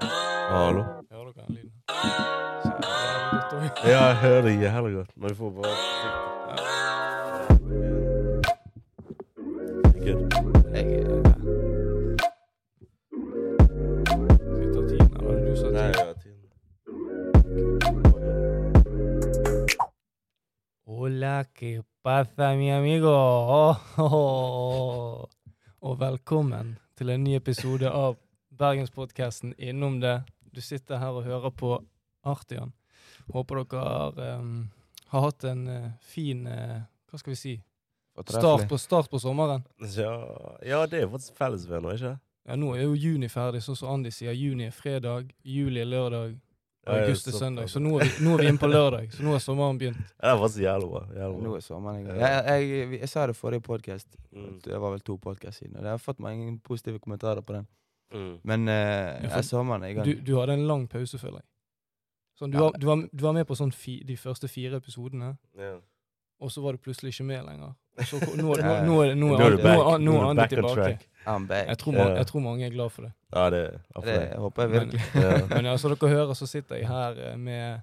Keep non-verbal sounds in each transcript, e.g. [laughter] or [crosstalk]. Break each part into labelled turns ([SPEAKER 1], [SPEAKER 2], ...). [SPEAKER 1] Hallo?
[SPEAKER 2] Hører dere den lyden? Så jævlig godt også.
[SPEAKER 1] Ja, jeg hører det jævlig godt. Men vi får bare Good.
[SPEAKER 2] Jeg er Skal vi ta tiden, eller er det du som
[SPEAKER 1] Nei,
[SPEAKER 2] har tiden?
[SPEAKER 1] ja, tiden.
[SPEAKER 2] Hola, que pasa, mi amigo? Oh, oh, oh. Og velkommen til en ny episode av Bergenspodkasten Innom det. Du sitter her og hører på Artian. Håper dere har, em, har hatt en eh, fin eh, Hva skal vi si? Start på, start på sommeren.
[SPEAKER 1] Ja, ja, det er faktisk fellesvenner, ikke
[SPEAKER 2] Ja, Nå er jo juni ferdig, sånn som Andi sier. Juni er fredag, juli er lørdag, og
[SPEAKER 1] Ja,
[SPEAKER 2] august
[SPEAKER 1] ja,
[SPEAKER 2] er
[SPEAKER 1] så-
[SPEAKER 2] søndag. Så nå er, vi, nå er vi inne på lørdag. Så nå er sommeren begynt.
[SPEAKER 1] Ja, Det var så jævlig bra. Jævlig
[SPEAKER 3] Nå
[SPEAKER 1] bra.
[SPEAKER 3] er sommeren i gang.
[SPEAKER 1] Ja.
[SPEAKER 3] Jeg, jeg, jeg, jeg sa det forrige podkast.
[SPEAKER 1] Mm.
[SPEAKER 3] Det var vel to podkast siden. Og jeg har fått mange positive kommentarer på den.
[SPEAKER 1] Mm.
[SPEAKER 3] Men eh,
[SPEAKER 2] Ja, for
[SPEAKER 3] er sommeren i gang.
[SPEAKER 2] Du, du hadde en lang pause, føler jeg. Sånn, du,
[SPEAKER 3] Ja.
[SPEAKER 2] var, du, var, du var med på sånn fi, de første fire episodene,
[SPEAKER 1] Ja.
[SPEAKER 2] og så var du pludselig ikke med lenger. Og så, ko- nå, er- nå,
[SPEAKER 3] Ja.
[SPEAKER 2] nå, er- nå,
[SPEAKER 1] Nå
[SPEAKER 2] er-
[SPEAKER 1] er du
[SPEAKER 2] nå,
[SPEAKER 1] back.
[SPEAKER 2] er- nå
[SPEAKER 1] Nå er
[SPEAKER 2] er
[SPEAKER 1] du
[SPEAKER 2] Andi
[SPEAKER 1] back on
[SPEAKER 2] tilbake.
[SPEAKER 1] track.
[SPEAKER 3] I'm back.
[SPEAKER 2] Jeg tror, ma-
[SPEAKER 1] Ja.
[SPEAKER 2] jeg tror mange er glad for det.
[SPEAKER 1] Ja, det er for
[SPEAKER 3] det,
[SPEAKER 1] deg.
[SPEAKER 3] jeg håper jeg
[SPEAKER 2] Men,
[SPEAKER 3] virkelig.
[SPEAKER 1] Ja.
[SPEAKER 2] [laughs] men ja, som dere hører, så sitter jeg her eh, med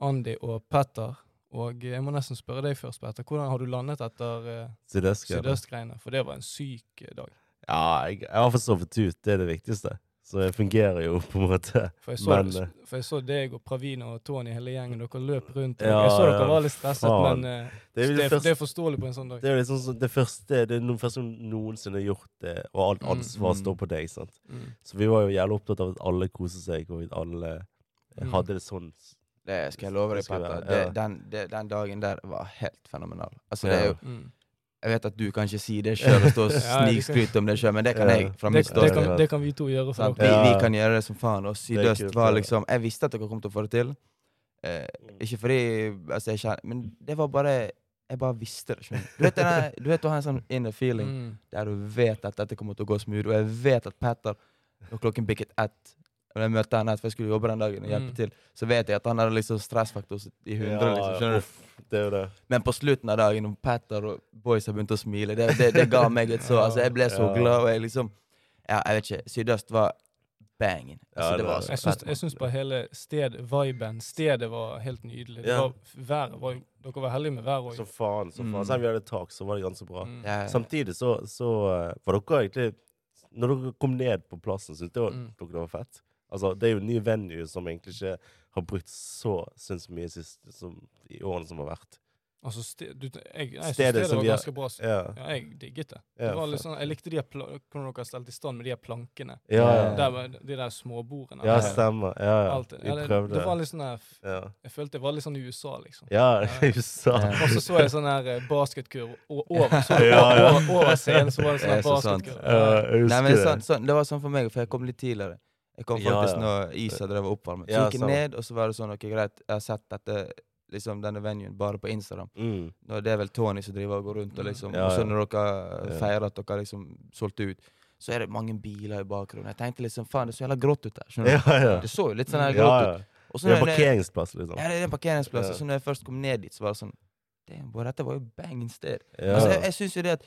[SPEAKER 2] Andi og Petter. Og eh, jeg må nesten spørre deg først, Petter. Hvordan har du landet etter eh,
[SPEAKER 1] Sydøst, ja.
[SPEAKER 2] Sydøstgreiene, for det var en syk eh, dag.
[SPEAKER 1] Ja, jeg, jeg har fått sovet ut. Det er det viktigste. Så jeg fungerer jo på en
[SPEAKER 3] [laughs]
[SPEAKER 1] måte.
[SPEAKER 2] For jeg så,
[SPEAKER 1] Men, eh,
[SPEAKER 2] for jeg så deg og Pravina og Tony, hele gjengen, dere løp rundt.
[SPEAKER 1] Ja,
[SPEAKER 2] jeg så dere
[SPEAKER 1] ja,
[SPEAKER 2] var litt stresset,
[SPEAKER 1] faen.
[SPEAKER 2] men eh,
[SPEAKER 1] Det er jo
[SPEAKER 2] det,
[SPEAKER 1] det
[SPEAKER 2] er, det
[SPEAKER 1] første
[SPEAKER 2] er forståelig på en sånn dag.
[SPEAKER 1] det er jo liksom sånn- det første Det er noe første som noensinne har gjort det, og alt
[SPEAKER 2] Mm,
[SPEAKER 1] ansvar
[SPEAKER 3] mm.
[SPEAKER 1] står på deg. sant?
[SPEAKER 2] Mm.
[SPEAKER 1] Så vi var jo jævlig opptatt av at alle koser seg, og at alle eh,
[SPEAKER 2] Mm.
[SPEAKER 1] hadde det sånn.
[SPEAKER 3] Det skal jeg love
[SPEAKER 1] Det
[SPEAKER 3] deg,
[SPEAKER 1] skal
[SPEAKER 3] Petter.
[SPEAKER 1] være,
[SPEAKER 3] Det,
[SPEAKER 1] ja.
[SPEAKER 3] den, det, den dagen der var helt fenomenal. Altså,
[SPEAKER 1] Ja.
[SPEAKER 3] det er jo,
[SPEAKER 2] Mm.
[SPEAKER 3] jeg vet at du kan ikke si det sjøl og stå
[SPEAKER 2] Ja,
[SPEAKER 3] og
[SPEAKER 2] det kan-
[SPEAKER 3] snikskryte om det sjøl, men det kan
[SPEAKER 1] Ja.
[SPEAKER 3] jeg fra
[SPEAKER 2] Det,
[SPEAKER 3] mitt
[SPEAKER 2] det, kan,
[SPEAKER 3] ståsted.
[SPEAKER 2] det kan vi to gjøre for Mm.
[SPEAKER 3] Sant?
[SPEAKER 2] dere.
[SPEAKER 3] Vi,
[SPEAKER 1] Ja.
[SPEAKER 3] vi kan gjøre det som faen. Og
[SPEAKER 1] er
[SPEAKER 3] Sydøst
[SPEAKER 1] kult,
[SPEAKER 3] var
[SPEAKER 1] ja.
[SPEAKER 3] liksom Jeg visste at dere kom til å få det til. Eh, Ikke fordi altså, jeg kjenner Men det var bare Jeg bare visste det. skjønner Du Du vet, den der- du vet å ha en sånn inner feeling
[SPEAKER 2] Mm.
[SPEAKER 3] der du vet at dette kommer til å gå smooth, og jeg vet at Petter Når klokken bikket ett og jeg møtte han ett, for jeg skulle jobbe den dagen og hjelpe
[SPEAKER 2] Mm.
[SPEAKER 3] til, så vet jeg at han hadde liksom stressfaktor i hundre. liksom, skjønner du?
[SPEAKER 1] du? Det er jo det.
[SPEAKER 3] Men på slutten av dagen, når Petter og boys har begynt å smile, det, det, det ga meg et så
[SPEAKER 2] Ja.
[SPEAKER 3] Altså, jeg ble
[SPEAKER 1] Ja.
[SPEAKER 3] så glad, og jeg liksom Ja, jeg vet ikke. Sydøst var banging. Altså,
[SPEAKER 1] Ja,
[SPEAKER 3] det
[SPEAKER 1] det-
[SPEAKER 3] var så
[SPEAKER 2] Jeg syns,
[SPEAKER 3] fett.
[SPEAKER 2] jeg syns bare hele sted, viben, stedet var helt nydelig. Det
[SPEAKER 1] Ja.
[SPEAKER 2] var, været var, dere var heldige med været
[SPEAKER 1] Som
[SPEAKER 2] òg.
[SPEAKER 1] faen. som faen.
[SPEAKER 3] Mm.
[SPEAKER 1] Selv om vi hadde tak, så var det ganske bra.
[SPEAKER 2] Mm.
[SPEAKER 3] Ja,
[SPEAKER 1] Samtidig så, så eh, var dere egentlig Når dere kom ned på plassen, syntes dere,
[SPEAKER 2] Mm.
[SPEAKER 1] dere det var fett? Altså, Det er jo en ny venue som egentlig ikke har brukt så sinnssykt mye sist, som, i årene som har vært.
[SPEAKER 2] Altså, sted, du, jeg, jeg
[SPEAKER 1] Stedet
[SPEAKER 2] syns stedet
[SPEAKER 1] som
[SPEAKER 2] var
[SPEAKER 1] vi har-
[SPEAKER 2] ganske bra.
[SPEAKER 1] Ja,
[SPEAKER 2] Ja, jeg digget det.
[SPEAKER 1] ja,
[SPEAKER 2] det var litt
[SPEAKER 1] fett.
[SPEAKER 2] sånn, jeg likte de her pla- hvordan dere har stelt i stand med de her plankene.
[SPEAKER 1] ja,
[SPEAKER 3] Ja.
[SPEAKER 1] ja.
[SPEAKER 2] Der, var- de der småbordene.
[SPEAKER 1] ja,
[SPEAKER 2] der.
[SPEAKER 1] stemmer. Ja, ja.
[SPEAKER 2] eh, Alt, ja,
[SPEAKER 1] Vi
[SPEAKER 2] det,
[SPEAKER 1] prøvde.
[SPEAKER 2] det var litt sånn her,
[SPEAKER 1] Ja,
[SPEAKER 2] Jeg følte jeg var litt sånn i USA, liksom.
[SPEAKER 1] ja [laughs]
[SPEAKER 2] Ja.
[SPEAKER 1] i USA.
[SPEAKER 3] Ja.
[SPEAKER 2] Og så så jeg sånn her eh, basketkurv o- over, så
[SPEAKER 1] [laughs] Ja, ja.
[SPEAKER 2] over, over scenen, så var det sånn her
[SPEAKER 3] Det er så sant.
[SPEAKER 2] basketkurv.
[SPEAKER 1] Ja, jeg
[SPEAKER 3] Nei,
[SPEAKER 1] husker
[SPEAKER 3] men det, er
[SPEAKER 1] det.
[SPEAKER 3] sant, sånn, det var sånn for meg, for jeg kom litt tidligere. Jeg kom
[SPEAKER 1] Ja,
[SPEAKER 3] faktisk
[SPEAKER 1] ja.
[SPEAKER 3] når Isa drev og oppvarmet. Så
[SPEAKER 1] Ja,
[SPEAKER 3] gikk jeg
[SPEAKER 1] samme.
[SPEAKER 3] ned, og så var det sånn Ok, greit, jeg har sett dette, liksom denne venuen bare på Instagram.
[SPEAKER 1] Mm.
[SPEAKER 3] Nå, det er vel Tony som driver og går rundt, og liksom
[SPEAKER 1] Ja,
[SPEAKER 3] Og så
[SPEAKER 1] ja.
[SPEAKER 3] når dere
[SPEAKER 1] Ja.
[SPEAKER 3] feirer at dere liksom solgte ut, så er det mange biler i bakgrunnen. Jeg tenkte liksom faen, det er så jævla grått ut der. Skjønner du?
[SPEAKER 1] Ja, ja.
[SPEAKER 3] Det så jo litt sånn
[SPEAKER 1] Ja,
[SPEAKER 3] her grått ut.
[SPEAKER 1] ja.
[SPEAKER 3] Og så
[SPEAKER 1] Det er
[SPEAKER 3] når jeg-
[SPEAKER 1] parkeringsplass, liksom.
[SPEAKER 3] Ja, det er en parkeringsplass.
[SPEAKER 1] Ja.
[SPEAKER 3] Og så når jeg først kom ned dit, så var det sånn Damn, boy, dette var jo bang sted.
[SPEAKER 1] Ja.
[SPEAKER 3] Altså, jeg, jeg syns jo det at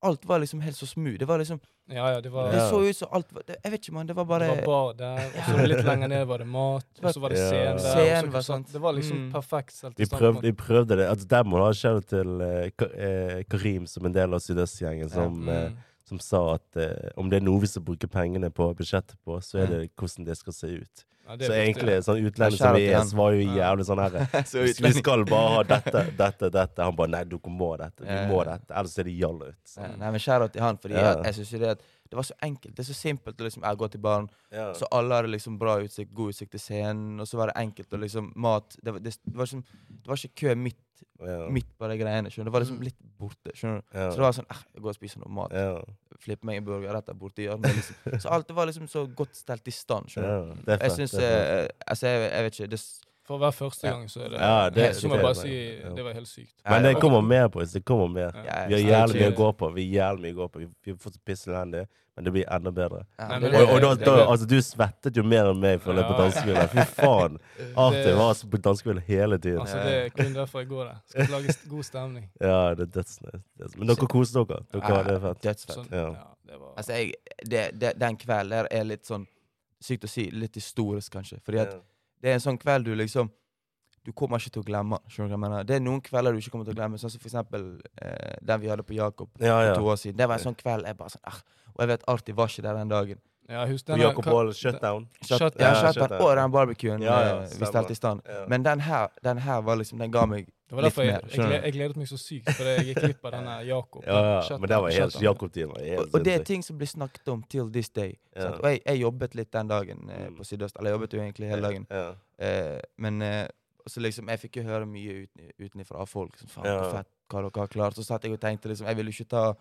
[SPEAKER 3] alt var liksom helt så smooth. Det var liksom
[SPEAKER 2] Ja, ja, det var,
[SPEAKER 3] Det
[SPEAKER 1] Ja.
[SPEAKER 3] så ut som alt var det, Jeg vet ikke, mann. Det var bare
[SPEAKER 2] det var bar der, og så litt lenger ned var det mat, og så var det
[SPEAKER 1] Ja.
[SPEAKER 2] scene der. og så
[SPEAKER 3] Scenen
[SPEAKER 2] kunne
[SPEAKER 3] var
[SPEAKER 2] satt-
[SPEAKER 3] sant.
[SPEAKER 2] Det var liksom
[SPEAKER 3] Mm.
[SPEAKER 2] perfekt stelt
[SPEAKER 1] Vi
[SPEAKER 2] i stand.
[SPEAKER 1] prøvde, vi prøvde det. Altså, der må du ha kjent til eh, Ka- eh, Karim, som en del av Sydøstgjengen, som, eh,
[SPEAKER 2] Mm.
[SPEAKER 1] som sa at eh, om det er noe vi skal bruke pengene på budsjettet på, så
[SPEAKER 3] Mm.
[SPEAKER 1] er det hvordan det skal se ut.
[SPEAKER 2] Ja, det
[SPEAKER 1] Så
[SPEAKER 2] er viktig.
[SPEAKER 1] egentlig, sånn utlending
[SPEAKER 3] Ja, shout
[SPEAKER 1] som
[SPEAKER 3] out
[SPEAKER 1] vi
[SPEAKER 3] til
[SPEAKER 1] er,
[SPEAKER 3] han.
[SPEAKER 1] så var jo
[SPEAKER 2] Ja.
[SPEAKER 1] jævlig
[SPEAKER 3] [laughs]
[SPEAKER 1] sånn herre
[SPEAKER 3] så
[SPEAKER 1] Vi skal bare ha dette,
[SPEAKER 3] [laughs]
[SPEAKER 1] dette, dette. Han bare Nei, dere må dette. Vi
[SPEAKER 3] Ja, ja.
[SPEAKER 1] må dette. Ellers er det jall ut. Så,
[SPEAKER 3] Nei, men skjæra til han, fordi
[SPEAKER 1] Ja.
[SPEAKER 3] jeg, jeg synes jo det at det var så enkelt. Det er så simpelt å liksom jeg går til baren,
[SPEAKER 1] ja.
[SPEAKER 3] så alle hadde liksom bra utsikt, god utsikt til scenen, og så var det enkelt, og liksom mat Det var, det, det var, liksom, det var ikke kø midt,
[SPEAKER 1] ja.
[SPEAKER 3] midt på de greiene, skjønner du. Det var liksom
[SPEAKER 2] Mm.
[SPEAKER 3] litt borte, skjønner du.
[SPEAKER 1] Ja.
[SPEAKER 3] Så det var sånn eh, Jeg går og spiser noe mat.
[SPEAKER 1] Ja.
[SPEAKER 3] Flipper meg en burger rett der borte i hjørnet.
[SPEAKER 1] [laughs]
[SPEAKER 3] Liksom. Så alt det var liksom så godt stelt i stand, skjønner du.
[SPEAKER 1] Ja. Det er
[SPEAKER 3] Jeg
[SPEAKER 1] fett.
[SPEAKER 3] syns
[SPEAKER 1] det er fett.
[SPEAKER 3] eh, Altså, jeg, jeg vet ikke. Det, s-
[SPEAKER 2] For hver første
[SPEAKER 3] Ja.
[SPEAKER 2] gang så er det,
[SPEAKER 1] Ja, det-
[SPEAKER 2] Så må
[SPEAKER 1] det-
[SPEAKER 2] jeg bare
[SPEAKER 1] det-
[SPEAKER 2] si
[SPEAKER 1] ja.
[SPEAKER 2] det var helt sykt.
[SPEAKER 1] Men det
[SPEAKER 2] var-
[SPEAKER 1] kommer mer, boys. Det kommer mer.
[SPEAKER 2] Ja.
[SPEAKER 3] eh, ja,
[SPEAKER 1] Vi har
[SPEAKER 3] jeg-
[SPEAKER 1] jævlig mye å
[SPEAKER 2] ikke-
[SPEAKER 1] gå på. Vi har jævlig mye å gå på. Vi- Vi har fått pissel handy, men det blir enda bedre.
[SPEAKER 3] ja,
[SPEAKER 2] Nei,
[SPEAKER 3] det-
[SPEAKER 2] men
[SPEAKER 1] Og, og da,
[SPEAKER 2] det-
[SPEAKER 1] da,
[SPEAKER 2] det-
[SPEAKER 1] altså, du svettet jo mer enn meg for å løpe
[SPEAKER 2] Ja.
[SPEAKER 1] dansegulvet. Fy faen. Arthur
[SPEAKER 2] Det-
[SPEAKER 1] var altså på dansegulvet hele tiden.
[SPEAKER 2] Altså, det er kun derfor jeg går der. Skal lage st-
[SPEAKER 1] [laughs]
[SPEAKER 2] god stemning.
[SPEAKER 1] Ja, det er dødsnice. dødsnice. Men dere koste dere. Dere
[SPEAKER 3] Ja,
[SPEAKER 1] var det er fett.
[SPEAKER 3] Dødsfett.
[SPEAKER 2] Sånn,
[SPEAKER 1] Ja.
[SPEAKER 2] ja, det var...
[SPEAKER 3] Altså, jeg, det, det, den kvelden der er litt sånn sykt å si, litt historisk, kanskje. Fordi at det er en sånn kveld du liksom Du kommer ikke til å glemme. Skjønner du hva jeg mener? Det er noen kvelder du ikke kommer til å glemme, sånn som for eksempel eh, den vi hadde på Jakob for
[SPEAKER 1] ja,
[SPEAKER 3] to
[SPEAKER 1] ja.
[SPEAKER 3] år siden. Det var en sånn kveld jeg bare sånn ah. Og jeg vet Arti var ikke der den dagen.
[SPEAKER 2] Ja, husk
[SPEAKER 1] Og
[SPEAKER 2] denne-
[SPEAKER 1] Jakob
[SPEAKER 2] hva-
[SPEAKER 1] Wold, shutdown.
[SPEAKER 3] Shut,
[SPEAKER 2] Shut-
[SPEAKER 3] ja,
[SPEAKER 1] ja,
[SPEAKER 3] shut
[SPEAKER 1] shut
[SPEAKER 3] up,
[SPEAKER 1] up.
[SPEAKER 3] og den barbecuen
[SPEAKER 1] Ja, ja,
[SPEAKER 3] eh, vi
[SPEAKER 1] stemmer.
[SPEAKER 3] stelte i stand.
[SPEAKER 1] Ja.
[SPEAKER 3] Men den her, den her var liksom, den ga meg
[SPEAKER 2] Det var derfor
[SPEAKER 3] litt
[SPEAKER 2] jeg, jeg,
[SPEAKER 3] mer, skjønner
[SPEAKER 2] gled-
[SPEAKER 3] du?
[SPEAKER 2] jeg gledet meg så sykt, for jeg klipp av denne Jakob.
[SPEAKER 1] [laughs] Ja, ja.
[SPEAKER 2] Shut
[SPEAKER 1] Men det
[SPEAKER 2] up,
[SPEAKER 1] var
[SPEAKER 2] shut
[SPEAKER 1] helt
[SPEAKER 2] up.
[SPEAKER 1] Jakob-tiden. var helt
[SPEAKER 3] Og, og det er
[SPEAKER 1] sinnssyk.
[SPEAKER 3] ting som blir snakket om til this day.
[SPEAKER 1] Ja.
[SPEAKER 3] sant? Og jeg, jeg jobbet litt den dagen eh,
[SPEAKER 1] Mm.
[SPEAKER 3] på Sydøst. Eller jeg jobbet jo egentlig hele dagen.
[SPEAKER 1] Ja.
[SPEAKER 3] Eh, men eh, så liksom, jeg fikk jo høre mye uten, utenifra av folk. Liksom, faen,
[SPEAKER 1] Ja.
[SPEAKER 3] hvor fett hva dere har klart. Så satt jeg og tenkte liksom, jeg ville ikke ta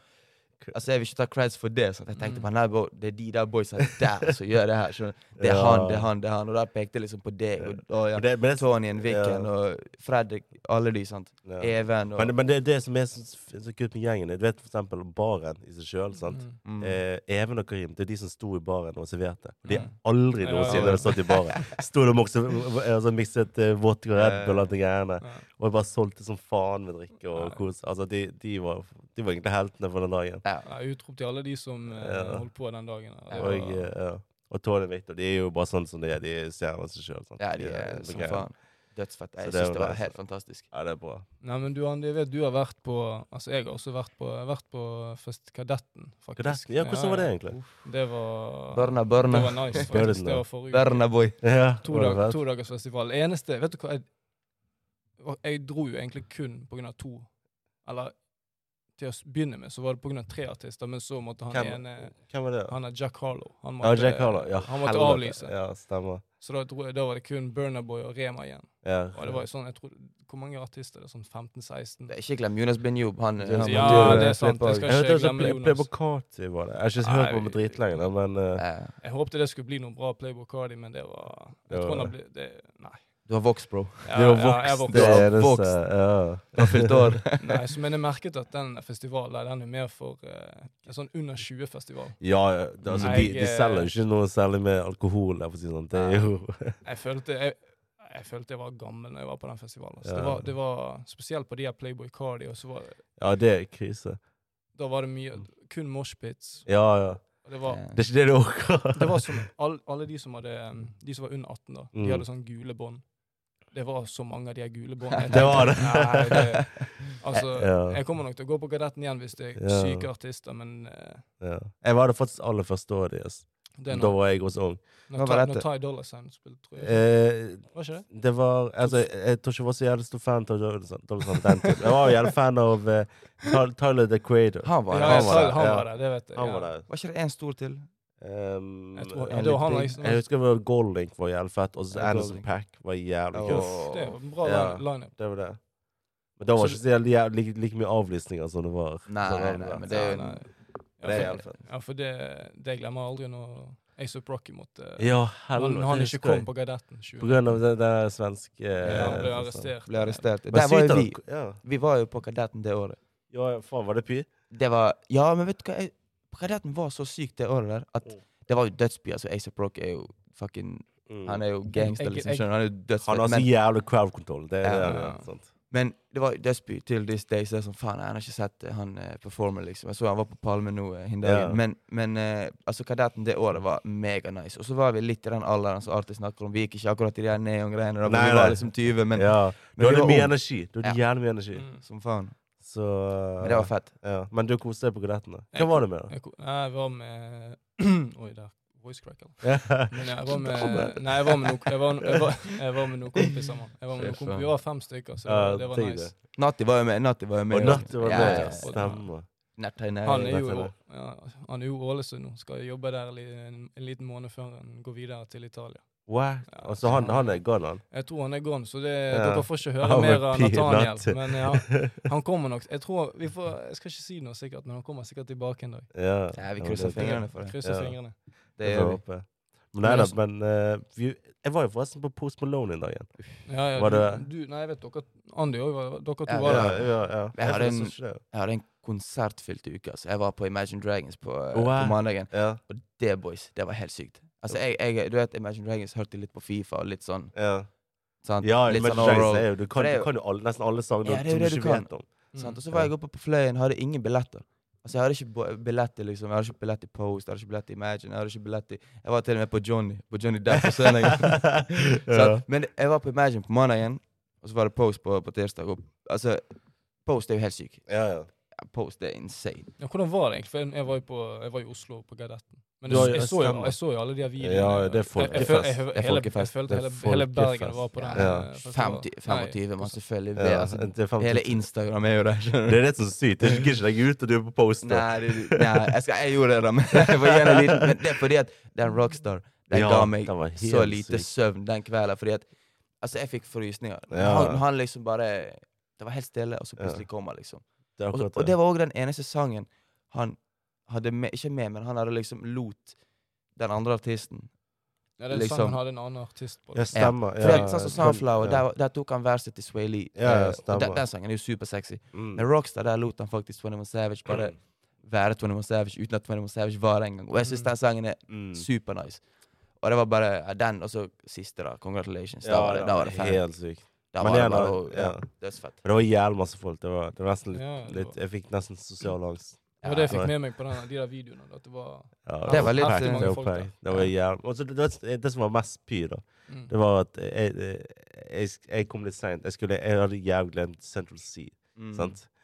[SPEAKER 3] Altså, jeg vil ikke ta creds for det. Sant? Jeg tenkte
[SPEAKER 2] Mm.
[SPEAKER 3] bare, nei, bro, det er de der boysa der som gjør det her. skjønner du? Det er
[SPEAKER 1] Ja.
[SPEAKER 3] han, det er han, det er han. Og da pekte jeg liksom på deg og, og ja,
[SPEAKER 1] Men det- men det-
[SPEAKER 3] Tony en Viken
[SPEAKER 1] Ja.
[SPEAKER 3] og Fredrik. Alle de, sant.
[SPEAKER 1] Ja.
[SPEAKER 3] Even og
[SPEAKER 1] Men, men det er det som er så, så kult med gjengen. Du vet for eksempel baren i seg sjøl. sant?
[SPEAKER 2] Mm.
[SPEAKER 3] mm.
[SPEAKER 1] Eh, Even og Karim det er de som sto i baren og serverte. De har
[SPEAKER 2] Mm.
[SPEAKER 1] aldri
[SPEAKER 2] Ja,
[SPEAKER 1] noensinne
[SPEAKER 3] ja.
[SPEAKER 1] stått i
[SPEAKER 2] [laughs]
[SPEAKER 1] baren. Sto de også altså, mikset eh, vodka og Red Bull og alt det greiene.
[SPEAKER 2] Ja.
[SPEAKER 1] Og bare solgte som faen med drikke og
[SPEAKER 2] Ja.
[SPEAKER 1] kos. Altså, de, de, var, de var egentlig heltene for den dagen.
[SPEAKER 3] ja.
[SPEAKER 2] Ja, utrop til alle de som eh,
[SPEAKER 1] Ja.
[SPEAKER 2] holdt på den dagen.
[SPEAKER 3] Ja.
[SPEAKER 1] Og, eh, ja. og Tony og Victor de er jo bare sånn som de er. De er stjerner i seg sjøl.
[SPEAKER 3] ja, de er eh, som faen. Dødsfett.
[SPEAKER 1] Så
[SPEAKER 3] Jeg
[SPEAKER 1] det
[SPEAKER 3] syns
[SPEAKER 1] var
[SPEAKER 3] det var
[SPEAKER 1] nice,
[SPEAKER 3] helt
[SPEAKER 1] da.
[SPEAKER 3] fantastisk.
[SPEAKER 1] Ja, det er bra.
[SPEAKER 2] Nei, men du, Andi, jeg vet du har vært på Altså, jeg har også vært på, vært på fest Kadetten, faktisk.
[SPEAKER 1] Kadetten? Ja, hvordan var det egentlig?
[SPEAKER 2] Uff, Det var
[SPEAKER 3] Barna,
[SPEAKER 2] Det
[SPEAKER 3] barna.
[SPEAKER 2] var
[SPEAKER 1] [laughs]
[SPEAKER 2] nice,
[SPEAKER 1] Burna.
[SPEAKER 2] faktisk. Det var forrige uke.
[SPEAKER 3] Barna boy.
[SPEAKER 1] Ja,
[SPEAKER 2] To,
[SPEAKER 1] var det
[SPEAKER 2] dag,
[SPEAKER 1] fett?
[SPEAKER 2] to dagers festival. Eneste Vet du hva, jeg, og jeg dro jo egentlig kun på grunn av to. Eller til å s- begynne med så var det på grunn av tre artister, men så måtte han
[SPEAKER 1] Hvem-
[SPEAKER 2] ene
[SPEAKER 1] Hvem var det?
[SPEAKER 2] Han er Jack Harlow. Han
[SPEAKER 1] Ja, Jack Harlow. Ja,
[SPEAKER 2] han måtte
[SPEAKER 1] helvete.
[SPEAKER 2] avlyse.
[SPEAKER 1] Ja, stemmer.
[SPEAKER 2] Så da, dro jeg, da var det kun Burnaboy og Rema igjen.
[SPEAKER 1] Ja.
[SPEAKER 2] Og det var jo sånn, jeg tror, Hvor mange artister er det? Sånn 15-16?
[SPEAKER 3] Ikke glem Jonas bin Job. Han,
[SPEAKER 1] Ja,
[SPEAKER 3] han måtte
[SPEAKER 1] det
[SPEAKER 3] jo
[SPEAKER 1] er
[SPEAKER 2] sant,
[SPEAKER 3] slippe
[SPEAKER 2] det
[SPEAKER 3] av.
[SPEAKER 2] skal-
[SPEAKER 1] Jeg
[SPEAKER 2] ikke
[SPEAKER 1] vet ikke,
[SPEAKER 2] glemme
[SPEAKER 1] Play-
[SPEAKER 2] Jonas.
[SPEAKER 1] Playboy Carti var det. Jeg har ikke hørt på
[SPEAKER 2] Nei,
[SPEAKER 1] ham dritlenge, da, men eh,
[SPEAKER 3] Ja.
[SPEAKER 2] Jeg håpte det skulle bli noe bra Playboy Cardi, men det var Jeg
[SPEAKER 1] Det
[SPEAKER 2] tror
[SPEAKER 1] var-
[SPEAKER 2] han ble, det, Nei.
[SPEAKER 3] Du har vokst, bro.
[SPEAKER 2] Ja,
[SPEAKER 1] det var
[SPEAKER 2] ja, jeg
[SPEAKER 1] Vox.
[SPEAKER 2] vokste
[SPEAKER 1] det er
[SPEAKER 3] vokst.
[SPEAKER 1] eneste.
[SPEAKER 3] Vokst.
[SPEAKER 1] Ja.
[SPEAKER 3] Du har fylt
[SPEAKER 2] [laughs]
[SPEAKER 3] år.
[SPEAKER 2] Nei, så, men jeg merket at den festivalen der, den er mer for eh, en sånn under 20-festival.
[SPEAKER 1] Ja, ja, det- altså, de,
[SPEAKER 2] Jeg,
[SPEAKER 1] de
[SPEAKER 2] eh,
[SPEAKER 1] selger jo ikke noe særlig med alkohol. Der, for å si det sånn. Det er jo
[SPEAKER 2] Jeg følte jeg, jeg følte jeg var gammel når jeg var på den festivalen. Så
[SPEAKER 1] Ja.
[SPEAKER 2] det, var, det var spesielt på de her Playboy Cardi, og så var,
[SPEAKER 1] Ja, det er krise.
[SPEAKER 2] da var det mye Kun moshpits.
[SPEAKER 1] Ja, ja.
[SPEAKER 2] Og det var
[SPEAKER 1] Det er ikke det du orker.
[SPEAKER 2] Det var som all, alle de som, hadde, um, de som var under 18, da. De
[SPEAKER 1] Mm.
[SPEAKER 2] hadde sånn gule bånd. Det var så mange av de her gule båndene. Jeg
[SPEAKER 1] [laughs] Det var
[SPEAKER 2] tenkte, Nei, det.
[SPEAKER 1] [laughs] [laughs]
[SPEAKER 2] Altså,
[SPEAKER 1] Ja.
[SPEAKER 2] jeg kommer nok til å gå på Kadetten igjen hvis det er
[SPEAKER 1] Ja.
[SPEAKER 2] syke artister, men eh,
[SPEAKER 1] Ja. Jeg var det faktisk aller første året deres.
[SPEAKER 2] det er
[SPEAKER 1] Da
[SPEAKER 2] når,
[SPEAKER 1] var jeg også ung.
[SPEAKER 2] når,
[SPEAKER 3] Hva var
[SPEAKER 2] Ty-
[SPEAKER 3] dette?
[SPEAKER 2] når Ty Dolla Sign spilte, tror jeg.
[SPEAKER 1] Eh,
[SPEAKER 2] Var ikke
[SPEAKER 1] [laughs]
[SPEAKER 2] det?
[SPEAKER 1] det var altså, Jeg jeg tror ikke jeg var så jævlig stor fan av Jordison. Jeg var jo jævlig fan av eh, Ty- Tyler the Creator.
[SPEAKER 3] Han var
[SPEAKER 2] Ja,
[SPEAKER 3] der.
[SPEAKER 2] jeg sa
[SPEAKER 3] Han var
[SPEAKER 2] det,
[SPEAKER 3] der.
[SPEAKER 2] han
[SPEAKER 1] ja.
[SPEAKER 2] var der, det vet jeg.
[SPEAKER 1] Han
[SPEAKER 2] ja.
[SPEAKER 1] var der.
[SPEAKER 3] Var ikke det én stor til?
[SPEAKER 1] Um,
[SPEAKER 2] Jeg tror,
[SPEAKER 3] Ja,
[SPEAKER 2] ja, det var han
[SPEAKER 3] litt
[SPEAKER 2] liksom.
[SPEAKER 1] Jeg husker det var Goldlink var jævlig fett, og så
[SPEAKER 3] Ja,
[SPEAKER 1] Anderson
[SPEAKER 3] Goldlink.
[SPEAKER 1] Pack var jævlig
[SPEAKER 3] Ja.
[SPEAKER 1] kult.
[SPEAKER 2] Uff, det var en bra
[SPEAKER 1] Ja.
[SPEAKER 2] line- lineup.
[SPEAKER 1] Det var det. Men det var
[SPEAKER 2] Så
[SPEAKER 1] ikke så jævlig, jævlig, like, like mye avlysninger som det var.
[SPEAKER 3] Nei,
[SPEAKER 1] sånn,
[SPEAKER 3] nei, nei,
[SPEAKER 1] ja.
[SPEAKER 3] men det er jo
[SPEAKER 2] Ja, nei.
[SPEAKER 1] Det er
[SPEAKER 2] ja,
[SPEAKER 1] jævlig
[SPEAKER 2] for,
[SPEAKER 1] fett.
[SPEAKER 2] ja, for det, det glemmer jeg aldri når Ace of Rocky eh, måtte
[SPEAKER 1] Ja,
[SPEAKER 2] Når
[SPEAKER 1] helvete.
[SPEAKER 2] han
[SPEAKER 1] det
[SPEAKER 2] ikke
[SPEAKER 1] husker jeg.
[SPEAKER 2] kom på Kadetten. 20.
[SPEAKER 1] På grunn av det der svenske
[SPEAKER 2] Ja, han ble
[SPEAKER 1] eh, sånn.
[SPEAKER 2] arrestert.
[SPEAKER 3] Ble arrestert.
[SPEAKER 1] Men
[SPEAKER 3] Der var
[SPEAKER 1] sykt
[SPEAKER 3] jo
[SPEAKER 1] at
[SPEAKER 3] vi.
[SPEAKER 1] dere- Ja.
[SPEAKER 3] Vi var jo på Kadetten det året.
[SPEAKER 1] ja, ja, faen, var det Py?
[SPEAKER 3] Det var Ja, men vet du hva? Jeg, på Kadetten var så sykt det året der at
[SPEAKER 1] Mm.
[SPEAKER 3] det var jo dødsby. Altså, Asap Rock er jo fucking
[SPEAKER 1] Mm.
[SPEAKER 3] Han er jo gangster,
[SPEAKER 2] Jeg-
[SPEAKER 3] liksom.
[SPEAKER 2] jeg-
[SPEAKER 3] Skjønner du? Han er jo
[SPEAKER 1] Han har så
[SPEAKER 3] dødsfett. Men,
[SPEAKER 1] jævlig crowd control. Det er
[SPEAKER 3] Ja.
[SPEAKER 1] det han gjør. sant?
[SPEAKER 3] men det var jo dødsby til this day, så det er sånn faen, jeg har ikke sett eh, han eh, performe, liksom. Jeg så han var på Palme nå eh, hin dagen.
[SPEAKER 1] Ja.
[SPEAKER 3] Men, men eh, altså, Kadetten det året var mega nice. Og så var vi litt i den alderen som Arti snakker om. Vi gikk ikke akkurat i de her neongreiene, da,
[SPEAKER 1] Nei,
[SPEAKER 3] men vi var
[SPEAKER 1] nei.
[SPEAKER 3] liksom 20, men
[SPEAKER 1] ja. Du
[SPEAKER 3] vi
[SPEAKER 1] hadde
[SPEAKER 3] var
[SPEAKER 1] mye
[SPEAKER 3] ung.
[SPEAKER 1] energi. Du hadde jævlig mye energi.
[SPEAKER 2] Mm.
[SPEAKER 3] som faen.
[SPEAKER 1] Så
[SPEAKER 3] Men det var fett.
[SPEAKER 1] ja. Men du koste deg på kadettene. Hva
[SPEAKER 2] Jeg
[SPEAKER 1] var det med,
[SPEAKER 2] Jeg, ko- nei, jeg var med [clears throat] Oi, der. Voice cracker.
[SPEAKER 1] da? [laughs]
[SPEAKER 2] [laughs] Men jeg var med
[SPEAKER 3] Damer.
[SPEAKER 2] Nei, jeg var med noen jeg var, jeg var, jeg var med noen kompiser. mann. Jeg var med noen komp- Vi var fem stykker, så
[SPEAKER 1] Ja,
[SPEAKER 2] det var
[SPEAKER 1] tenk
[SPEAKER 2] nice.
[SPEAKER 3] Natti var jo med. Natti var jo med.
[SPEAKER 1] Og Natt var
[SPEAKER 3] Ja,
[SPEAKER 1] det. ja.
[SPEAKER 3] ja, ja.
[SPEAKER 1] Stemmer.
[SPEAKER 3] Natti, nei,
[SPEAKER 2] Han er
[SPEAKER 1] jeg
[SPEAKER 2] jo
[SPEAKER 1] vet
[SPEAKER 2] i
[SPEAKER 1] det.
[SPEAKER 2] Å- ja, han er jo i Ålesund nå. Skal jobbe der li- en, en liten måned før han går videre til Italia.
[SPEAKER 1] What?
[SPEAKER 2] Ja,
[SPEAKER 1] Altså, han, han er gal, han.
[SPEAKER 2] Jeg tror han er gone, så det,
[SPEAKER 1] Ja.
[SPEAKER 2] dere får ikke høre
[SPEAKER 1] Han er
[SPEAKER 2] mer av
[SPEAKER 1] peanut.
[SPEAKER 2] Nathaniel.
[SPEAKER 1] [laughs]
[SPEAKER 2] Men ja, han kommer nok Jeg tror, vi får, jeg skal ikke si noe sikkert, men han kommer sikkert tilbake en dag.
[SPEAKER 1] Ja.
[SPEAKER 3] Ja, vi
[SPEAKER 1] Ja,
[SPEAKER 3] krysser
[SPEAKER 1] det-
[SPEAKER 3] fingrene for det.
[SPEAKER 2] Krysser
[SPEAKER 1] Ja.
[SPEAKER 2] fingrene.
[SPEAKER 3] Det
[SPEAKER 1] Det
[SPEAKER 3] gjør
[SPEAKER 1] får
[SPEAKER 3] vi.
[SPEAKER 1] jeg håpe. Men nei da,
[SPEAKER 2] Men
[SPEAKER 1] men eh, vi, jeg var jo forresten på Post Malone en dag igjen.
[SPEAKER 2] Ja, ja,
[SPEAKER 1] Var
[SPEAKER 2] du,
[SPEAKER 1] det-
[SPEAKER 2] du, nei, jeg vet dere Andy òg, dere to
[SPEAKER 3] Ja,
[SPEAKER 2] var
[SPEAKER 1] Ja,
[SPEAKER 2] der.
[SPEAKER 1] ja, ja.
[SPEAKER 3] Jeg hadde
[SPEAKER 1] synes
[SPEAKER 3] en-
[SPEAKER 1] også det.
[SPEAKER 3] Jeg hadde en konsertfylt uke. altså. Jeg var på Imagine Dragons på, eh,
[SPEAKER 1] Wow.
[SPEAKER 3] på mandagen.
[SPEAKER 1] Ja,
[SPEAKER 3] Og det, boys, det var helt sykt. Altså, jeg, jeg, du vet, Imagine Dragons hørte litt på Fifa og litt sånn.
[SPEAKER 1] ja.
[SPEAKER 3] sant?
[SPEAKER 1] ja
[SPEAKER 3] litt
[SPEAKER 1] Imagine
[SPEAKER 3] sånn
[SPEAKER 1] Dragons
[SPEAKER 3] overall.
[SPEAKER 1] er jo Du kan,
[SPEAKER 3] det er
[SPEAKER 1] du
[SPEAKER 3] jo-
[SPEAKER 1] kan jo alle, nesten alle sanger
[SPEAKER 3] Ja, det er jo
[SPEAKER 1] som du
[SPEAKER 3] det du
[SPEAKER 1] ikke vet om.
[SPEAKER 2] Mm.
[SPEAKER 3] sant? altså. Og så
[SPEAKER 1] Ja.
[SPEAKER 3] var jeg oppe på Fløyen, hadde ingen billetter. Altså, jeg hadde ikke bo- billett til liksom. Jeg hadde ikke billett til Post, jeg hadde ikke billett til Imagine. Jeg hadde ikke billett til... Jeg var til og med på Johnny på Johnny Depp på
[SPEAKER 1] [laughs]
[SPEAKER 3] [laughs] søndagen.
[SPEAKER 1] ja. [laughs]
[SPEAKER 3] Sant? Men jeg var på Imagine på mandagen, og så var det Post på, på tirsdag. Og, altså, Post er jo helt syk.
[SPEAKER 1] ja, ja.
[SPEAKER 3] Ja, Post er insane.
[SPEAKER 2] Ja, hvordan var det egentlig? For jeg- jeg var jo, på, jeg var i Oslo på Gadetten. Men
[SPEAKER 1] Du
[SPEAKER 2] jeg,
[SPEAKER 1] har
[SPEAKER 2] jeg,
[SPEAKER 1] jo-
[SPEAKER 2] så jo,
[SPEAKER 1] stemmer.
[SPEAKER 2] jeg så jo alle de her videoene.
[SPEAKER 1] Ja, det er
[SPEAKER 2] Jeg- jeg føl- jeg-
[SPEAKER 1] folkefest.
[SPEAKER 2] jeg-
[SPEAKER 3] Det er
[SPEAKER 2] hele-
[SPEAKER 3] folkefest.
[SPEAKER 2] Jeg følte
[SPEAKER 3] Det er
[SPEAKER 2] hele, hele Bergen
[SPEAKER 3] folkefest.
[SPEAKER 2] var på den.
[SPEAKER 1] Ja.
[SPEAKER 2] eh, festivalen.
[SPEAKER 3] 50,
[SPEAKER 2] Nei,
[SPEAKER 3] 25 mann, selvfølgelig. Det,
[SPEAKER 1] Ja,
[SPEAKER 3] altså,
[SPEAKER 1] det er fem-
[SPEAKER 3] [laughs] hele Instagram er jo der. skjønner du?
[SPEAKER 1] Det er det som er sykt. Jeg gidder ikke legge ut, og du er på poster.
[SPEAKER 3] Nei, det, nei jeg, skal, jeg gjorde det, da. Men, [laughs] jeg var gjerne liten, men det er fordi at den rockstar den
[SPEAKER 1] Ja,
[SPEAKER 3] ga meg
[SPEAKER 1] den var helt
[SPEAKER 3] så lite
[SPEAKER 1] syk.
[SPEAKER 3] søvn den kvelden. Fordi at Altså, jeg fikk frysninger.
[SPEAKER 1] Ja.
[SPEAKER 3] Han, han liksom bare Det var helt stille, og så plutselig kom han, liksom.
[SPEAKER 1] Det er
[SPEAKER 3] Og,
[SPEAKER 1] akkurat
[SPEAKER 3] og det var òg den eneste sangen han hadde med Ikke med, men han hadde liksom lot den andre artisten
[SPEAKER 2] Ja, den
[SPEAKER 3] liksom.
[SPEAKER 2] sangen hadde en annen artist på.
[SPEAKER 1] Ja, stemmer.
[SPEAKER 3] For
[SPEAKER 1] Ja,
[SPEAKER 3] det er sånn
[SPEAKER 1] den-
[SPEAKER 3] som Sunflower,
[SPEAKER 1] ja.
[SPEAKER 3] der, der tok han verset til Sway Lee.
[SPEAKER 1] Ja, ja,
[SPEAKER 3] eh, og
[SPEAKER 1] stemmer.
[SPEAKER 3] den, den sangen er jo supersexy.
[SPEAKER 1] Mm.
[SPEAKER 3] Men Rockstar, der lot han faktisk 21 Savage bare være 21 Savage uten at 21 Savage var det engang. Og jeg syns
[SPEAKER 2] Mm.
[SPEAKER 3] den sangen er
[SPEAKER 1] Mm.
[SPEAKER 3] supernice. Og det var bare ja, den, og så siste, da. Congratulations. Da
[SPEAKER 1] Ja,
[SPEAKER 3] var det, da var det ferdig.
[SPEAKER 1] Helt sykt.
[SPEAKER 3] Da
[SPEAKER 1] Men
[SPEAKER 3] var det
[SPEAKER 1] igjen,
[SPEAKER 3] bare
[SPEAKER 1] da- ja.
[SPEAKER 3] ja, dødsfett.
[SPEAKER 1] Men det var jævlig masse folk. Det var, det var nesten litt,
[SPEAKER 2] Ja, det
[SPEAKER 1] litt
[SPEAKER 2] var-
[SPEAKER 1] Jeg fikk nesten sosial angst.
[SPEAKER 2] Det var det jeg
[SPEAKER 1] Ja.
[SPEAKER 2] fikk med meg på den, de der videoene. At det var
[SPEAKER 1] Ja,
[SPEAKER 3] Det var litt- eh,
[SPEAKER 1] packed,
[SPEAKER 3] Heftig mange
[SPEAKER 1] det var
[SPEAKER 2] folk der.
[SPEAKER 1] packed. Det var jævlig Og så det, det, det som var mest py, da,
[SPEAKER 2] mm.
[SPEAKER 1] det var at jeg, jeg, jeg, jeg kom litt seint. Jeg, skulle- jeg hadde jævlig glemt Central Sea,
[SPEAKER 3] Mm.
[SPEAKER 1] sant?
[SPEAKER 2] [laughs]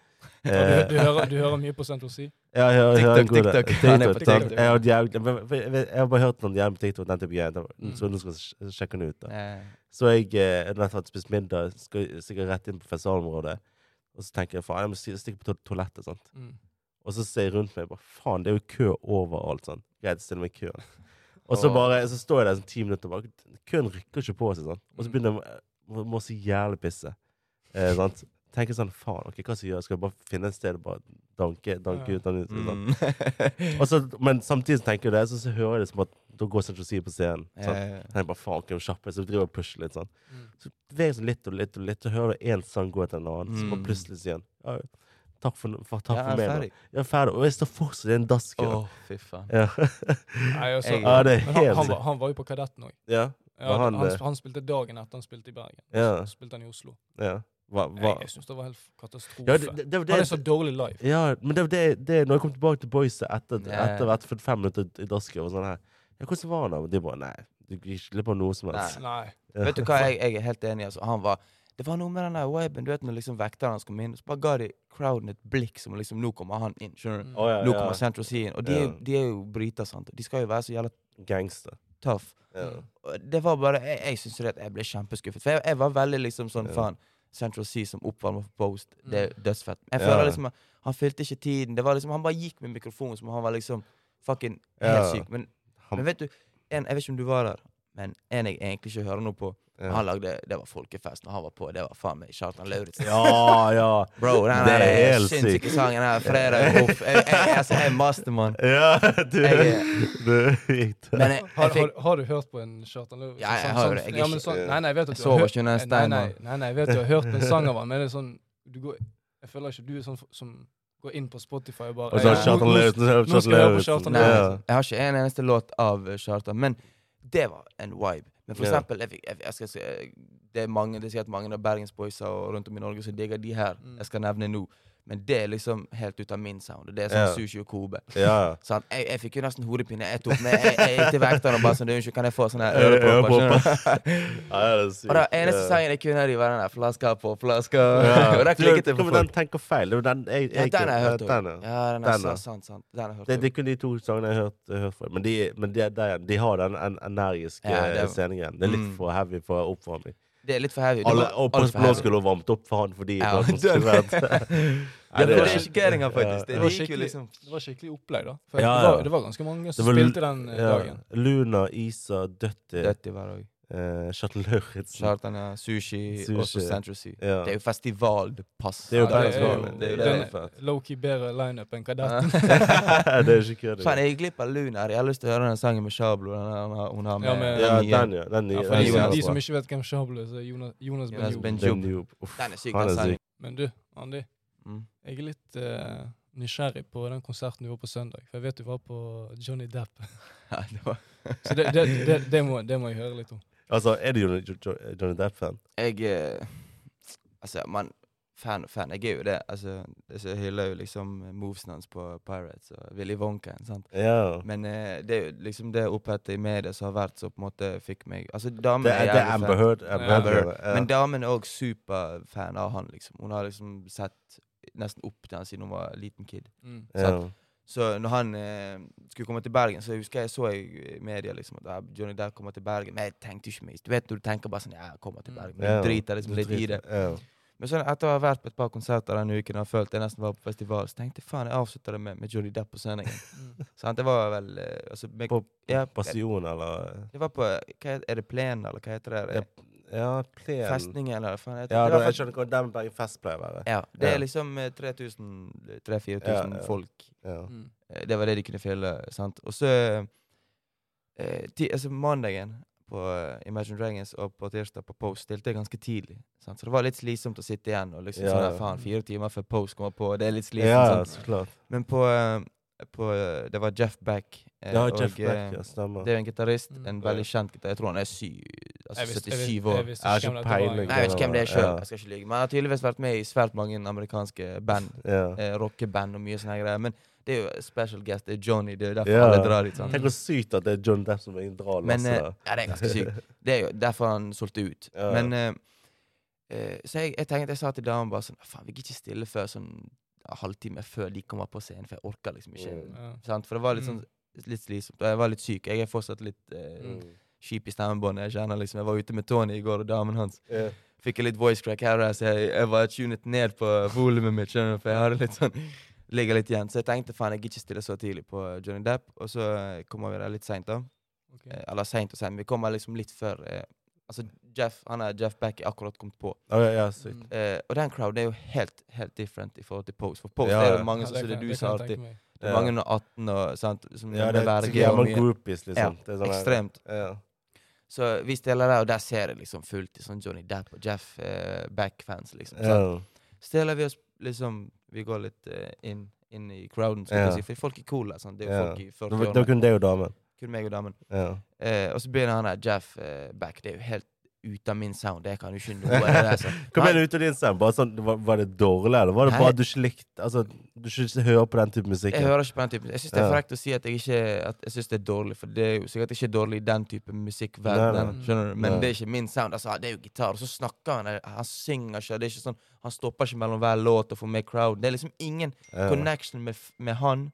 [SPEAKER 2] Ja,
[SPEAKER 1] Eh,
[SPEAKER 2] du, du, hører, du hører mye på Central Sea?
[SPEAKER 1] Ja, jeg hører,
[SPEAKER 3] TikTok,
[SPEAKER 1] hører en god
[SPEAKER 3] TikTok.
[SPEAKER 1] TikTok,
[SPEAKER 3] Han er på
[SPEAKER 1] sant?
[SPEAKER 2] TikTok.
[SPEAKER 1] Jeg har jævlig- men- for jeg vet- jeg har bare hørt noen jævlig på TikTok, den type greier. Da-
[SPEAKER 2] Mm.
[SPEAKER 1] Så nå skal jeg sj- sjekke den ut. da.
[SPEAKER 3] Eh,
[SPEAKER 1] Så jeg eh, har nettopp spist middag, skal sikkert rett inn på festivalområdet. Og så tenker jeg faen, jeg må si- stikke på to toalettet. sant?
[SPEAKER 2] Mm.
[SPEAKER 1] Og så ser jeg rundt meg, bare faen, det er jo kø overalt. sant? Greit, stille meg i køen.
[SPEAKER 3] [laughs]
[SPEAKER 1] Og så
[SPEAKER 3] Åh.
[SPEAKER 1] bare, så står jeg der sånn ti minutter, bare, køen rykker ikke på seg. sant? Og så
[SPEAKER 3] Mm.
[SPEAKER 1] begynner jeg å må så jævlig pisse. Eh, sant? Tenker sånn, faen, ok, hva skal jeg gjøre? Skal jeg bare finne et sted og bare danke, danke
[SPEAKER 2] Ja.
[SPEAKER 1] ut? danke ut, sant?
[SPEAKER 3] mm.
[SPEAKER 1] Og så, men samtidig så tenker jeg det, så, så hører jeg det som at da går Central Sea på scenen.
[SPEAKER 3] Ja,
[SPEAKER 1] Sant?
[SPEAKER 3] ja, ja.
[SPEAKER 1] Jeg tenker bare faen, kan jeg kjappe, så jeg driver og pusher litt. Sånn.
[SPEAKER 2] Mm.
[SPEAKER 1] Så beveger jeg meg litt og litt og litt, så hører du én sang gå etter en annen, så
[SPEAKER 3] Mm.
[SPEAKER 1] bare plutselig sier han ja, takk for, for, takk
[SPEAKER 3] Ja,
[SPEAKER 1] for
[SPEAKER 3] jeg er
[SPEAKER 1] meg.
[SPEAKER 3] ferdig.
[SPEAKER 1] nå. Jeg er ferdig. Og jeg står fortsatt i en dasskø.
[SPEAKER 3] Åh, fy faen.
[SPEAKER 2] [laughs]
[SPEAKER 1] Ja.
[SPEAKER 2] Nei, altså,
[SPEAKER 3] Jeg-
[SPEAKER 1] [laughs] ja, det er
[SPEAKER 2] men han,
[SPEAKER 1] helt
[SPEAKER 2] han, var,
[SPEAKER 1] sykt.
[SPEAKER 2] han var jo på Kadetten òg.
[SPEAKER 1] Ja,
[SPEAKER 2] Ja,
[SPEAKER 1] Men
[SPEAKER 2] han,
[SPEAKER 1] han,
[SPEAKER 2] han,
[SPEAKER 1] eh,
[SPEAKER 2] han spilte dagen etter han spilte i Bergen.
[SPEAKER 1] Ja.
[SPEAKER 2] Så spilte han i Oslo.
[SPEAKER 1] ja. Hva, hva?
[SPEAKER 2] Jeg, jeg syns det var helt katastrofe.
[SPEAKER 1] ja det, det, det, var
[SPEAKER 2] han er så
[SPEAKER 1] det,
[SPEAKER 2] dårlig live.
[SPEAKER 1] ja, men det, var det, det Når jeg kom tilbake til Boyset etter
[SPEAKER 3] Nei.
[SPEAKER 1] etter å ha vært 45 minutter i dasskø, og sånn her ja, Hvordan var det? Og de bare Nei, du gikk ikke glipp av noe som helst.
[SPEAKER 2] Nei.
[SPEAKER 1] Ja.
[SPEAKER 3] Vet du hva, jeg, jeg er helt enig. Altså. Han var, det var noe med den der viben. Du vet når liksom vekterne hans kom inn, så bare ga de crowden et blikk som liksom Nå kommer han inn. skjønner du?
[SPEAKER 2] Mm.
[SPEAKER 1] Å, ja,
[SPEAKER 3] Nå
[SPEAKER 1] ja.
[SPEAKER 3] kommer Central Sea inn. Og de, er-
[SPEAKER 1] Ja.
[SPEAKER 3] de er jo briter, sant. og De skal jo være så jævla
[SPEAKER 1] Gangster.
[SPEAKER 3] tøff.
[SPEAKER 1] Ja.
[SPEAKER 2] Mm.
[SPEAKER 3] Og Det var bare Jeg, jeg syns jo det at jeg ble kjempeskuffet. For jeg, jeg var veldig liksom sånn
[SPEAKER 1] Ja.
[SPEAKER 3] faen. Central Sea som oppvarmer for Post, det er
[SPEAKER 2] Mm.
[SPEAKER 3] dødsfett. Jeg
[SPEAKER 1] Ja.
[SPEAKER 3] føler liksom at Han fylte ikke tiden. Det var liksom, Han bare gikk med mikrofonen som om han var liksom fucking helt
[SPEAKER 1] Ja.
[SPEAKER 3] syk. Men,
[SPEAKER 1] Han-
[SPEAKER 3] men vet du, en, jeg vet ikke om du var der, men en jeg egentlig ikke hører noe på
[SPEAKER 1] Ja.
[SPEAKER 3] Han lagde, Det var folkefest når han var på. Det var faen meg Kjartan Lauritzen.
[SPEAKER 1] Ja, ja.
[SPEAKER 3] Bro, den
[SPEAKER 1] Det er
[SPEAKER 3] der
[SPEAKER 1] helt
[SPEAKER 3] sinnssyke
[SPEAKER 1] sykt.
[SPEAKER 3] sangen her, fredag uff, jeg, jeg, altså, jeg er mastermann.
[SPEAKER 1] Ja, du
[SPEAKER 3] Jeg-
[SPEAKER 1] du- du-
[SPEAKER 3] Men jeg,
[SPEAKER 2] Har,
[SPEAKER 3] jeg fikk
[SPEAKER 2] har, har du hørt på en Kjartan Løv?
[SPEAKER 3] Ja, jeg har jo det. Jeg er
[SPEAKER 2] ja, men
[SPEAKER 3] ikke-
[SPEAKER 2] sånn,
[SPEAKER 1] eh,
[SPEAKER 2] nei, nei, jeg vet at
[SPEAKER 3] Jeg
[SPEAKER 2] du
[SPEAKER 3] sover
[SPEAKER 2] har
[SPEAKER 3] ikke under en
[SPEAKER 2] hørt-
[SPEAKER 3] stein,
[SPEAKER 2] Nei, nei,
[SPEAKER 3] mann.
[SPEAKER 2] nei, nei, jeg vet du har hørt en sang av han, men det er sånn du går, Jeg føler ikke du er sånn f- som går inn på Spotify og bare
[SPEAKER 1] Og så er
[SPEAKER 2] «Nå-
[SPEAKER 1] det Kjartan
[SPEAKER 2] nå-
[SPEAKER 1] Lauritzen. så er det
[SPEAKER 2] nå skal jeg høre på
[SPEAKER 1] Kjartan
[SPEAKER 2] Kjartan
[SPEAKER 3] Nei,
[SPEAKER 1] Lauritzen.
[SPEAKER 3] liksom- jeg har ikke en eneste låt av eh, Kjartan, men det var en vibe. Men for
[SPEAKER 1] Ja.
[SPEAKER 3] eksempel, jeg, fikk- jeg, jeg skal, si, eh, det er mange, det er sikkert mange av Bergens boysa og rundt om i Norge som digger de her.
[SPEAKER 2] Mm.
[SPEAKER 3] Jeg skal nevne nå. Men det er liksom helt ut av min sound. og Det er sånn
[SPEAKER 1] Ja.
[SPEAKER 3] sushi og kobe.
[SPEAKER 1] Ja, ja.
[SPEAKER 3] Sant? jeg, jeg fikk jo nesten hodepine. Jeg tok med, jeg, jeg gikk til vekteren og bare sånn, «Du, unnskyld, kan jeg få sånne
[SPEAKER 1] Ja, ja,
[SPEAKER 3] ørepropper? skjønner
[SPEAKER 1] [laughs]
[SPEAKER 3] du?»
[SPEAKER 1] Ja, ja, det er sykt.
[SPEAKER 3] Og det eneste
[SPEAKER 1] Ja.
[SPEAKER 3] sangen jeg kunne, de var den der 'Flaska på flaska'.
[SPEAKER 1] Ja.
[SPEAKER 3] [laughs] og der klikket det
[SPEAKER 1] Hva
[SPEAKER 3] for
[SPEAKER 1] med
[SPEAKER 3] folk.
[SPEAKER 1] Den tenker feil. Det var den jeg,
[SPEAKER 3] Ja,
[SPEAKER 1] jeg
[SPEAKER 3] den har jeg hørt
[SPEAKER 1] ja,
[SPEAKER 3] òg.
[SPEAKER 1] den, ja.
[SPEAKER 3] Ja, den
[SPEAKER 1] Den, ja.
[SPEAKER 3] er sant, sant. Den har jeg hørt
[SPEAKER 1] Det,
[SPEAKER 3] også.
[SPEAKER 1] det er kun de to sangene jeg har hørt, jeg har hørt før. Men, de, men de, de, de har den en, energiske
[SPEAKER 3] Ja, det
[SPEAKER 1] ja,
[SPEAKER 3] er-
[SPEAKER 1] scenegreien. Det er litt
[SPEAKER 3] Mm.
[SPEAKER 1] for heavy for oppvarming.
[SPEAKER 3] Det er litt for heavy. Det
[SPEAKER 1] Alle,
[SPEAKER 3] var
[SPEAKER 1] og
[SPEAKER 3] alt for
[SPEAKER 1] Post Blå
[SPEAKER 3] heavy.
[SPEAKER 1] skulle ha varmt opp for han fordi
[SPEAKER 3] Ja,
[SPEAKER 1] det var
[SPEAKER 3] [laughs]
[SPEAKER 1] sånn [laughs]
[SPEAKER 3] den-
[SPEAKER 1] student.
[SPEAKER 3] Ja,
[SPEAKER 1] Nei, det
[SPEAKER 3] for det
[SPEAKER 1] var
[SPEAKER 3] er
[SPEAKER 1] skikkelig-
[SPEAKER 3] sjokkeringer,
[SPEAKER 1] Ja.
[SPEAKER 3] faktisk. Det
[SPEAKER 2] Det var
[SPEAKER 3] gikk jo
[SPEAKER 2] skikkelig-
[SPEAKER 3] liksom
[SPEAKER 2] Det var skikkelig opplegg, da. For
[SPEAKER 1] Ja,
[SPEAKER 2] Det,
[SPEAKER 1] ja.
[SPEAKER 2] var, det var ganske mange som
[SPEAKER 1] Det var-
[SPEAKER 2] spilte den eh,
[SPEAKER 1] Ja.
[SPEAKER 2] dagen.
[SPEAKER 1] Luna, Isa, Døtti,
[SPEAKER 3] Dødt i hver dag.
[SPEAKER 1] eh, Kjartan Lauritzen.
[SPEAKER 3] Charlton, ja. Sushi,
[SPEAKER 1] Sushi.
[SPEAKER 3] og så Central Sea.
[SPEAKER 1] Ja.
[SPEAKER 3] Det er jo festival, det passer.
[SPEAKER 1] Det er jo
[SPEAKER 2] Ja,
[SPEAKER 1] den
[SPEAKER 2] det er jo-
[SPEAKER 1] skallen. Det er jo
[SPEAKER 2] det er
[SPEAKER 3] [laughs]
[SPEAKER 1] det.
[SPEAKER 2] jo Low-key bedre lineup enn
[SPEAKER 1] [laughs]
[SPEAKER 2] Kadetten.
[SPEAKER 1] [laughs] det er ikke kødd.
[SPEAKER 3] Faen, jeg gikk glipp av Lunar. Jeg har lyst til å høre den sangen med Shablo. Den her hun har- hun har med
[SPEAKER 2] Ja, men-
[SPEAKER 1] Ja,
[SPEAKER 3] den nye.
[SPEAKER 1] den, ja. Den nye. altså.
[SPEAKER 2] Ja, for
[SPEAKER 3] den
[SPEAKER 2] de, som-
[SPEAKER 3] er
[SPEAKER 2] de
[SPEAKER 3] bra.
[SPEAKER 2] som ikke vet hvem Shablo er, så er Jonas, Jonas
[SPEAKER 3] Jonas
[SPEAKER 2] Benjor.
[SPEAKER 3] Ben-
[SPEAKER 1] Den nye. Uff,
[SPEAKER 3] Den er syk, altså.
[SPEAKER 1] han
[SPEAKER 3] den
[SPEAKER 1] er
[SPEAKER 3] sangen.
[SPEAKER 1] syk.
[SPEAKER 2] Men du, Andi,
[SPEAKER 3] Mm. [laughs]
[SPEAKER 2] jeg er litt eh, nysgjerrig på den konserten du var på søndag. For jeg vet du var på Johnny Depp.
[SPEAKER 3] Ja, det var- [laughs]
[SPEAKER 2] Så det, det, det, det, må, det må jeg høre litt om.
[SPEAKER 1] Altså, er du Johnny, Jo- Jo- Johnny Depp-fan?
[SPEAKER 3] Jeg eh, Altså, man fan og fan. Jeg er jo det. Altså, altså, jeg hyller jo liksom movesen hans på Pirates og Willy Wonka. sant?
[SPEAKER 1] Ja.
[SPEAKER 3] Men eh, det er jo liksom det opphettet i media som har vært, som på en måte fikk meg Altså, damen
[SPEAKER 1] Det er, det er
[SPEAKER 3] jævlig fan.
[SPEAKER 1] Amber Heard.
[SPEAKER 2] Ja.
[SPEAKER 1] Amber Heard. Ja.
[SPEAKER 3] Men damen er òg superfan av han, liksom. Hun har liksom sett nesten opp til han siden hun var liten kid.
[SPEAKER 2] Mm.
[SPEAKER 1] Ja.
[SPEAKER 3] Så når han eh, skulle komme til Bergen, så jeg husker jeg så i media liksom, at ah, Johnny Depp kommer til Bergen. Men jeg tenkte jo ikke mye. Du vet når du tenker bare sånn Ja, jeg kommer til Bergen. Men
[SPEAKER 1] Mm. Ja.
[SPEAKER 3] du driter liksom
[SPEAKER 1] Du
[SPEAKER 3] litt i
[SPEAKER 1] driter.
[SPEAKER 3] det. Men sånn, etter å ha vært på et par konserter denne uken og følt jeg nesten var på festival, så tenkte jeg faen, jeg avslutta det med, med Johnny Depp på søndagen.
[SPEAKER 2] Mm.
[SPEAKER 3] [laughs] Sant? Det var vel eh, altså, med,
[SPEAKER 1] På
[SPEAKER 3] ja,
[SPEAKER 1] Ja. Bastion, eller
[SPEAKER 3] Det var på hva, Er det plenen, eller hva heter det?
[SPEAKER 1] Ja, Plen.
[SPEAKER 3] Festningen, eller faen? Jeg,
[SPEAKER 1] Ja,
[SPEAKER 3] det
[SPEAKER 1] da,
[SPEAKER 3] var
[SPEAKER 1] jeg
[SPEAKER 3] fest-
[SPEAKER 1] skjønner hvor den Bergen Fest pleier å være.
[SPEAKER 3] ja, det
[SPEAKER 1] Ja.
[SPEAKER 3] er liksom 3000-4000
[SPEAKER 1] Ja, ja.
[SPEAKER 3] folk
[SPEAKER 1] Ja.
[SPEAKER 2] Mm.
[SPEAKER 3] Eh, Det var det de kunne fylle. sant? Og så eh, ti, altså Mandagen på eh, Imagine Dragons og på tirsdag på Post stilte jeg ganske tidlig. sant? Så det var litt slitsomt å sitte igjen og liksom
[SPEAKER 1] Ja,
[SPEAKER 3] sånn
[SPEAKER 1] ja.
[SPEAKER 3] der, faen, fire timer før Post kommer på. Det er litt sånn. slitsomt.
[SPEAKER 1] ja, altså.
[SPEAKER 3] sant?
[SPEAKER 1] så klart.
[SPEAKER 3] Men på, eh, på eh, Det var Jeff Beck. eh,
[SPEAKER 1] Ja, Jeff
[SPEAKER 3] eh,
[SPEAKER 1] Beck, ja, stemmer.
[SPEAKER 3] Det er jo en gitarist.
[SPEAKER 2] Mm.
[SPEAKER 3] En veldig kjent gitarist. Jeg tror han er sy, altså
[SPEAKER 2] Jeg visste- jeg
[SPEAKER 3] 77
[SPEAKER 2] visste-
[SPEAKER 3] år.
[SPEAKER 2] Jeg visste
[SPEAKER 1] Jeg har
[SPEAKER 2] ikke hvem
[SPEAKER 1] ikke
[SPEAKER 2] dette var
[SPEAKER 1] peiling.
[SPEAKER 2] engang.
[SPEAKER 3] Nei, jeg vet ikke hvem det er sjøl.
[SPEAKER 1] Ja.
[SPEAKER 3] Jeg skal ikke lyge. Men han har tydeligvis vært med i svært mange amerikanske band.
[SPEAKER 1] Ja.
[SPEAKER 3] Eh, Rockeband og mye sånne greier. Men det er jo special guest. Det er Johnny. Det er jo derfor
[SPEAKER 1] Ja.
[SPEAKER 3] alle drar dit.
[SPEAKER 1] [laughs]
[SPEAKER 3] sant?
[SPEAKER 2] Mm.
[SPEAKER 1] Tenk hvor sykt at det er John Depp som egentlig drar
[SPEAKER 3] sånn. Men eh,
[SPEAKER 1] lasset. der.
[SPEAKER 3] ja, det er ganske sykt. Det er jo derfor han solgte ut.
[SPEAKER 1] Ja.
[SPEAKER 3] Men eh, eh, Så jeg, jeg tenkte, jeg sa til damen bare sånn Faen, vi gidder ikke stille før sånn en halvtime før de kommer på scenen, for jeg orker liksom ikke.
[SPEAKER 1] Mm.
[SPEAKER 2] Ja.
[SPEAKER 3] Sant? For det var litt sånn
[SPEAKER 2] Mm.
[SPEAKER 3] litt slitsomt. Og jeg var litt syk. Jeg er fortsatt litt eh,
[SPEAKER 2] Mm.
[SPEAKER 3] kjip i stemmebåndet. Jeg kjenner liksom Jeg var ute med Tony i går, og damen hans
[SPEAKER 1] Ja.
[SPEAKER 3] fikk jeg litt voice crack her, og der, så jeg, jeg var tunet ned på volumet mitt, skjønner du, for jeg hadde litt sånn Ligger litt igjen. Så jeg tenkte faen, jeg gidder ikke stille så tidlig på Johnny Depp. Og så eh, kommer vi der litt seint, da.
[SPEAKER 2] Ok.
[SPEAKER 3] Eh, Eller seint og seint, vi kommer liksom litt før eh, Altså, Jeff han er Jeff Beck er akkurat kommet på.
[SPEAKER 1] Ja, ja, ja, sykt.
[SPEAKER 2] Mm.
[SPEAKER 3] Eh, og den crowden er jo helt helt different i forhold til Pose. For Pose
[SPEAKER 1] Ja,
[SPEAKER 3] er
[SPEAKER 1] ja.
[SPEAKER 3] det mange
[SPEAKER 2] Ja,
[SPEAKER 3] som
[SPEAKER 2] det
[SPEAKER 3] sier det
[SPEAKER 2] kan-
[SPEAKER 3] du
[SPEAKER 2] det
[SPEAKER 3] sa
[SPEAKER 2] kan jeg
[SPEAKER 3] alltid.
[SPEAKER 2] tenke meg.
[SPEAKER 3] Det er
[SPEAKER 1] Ja.
[SPEAKER 3] mange under 18 og sant, som
[SPEAKER 1] Ja,
[SPEAKER 3] er
[SPEAKER 1] det
[SPEAKER 3] med
[SPEAKER 1] er
[SPEAKER 3] verge og
[SPEAKER 1] gammel
[SPEAKER 3] mye.
[SPEAKER 1] groupies, liksom. Det er sånn her-
[SPEAKER 3] Ekstremt.
[SPEAKER 1] Ja.
[SPEAKER 3] Så vi stiller der, og der ser jeg liksom fullt i sånn Johnny Depp og Jeff eh, Beck-fans, liksom.
[SPEAKER 1] Ja.
[SPEAKER 3] sant? stiller vi oss liksom Vi går litt eh, inn, inn i crowden, skal
[SPEAKER 1] Ja.
[SPEAKER 3] vi si. For folk er cool der. sant? Det er jo
[SPEAKER 1] Ja.
[SPEAKER 3] folk i
[SPEAKER 1] Det var-
[SPEAKER 3] 40
[SPEAKER 1] det var
[SPEAKER 3] år.
[SPEAKER 1] kun deg og damen.
[SPEAKER 3] Kun meg og damen.
[SPEAKER 1] Ja.
[SPEAKER 3] Eh, og så begynner han der Jeff eh, Beck. Det er jo helt ute av min sound. Jeg kan jo ikke noe av det der. altså.
[SPEAKER 1] [laughs]
[SPEAKER 3] sant?
[SPEAKER 1] Hva
[SPEAKER 3] Han-
[SPEAKER 1] mener du ut av din stemme? Bare sånn, var, var det dårlig, eller var det
[SPEAKER 3] Nei.
[SPEAKER 1] bare at du ikke likte Altså, du ikke hører på den type musikk?
[SPEAKER 3] Jeg hører ikke på den typen. Jeg syns det
[SPEAKER 1] Ja.
[SPEAKER 3] er frekt å si at jeg ikke At jeg synes det er dårlig, for det er jo sikkert ikke dårlig i den type
[SPEAKER 1] Nei,
[SPEAKER 3] musikkverdenen.
[SPEAKER 2] nei.
[SPEAKER 3] Skjønner du? Men
[SPEAKER 1] Nei.
[SPEAKER 3] det er ikke min sound. Altså, det er jo gitar, og så snakker han. eh, Han synger ikke. Det er ikke sånn Han stopper ikke mellom hver låt og får med crowd. Det er liksom ingen connection med, f- med han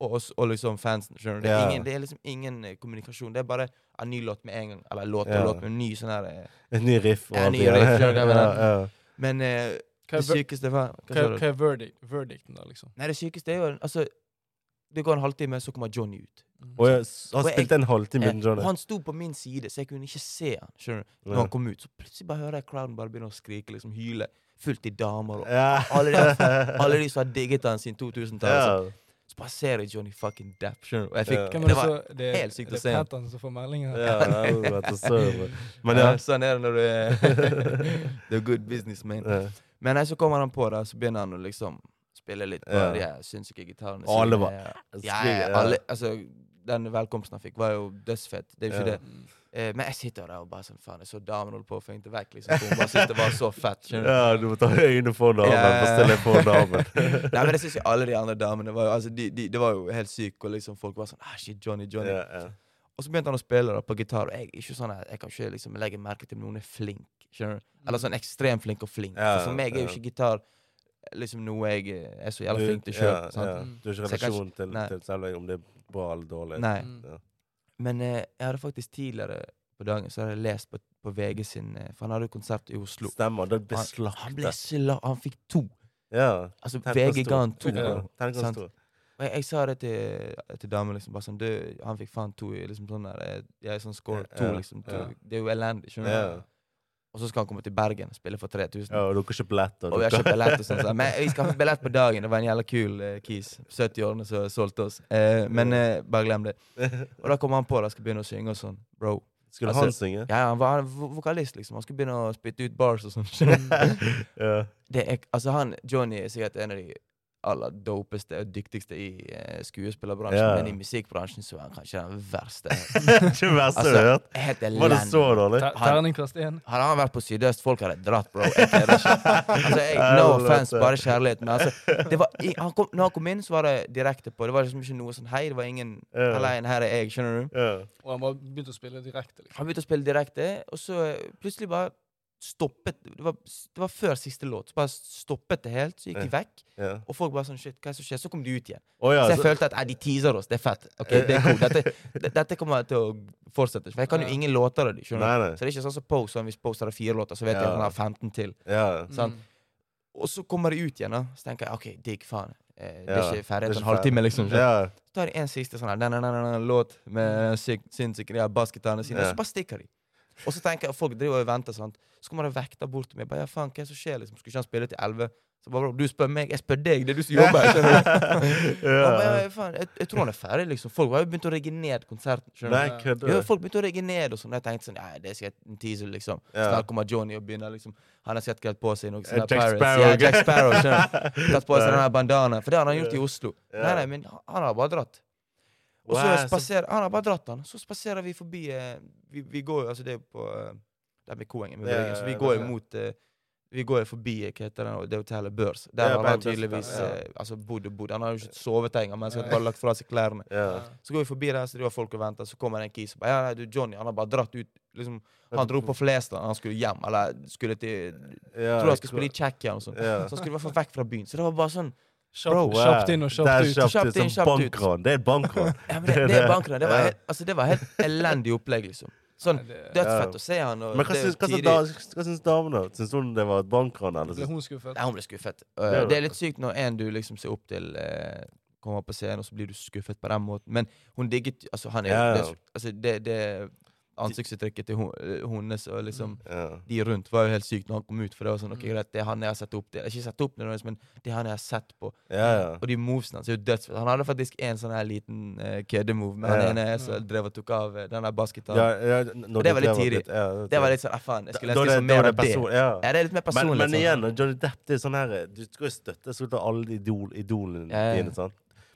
[SPEAKER 3] og, oss, og liksom fansen. skjønner du? Det
[SPEAKER 1] Ja.
[SPEAKER 3] er, ingen, det er liksom ingen eh, kommunikasjon. Det er bare en ny låt med en gang. Eller låt og
[SPEAKER 1] Ja.
[SPEAKER 3] låt med en ny sånn her eh.
[SPEAKER 1] Et ny riff og
[SPEAKER 3] Ja,
[SPEAKER 1] alt
[SPEAKER 3] ny
[SPEAKER 1] det der.
[SPEAKER 3] riff, skjønner du hva jeg
[SPEAKER 1] [laughs] ja,
[SPEAKER 3] mener?
[SPEAKER 1] ja.
[SPEAKER 3] Men eh,
[SPEAKER 2] Hva
[SPEAKER 3] det
[SPEAKER 2] er ver-
[SPEAKER 3] sykeste var
[SPEAKER 2] hva-
[SPEAKER 3] Hva sa du?
[SPEAKER 2] hva er verdict- verdicten, da, liksom?
[SPEAKER 3] Nei, det sykeste er jo Altså, det går en halvtime, så kommer Johnny ut.
[SPEAKER 1] Og jeg, han
[SPEAKER 3] Og jeg-
[SPEAKER 1] spilte en halvtime
[SPEAKER 3] Eh,
[SPEAKER 1] uten
[SPEAKER 3] og
[SPEAKER 1] Johnny.
[SPEAKER 3] han sto på min side, så jeg kunne ikke se han. skjønner du? Når
[SPEAKER 1] Ja.
[SPEAKER 3] han kom ut, så plutselig bare hører jeg crowden bare begynne å skrike, liksom hyle. Fullt i damer og
[SPEAKER 1] Ja.
[SPEAKER 3] alle de, alle de som har digget han siden 2000-tallet.
[SPEAKER 1] [laughs] Ja.
[SPEAKER 3] Så, så bare ser jeg Johnny fucking Depp, skjønner du? Og jeg
[SPEAKER 1] Ja.
[SPEAKER 3] fikk,
[SPEAKER 2] Hvem er
[SPEAKER 3] det
[SPEAKER 2] det
[SPEAKER 3] var
[SPEAKER 2] så- det er-
[SPEAKER 3] helt sykt å
[SPEAKER 2] det er
[SPEAKER 3] se.
[SPEAKER 2] Patton som får melding her.
[SPEAKER 1] Ja, det er jo at det søren. Men ja.
[SPEAKER 3] Ja, sånn er [laughs] det når du er The good businessman.
[SPEAKER 1] ja.
[SPEAKER 3] Men nei, så kommer han på, da, så begynner han å liksom spille litt på
[SPEAKER 1] Ja.
[SPEAKER 3] de her sinnssyke gitarene.
[SPEAKER 1] Og alle
[SPEAKER 3] sine.
[SPEAKER 1] var-
[SPEAKER 3] ja, ja, alle, altså, Den velkomsten han fikk, var jo dødsfett. Det er jo ikke
[SPEAKER 1] Ja.
[SPEAKER 3] det. Eh, men jeg sitter der og bare sånn Faen, jeg så damen holdt på å feinte vekk. liksom. for Hun bare syntes det var så fett. skjønner du?
[SPEAKER 1] Ja, du må ta øynene for damen
[SPEAKER 3] Ja.
[SPEAKER 1] og stille på damen.
[SPEAKER 3] Nei, men jeg syns jo alle de andre damene var jo, altså, de, de, Det var jo helt sykt. Og liksom folk var sånn ah, shit, Johnny, [laughs] Johnny.
[SPEAKER 1] Ja, ja.
[SPEAKER 3] Og så begynte han å spille da, på gitar, og jeg, er ikke sånn, her- jeg kan ikke liksom legge merke til om noen er flink. skjønner du? Eller sånn ekstremt flink og flink.
[SPEAKER 1] Ja,
[SPEAKER 3] for, for meg er jo
[SPEAKER 1] ja.
[SPEAKER 3] ikke gitar liksom noe jeg eh, er så jævla
[SPEAKER 1] Du-
[SPEAKER 3] flink til sjøl.
[SPEAKER 1] ja, ja. Du har ikke
[SPEAKER 3] Så jeg kan
[SPEAKER 1] relasjon til,
[SPEAKER 3] nei.
[SPEAKER 1] til selve om det er bra eller dårlig.
[SPEAKER 3] Nei.
[SPEAKER 2] Mm.
[SPEAKER 1] Ja.
[SPEAKER 3] Men eh, jeg hadde faktisk tidligere på dagen så hadde jeg lest på, på VG sin eh, For han hadde jo konsert i Oslo.
[SPEAKER 1] Stemmer. Det ble
[SPEAKER 3] Han, han ble
[SPEAKER 1] slaktet.
[SPEAKER 3] sla... Han fikk to.
[SPEAKER 1] Ja.
[SPEAKER 3] Altså,
[SPEAKER 1] Terningkast
[SPEAKER 3] VG ga han to.
[SPEAKER 1] Ja, terningkast
[SPEAKER 3] Sant.
[SPEAKER 1] to.
[SPEAKER 3] Og jeg, jeg sa det til, til damen, liksom, bare sånn Du, han fikk faen to. i Liksom sånn der, jeg, jeg er sånn score to,
[SPEAKER 1] Ja,
[SPEAKER 3] liksom. To.
[SPEAKER 1] ja.
[SPEAKER 3] Det er jo elendig, skjønner du.
[SPEAKER 1] Ja.
[SPEAKER 3] Og så skal han komme til Bergen og spille for 3000.
[SPEAKER 1] Ja, og dere har ikke billetter.
[SPEAKER 3] Og vi har
[SPEAKER 1] dere-
[SPEAKER 3] kjøpt billett og sånn. sånn. Men vi skaffet billett på dagen. Det var en jævla kul eh, kis. 70-årene som solgte oss. Eh, men eh, bare glem det. Og da kommer han på da skal begynne å synge og sånn. Bro.
[SPEAKER 1] Skulle
[SPEAKER 3] Altså-
[SPEAKER 1] han synge?
[SPEAKER 3] Ja, ja, han var han var vokalist, liksom. Han skulle begynne
[SPEAKER 1] Mm.
[SPEAKER 3] å spytte ut bars og
[SPEAKER 1] [laughs]
[SPEAKER 3] sånn. [laughs]
[SPEAKER 1] Ja.
[SPEAKER 3] Det er, altså han, Johnny er sikkert en av de aller dopeste og dyktigste i eh, skuespillerbransjen,
[SPEAKER 1] Ja, ja.
[SPEAKER 3] men i musikkbransjen så er han kanskje den
[SPEAKER 1] [laughs] [laughs]
[SPEAKER 3] verste.
[SPEAKER 1] det
[SPEAKER 3] Altså,
[SPEAKER 1] verste du har hørt.
[SPEAKER 3] Helt
[SPEAKER 1] Var det
[SPEAKER 3] elendig.
[SPEAKER 1] så dårlig?
[SPEAKER 2] Ter- Terningkast én.
[SPEAKER 3] Hadde han vært på Sydøst, folk hadde dratt, bro. Jeg kødder ikke.
[SPEAKER 1] [laughs]
[SPEAKER 3] Altså, jeg, no
[SPEAKER 1] Helvete.
[SPEAKER 3] offense, bare kjærlighet. Men altså, det var, i- han kom, når han kom inn, så var det direkte på. Det var liksom ikke noe sånn Hei, det var ingen
[SPEAKER 1] Ja.
[SPEAKER 3] Aleine, her er jeg. Skjønner du?
[SPEAKER 1] Ja.
[SPEAKER 2] Og han bare begynte å spille direkte. liksom.
[SPEAKER 3] Han begynte å spille direkte, og så eh, plutselig bare stoppet det var, det var før siste låt. Så bare stoppet det helt, så gikk de vekk.
[SPEAKER 1] Ja.
[SPEAKER 3] Og folk bare sånn Shit, hva er det som skjer? Så kom de ut igjen.
[SPEAKER 1] Å ja,
[SPEAKER 3] Så jeg
[SPEAKER 1] så-
[SPEAKER 3] følte at eh, de teaser oss. Det er fett. Ok, det er cool. Dette, d- dette kommer til å fortsette. For jeg kan jo
[SPEAKER 2] Ja.
[SPEAKER 3] ingen låter av dem.
[SPEAKER 1] nei,
[SPEAKER 3] skjønner du?
[SPEAKER 1] nei.
[SPEAKER 3] Så det er ikke sånn som Poe, som hvis Poe har fire låter, så vet jeg
[SPEAKER 1] Ja.
[SPEAKER 3] at han har 15 til.
[SPEAKER 1] Ja.
[SPEAKER 3] Sant?
[SPEAKER 2] Mm.
[SPEAKER 3] Og så kommer de ut igjen, da. Så tenker jeg OK, digg, faen. Eh, det
[SPEAKER 1] Ja,
[SPEAKER 3] er ikke ferdig
[SPEAKER 1] det er
[SPEAKER 3] etter en
[SPEAKER 1] ikke
[SPEAKER 3] halvtime, liksom. Så
[SPEAKER 1] ja.
[SPEAKER 3] tar de en siste sånn her na, na, na, na, na, låt med syk- sinnssyke ja, bassgitarene sine,
[SPEAKER 1] Mm. Ja.
[SPEAKER 3] og så bare stikker de. Og så tenker jeg, folk driver og venter, sant. Så kommer det vekter bort til meg. Bare, ja, faen, hva er det som skjer, liksom? Skulle ikke han spille til 11? Så bare, bro, du spør meg, jeg spør deg, det er
[SPEAKER 1] [laughs]
[SPEAKER 3] du som jobber. skjønner du? Og jeg bare,
[SPEAKER 1] ja.
[SPEAKER 3] ja, faen, jeg, jeg tror han er ferdig, liksom. Folk har jo begynt å rigge ned konserten. skjønner
[SPEAKER 1] Nei,
[SPEAKER 3] du?
[SPEAKER 1] kødder
[SPEAKER 3] Ja,
[SPEAKER 1] du?
[SPEAKER 3] folk begynte å rigge ned og sånn. og Jeg tenkte sånn, nei, det er sikkert en teaser, liksom.
[SPEAKER 1] Ja.
[SPEAKER 3] Snart kommer Johnny og begynner, liksom. Han har sikkert kledd på seg noe
[SPEAKER 1] Eh,
[SPEAKER 3] sånn der
[SPEAKER 1] Jack
[SPEAKER 3] Pirates.
[SPEAKER 1] Sparrow.
[SPEAKER 3] Ja, Jack Sparrow, skjønner
[SPEAKER 1] [laughs]
[SPEAKER 3] du. Tatt på seg den
[SPEAKER 1] Ja.
[SPEAKER 3] her bandanaen. For det har han gjort i Oslo.
[SPEAKER 1] Ja.
[SPEAKER 3] Nei, nei, men han har bare dratt. Og så
[SPEAKER 1] Wow, så-
[SPEAKER 3] spaserer Han har bare dratt, han. Så spaserer vi forbi eh, vi, vi går jo, altså, det er jo på eh, Der med Koengen, med
[SPEAKER 1] Ja,
[SPEAKER 3] Bryggen. Så vi
[SPEAKER 1] ja,
[SPEAKER 3] går
[SPEAKER 1] ja.
[SPEAKER 3] jo mot eh, Vi går jo forbi eh, hva heter det, det hotellet Børs.
[SPEAKER 1] Ja,
[SPEAKER 3] Der har han
[SPEAKER 1] Børs,
[SPEAKER 3] tydeligvis
[SPEAKER 1] ja.
[SPEAKER 3] eh, altså, bodd og bodd. Han har jo ikke sovet engang, men han har
[SPEAKER 2] Ja.
[SPEAKER 3] bare lagt fra seg klærne.
[SPEAKER 1] Ja.
[SPEAKER 3] Så går vi forbi der, så det var folk og venter, så kommer det en kis og bare Ja, nei, du, Johnny, han har bare dratt ut liksom, Han dro på Flesland, han skulle hjem, eller skulle til
[SPEAKER 1] Ja,
[SPEAKER 3] Tror han skulle spille i Tsjekkia og sånn.
[SPEAKER 1] Ja.
[SPEAKER 3] Så han skulle i hvert fall vekk fra byen. Så det var bare sånn
[SPEAKER 2] Kjapt,
[SPEAKER 1] Wow.
[SPEAKER 2] kjapt inn og
[SPEAKER 1] Det er
[SPEAKER 2] kjapt ut.
[SPEAKER 1] Kjapt
[SPEAKER 3] Kjapt
[SPEAKER 1] ut
[SPEAKER 3] inn,
[SPEAKER 1] som
[SPEAKER 3] kjapt ut.
[SPEAKER 1] bankran. Det er et
[SPEAKER 3] [laughs]
[SPEAKER 1] bankran. [laughs]
[SPEAKER 3] ja, men Det, det er bankene. Det var helt, altså, det var helt elendig opplegg, liksom. Sånn
[SPEAKER 2] Nei, det-
[SPEAKER 3] dødsfett å se han, og
[SPEAKER 1] Men hva
[SPEAKER 3] det er
[SPEAKER 1] syns,
[SPEAKER 3] jo
[SPEAKER 1] hva, syns
[SPEAKER 3] tidlig.
[SPEAKER 1] da, hva syns damene? Syns hun det var et bankran? Eller
[SPEAKER 2] Ble
[SPEAKER 1] syns
[SPEAKER 2] hun skuffet?
[SPEAKER 3] Nei, hun ble skuffet. Uh,
[SPEAKER 1] Det er jo-
[SPEAKER 3] det er litt sykt når en du liksom ser opp til, eh, kommer på scenen, og så blir du skuffet på den måten. Men hun digget Altså, han er
[SPEAKER 1] Ja, ja.
[SPEAKER 3] det- Altså, det, det ansiktsuttrykket til hun- eh, hennes og liksom
[SPEAKER 1] ja.
[SPEAKER 3] de rundt var jo helt sykt når han kom ut. For det var sånn,
[SPEAKER 2] Mm.
[SPEAKER 3] ok greit, det er han jeg har sett opp til. Ikke sett opp til, nødvendigvis, men det er han jeg har sett på.
[SPEAKER 1] ja, ja.
[SPEAKER 3] Og de movesene hans er jo dødsfett. Han hadde faktisk en sånn her liten uh, køddemove, men
[SPEAKER 1] Ja.
[SPEAKER 3] han ene
[SPEAKER 2] Mm.
[SPEAKER 3] som drev og tok av eh, den der
[SPEAKER 1] ja,
[SPEAKER 3] bassgitaren.
[SPEAKER 1] ja når
[SPEAKER 3] det var litt
[SPEAKER 1] drev-
[SPEAKER 3] tidlig.
[SPEAKER 1] Ja,
[SPEAKER 3] Det var litt sånn, ah, faen, jeg
[SPEAKER 1] Da-
[SPEAKER 3] skulle
[SPEAKER 1] da
[SPEAKER 3] ønske
[SPEAKER 1] det-
[SPEAKER 3] liksom
[SPEAKER 1] da
[SPEAKER 3] mer
[SPEAKER 1] det
[SPEAKER 3] av det.
[SPEAKER 1] person- ja.
[SPEAKER 3] Ja, det er litt mer
[SPEAKER 1] Men,
[SPEAKER 3] personlig.
[SPEAKER 1] men
[SPEAKER 3] sånn.
[SPEAKER 1] igjen, Johnny Depp det er sånn her Du skal jo støtte så skal du ha alle idol, idolene
[SPEAKER 3] Ja, ja.
[SPEAKER 1] dine. sant?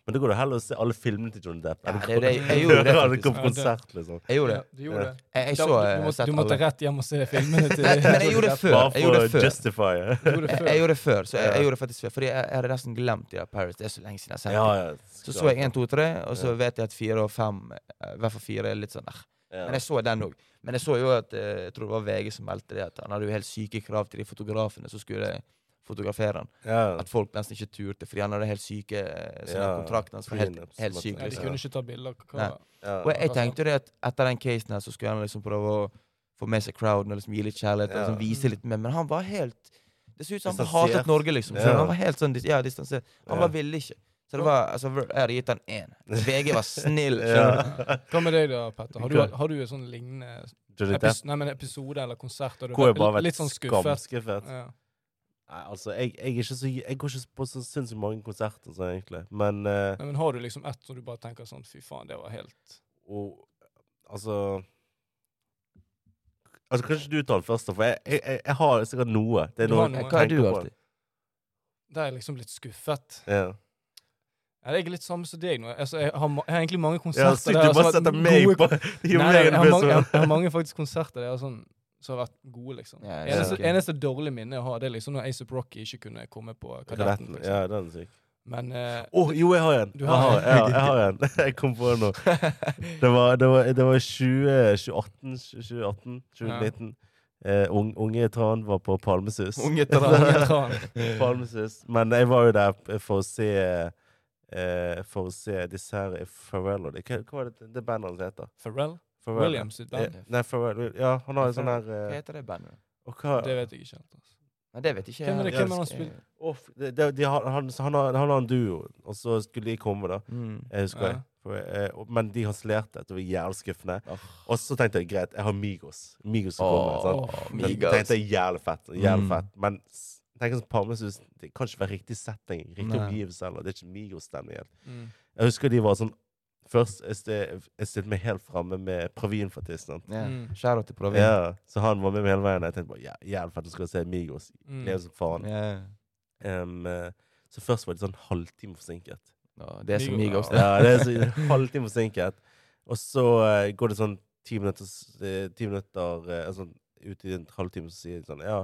[SPEAKER 1] Men da går det heller å se alle filmene til Johnny Depp.
[SPEAKER 3] Ja,
[SPEAKER 1] enn
[SPEAKER 3] det er det jeg- jeg
[SPEAKER 1] å
[SPEAKER 3] gjorde det
[SPEAKER 1] høre han gå
[SPEAKER 3] faktisk.
[SPEAKER 1] på
[SPEAKER 2] Ja, det-
[SPEAKER 1] konsert, liksom.
[SPEAKER 3] Jeg gjorde
[SPEAKER 2] Ja,
[SPEAKER 3] det.
[SPEAKER 2] du gjorde det.
[SPEAKER 3] Jeg, jeg
[SPEAKER 2] Da-
[SPEAKER 3] så
[SPEAKER 2] du,
[SPEAKER 3] eh,
[SPEAKER 2] måtte,
[SPEAKER 3] sett
[SPEAKER 2] du måtte
[SPEAKER 3] alle.
[SPEAKER 2] rett hjem og se filmene
[SPEAKER 3] [laughs]
[SPEAKER 2] til
[SPEAKER 3] Nei, men jeg gjorde det før.
[SPEAKER 1] Bare
[SPEAKER 3] Jeg gjorde
[SPEAKER 1] for
[SPEAKER 3] det
[SPEAKER 1] å
[SPEAKER 3] før.
[SPEAKER 1] justify.
[SPEAKER 2] Du gjorde det
[SPEAKER 3] Jeg,
[SPEAKER 2] før.
[SPEAKER 3] jeg gjorde det før, så jeg,
[SPEAKER 1] Ja.
[SPEAKER 3] jeg gjorde det faktisk før. Fordi jeg, jeg hadde nesten glemt de der Paris. Det er så lenge siden jeg har sett
[SPEAKER 1] Ja,
[SPEAKER 3] det.
[SPEAKER 1] ja.
[SPEAKER 3] Så så jeg 1, 2, 3, og så
[SPEAKER 1] Ja.
[SPEAKER 3] vet jeg at 4 og 5, i hvert fall 4, er litt sånn der. Men
[SPEAKER 1] Ja.
[SPEAKER 3] jeg så den òg. Men jeg så jo at eh, jeg tror det var VG som meldte det, at han hadde jo helt syke krav til de fotografene som skulle fotografere han.
[SPEAKER 1] Ja.
[SPEAKER 3] At folk nesten ikke turte, fordi han hadde helt syke eh, sånne
[SPEAKER 1] Ja,
[SPEAKER 3] kontrakten hans. var Helt,
[SPEAKER 1] prenups,
[SPEAKER 3] helt
[SPEAKER 1] måtte-
[SPEAKER 3] syk,
[SPEAKER 2] Nei, de
[SPEAKER 3] liksom.
[SPEAKER 2] kunne ikke ta bilder. Hva-
[SPEAKER 3] Nei.
[SPEAKER 1] Ja.
[SPEAKER 3] Og jeg, jeg tenkte jo det at etter den casen her, så skulle han liksom prøve å få med seg crowden og liksom gi litt kjærlighet. Og
[SPEAKER 1] Ja.
[SPEAKER 3] liksom vise litt mer, Men han var helt Det så ut som han
[SPEAKER 1] Distansert.
[SPEAKER 3] hatet Norge, liksom.
[SPEAKER 1] Ja.
[SPEAKER 3] skjønner du? Han var helt sånn dis ja, distansert. Han
[SPEAKER 1] Ja.
[SPEAKER 3] bare ville ikke. Så det var, altså, jeg hadde gitt han
[SPEAKER 1] [laughs]
[SPEAKER 3] én. VG var snill. skjønner du?
[SPEAKER 1] Ja.
[SPEAKER 2] Hva med deg da, Petter? Har du,
[SPEAKER 1] Hva?
[SPEAKER 2] har du en sånn lignende
[SPEAKER 1] [laughs] Johnny Depp
[SPEAKER 2] epis nei, men episode eller konsert? Og du
[SPEAKER 1] hvor jeg bare
[SPEAKER 2] var
[SPEAKER 1] har
[SPEAKER 2] litt
[SPEAKER 1] vært
[SPEAKER 2] sånn skuffet?
[SPEAKER 1] skamskuffet.
[SPEAKER 2] Ja.
[SPEAKER 1] Nei, altså, jeg, jeg, er ikke så, jeg går ikke på så sinnssykt mange konserter, sånn, egentlig. Men eh,
[SPEAKER 2] Nei, men har du liksom ett som du bare tenker sånn Fy faen, det var helt
[SPEAKER 1] og, Altså Altså, Kanskje du tar den først, da, for jeg, jeg, jeg, jeg har sikkert noe. Det er
[SPEAKER 2] Du
[SPEAKER 1] noe
[SPEAKER 2] har noe.
[SPEAKER 1] jeg
[SPEAKER 3] Hva er du
[SPEAKER 1] tenker på.
[SPEAKER 3] alltid?
[SPEAKER 2] Da er jeg liksom litt skuffet.
[SPEAKER 1] Ja.
[SPEAKER 2] Ja, det er litt samme som deg nå. Altså, jeg, har, ma- jeg har egentlig mange
[SPEAKER 1] Ja,
[SPEAKER 2] konserter
[SPEAKER 1] sykt,
[SPEAKER 2] der
[SPEAKER 1] du
[SPEAKER 2] jeg har
[SPEAKER 1] bare
[SPEAKER 2] sånn
[SPEAKER 1] setter
[SPEAKER 2] vært
[SPEAKER 1] meg
[SPEAKER 2] gode-
[SPEAKER 1] på
[SPEAKER 2] [laughs] Nei,
[SPEAKER 1] Jo
[SPEAKER 2] nei,
[SPEAKER 1] mer
[SPEAKER 2] jeg,
[SPEAKER 1] det
[SPEAKER 2] har
[SPEAKER 3] liksom.
[SPEAKER 1] blir
[SPEAKER 2] mange, jeg,
[SPEAKER 1] sånn.
[SPEAKER 2] har- jeg har mange faktisk konserter der jeg har sånn, som har vært gode, liksom.
[SPEAKER 3] Ja, jeg
[SPEAKER 2] eneste,
[SPEAKER 3] skjønner.
[SPEAKER 2] eneste dårlige minnet jeg har, det er liksom når Ace of Rocky ikke kunne komme på Kadetten.
[SPEAKER 1] Kadetten,
[SPEAKER 2] Liksom.
[SPEAKER 1] Ja, den er syk.
[SPEAKER 2] Men eh,
[SPEAKER 1] Å, jo, jeg har en!
[SPEAKER 2] Du
[SPEAKER 1] Jeg har,
[SPEAKER 2] har en.
[SPEAKER 1] jeg har, jeg har en. [laughs] Jeg kom på
[SPEAKER 2] [laughs]
[SPEAKER 1] den nå. Det var, det var, det var 20, 2018, 2018, 2019. Eh, ung- unge Tran var på Palmesus.
[SPEAKER 3] Unge
[SPEAKER 2] Unge
[SPEAKER 3] Tran.
[SPEAKER 2] Tran.
[SPEAKER 1] [laughs] Palmesus. Men jeg var jo der p- for å se eh, For å se disse her i Pharrell og de. Hva, hva var det, det bandet hans heter?
[SPEAKER 2] Pharrell
[SPEAKER 1] Pharrell.
[SPEAKER 2] Williams
[SPEAKER 1] Eh,
[SPEAKER 2] sitt band?
[SPEAKER 1] Nei, Pharrell. Ja, han har en sånn her
[SPEAKER 3] Hva
[SPEAKER 1] eh,
[SPEAKER 3] heter det bandet?
[SPEAKER 1] og hva,
[SPEAKER 2] Det vet jeg ikke helt. Altså.
[SPEAKER 3] Nei, det vet ikke jeg.
[SPEAKER 2] Hvem er det- hvem er det han
[SPEAKER 3] Jeg-
[SPEAKER 2] spiller?
[SPEAKER 1] Off- det- det- de har- han, han, har, han har en duo, og så skulle de komme, da.
[SPEAKER 3] Mm.
[SPEAKER 1] Jeg husker
[SPEAKER 2] Ja.
[SPEAKER 1] jeg. For, eh, og- men de kansellerte. Det var jævlig skuffende.
[SPEAKER 3] Åh.
[SPEAKER 1] Og så tenkte jeg greit, jeg har Migos. Migos som kommer. sant?
[SPEAKER 3] Åh,
[SPEAKER 2] sant?
[SPEAKER 1] Men
[SPEAKER 3] Migos.
[SPEAKER 1] tenkte jeg jævlig fett. Jævlig
[SPEAKER 3] Mm.
[SPEAKER 1] fett. Men s- tenk sånn Palmesus Det kan ikke være riktig setting, riktig
[SPEAKER 3] Nei.
[SPEAKER 1] omgivelse, eller det er ikke Migos-stemning. helt.
[SPEAKER 2] Mm.
[SPEAKER 1] Jeg husker de var sånn Først jeg stil- jeg stilte meg helt framme med Pravin, faktisk. sant?
[SPEAKER 3] Ja.
[SPEAKER 2] Mm.
[SPEAKER 3] Shout-out til Provin.
[SPEAKER 1] Ja, så han var med meg hele veien. og Jeg tenkte bare, jæ- jævlig fett, nå skal jeg se Migos.
[SPEAKER 2] Mm.
[SPEAKER 1] Gleder meg som faen.
[SPEAKER 3] Ja.
[SPEAKER 1] Em, eh, Så først var de sånn halvtime forsinket.
[SPEAKER 3] Å, det er som
[SPEAKER 2] Migos, ja.
[SPEAKER 3] Migos. det.
[SPEAKER 1] Ja, det er så, en halvtime forsinket. Og så eh, går det sånn ti minutter, s- eh, ti minutter eh, altså, ut i en halvtime, så sier de sånn Ja,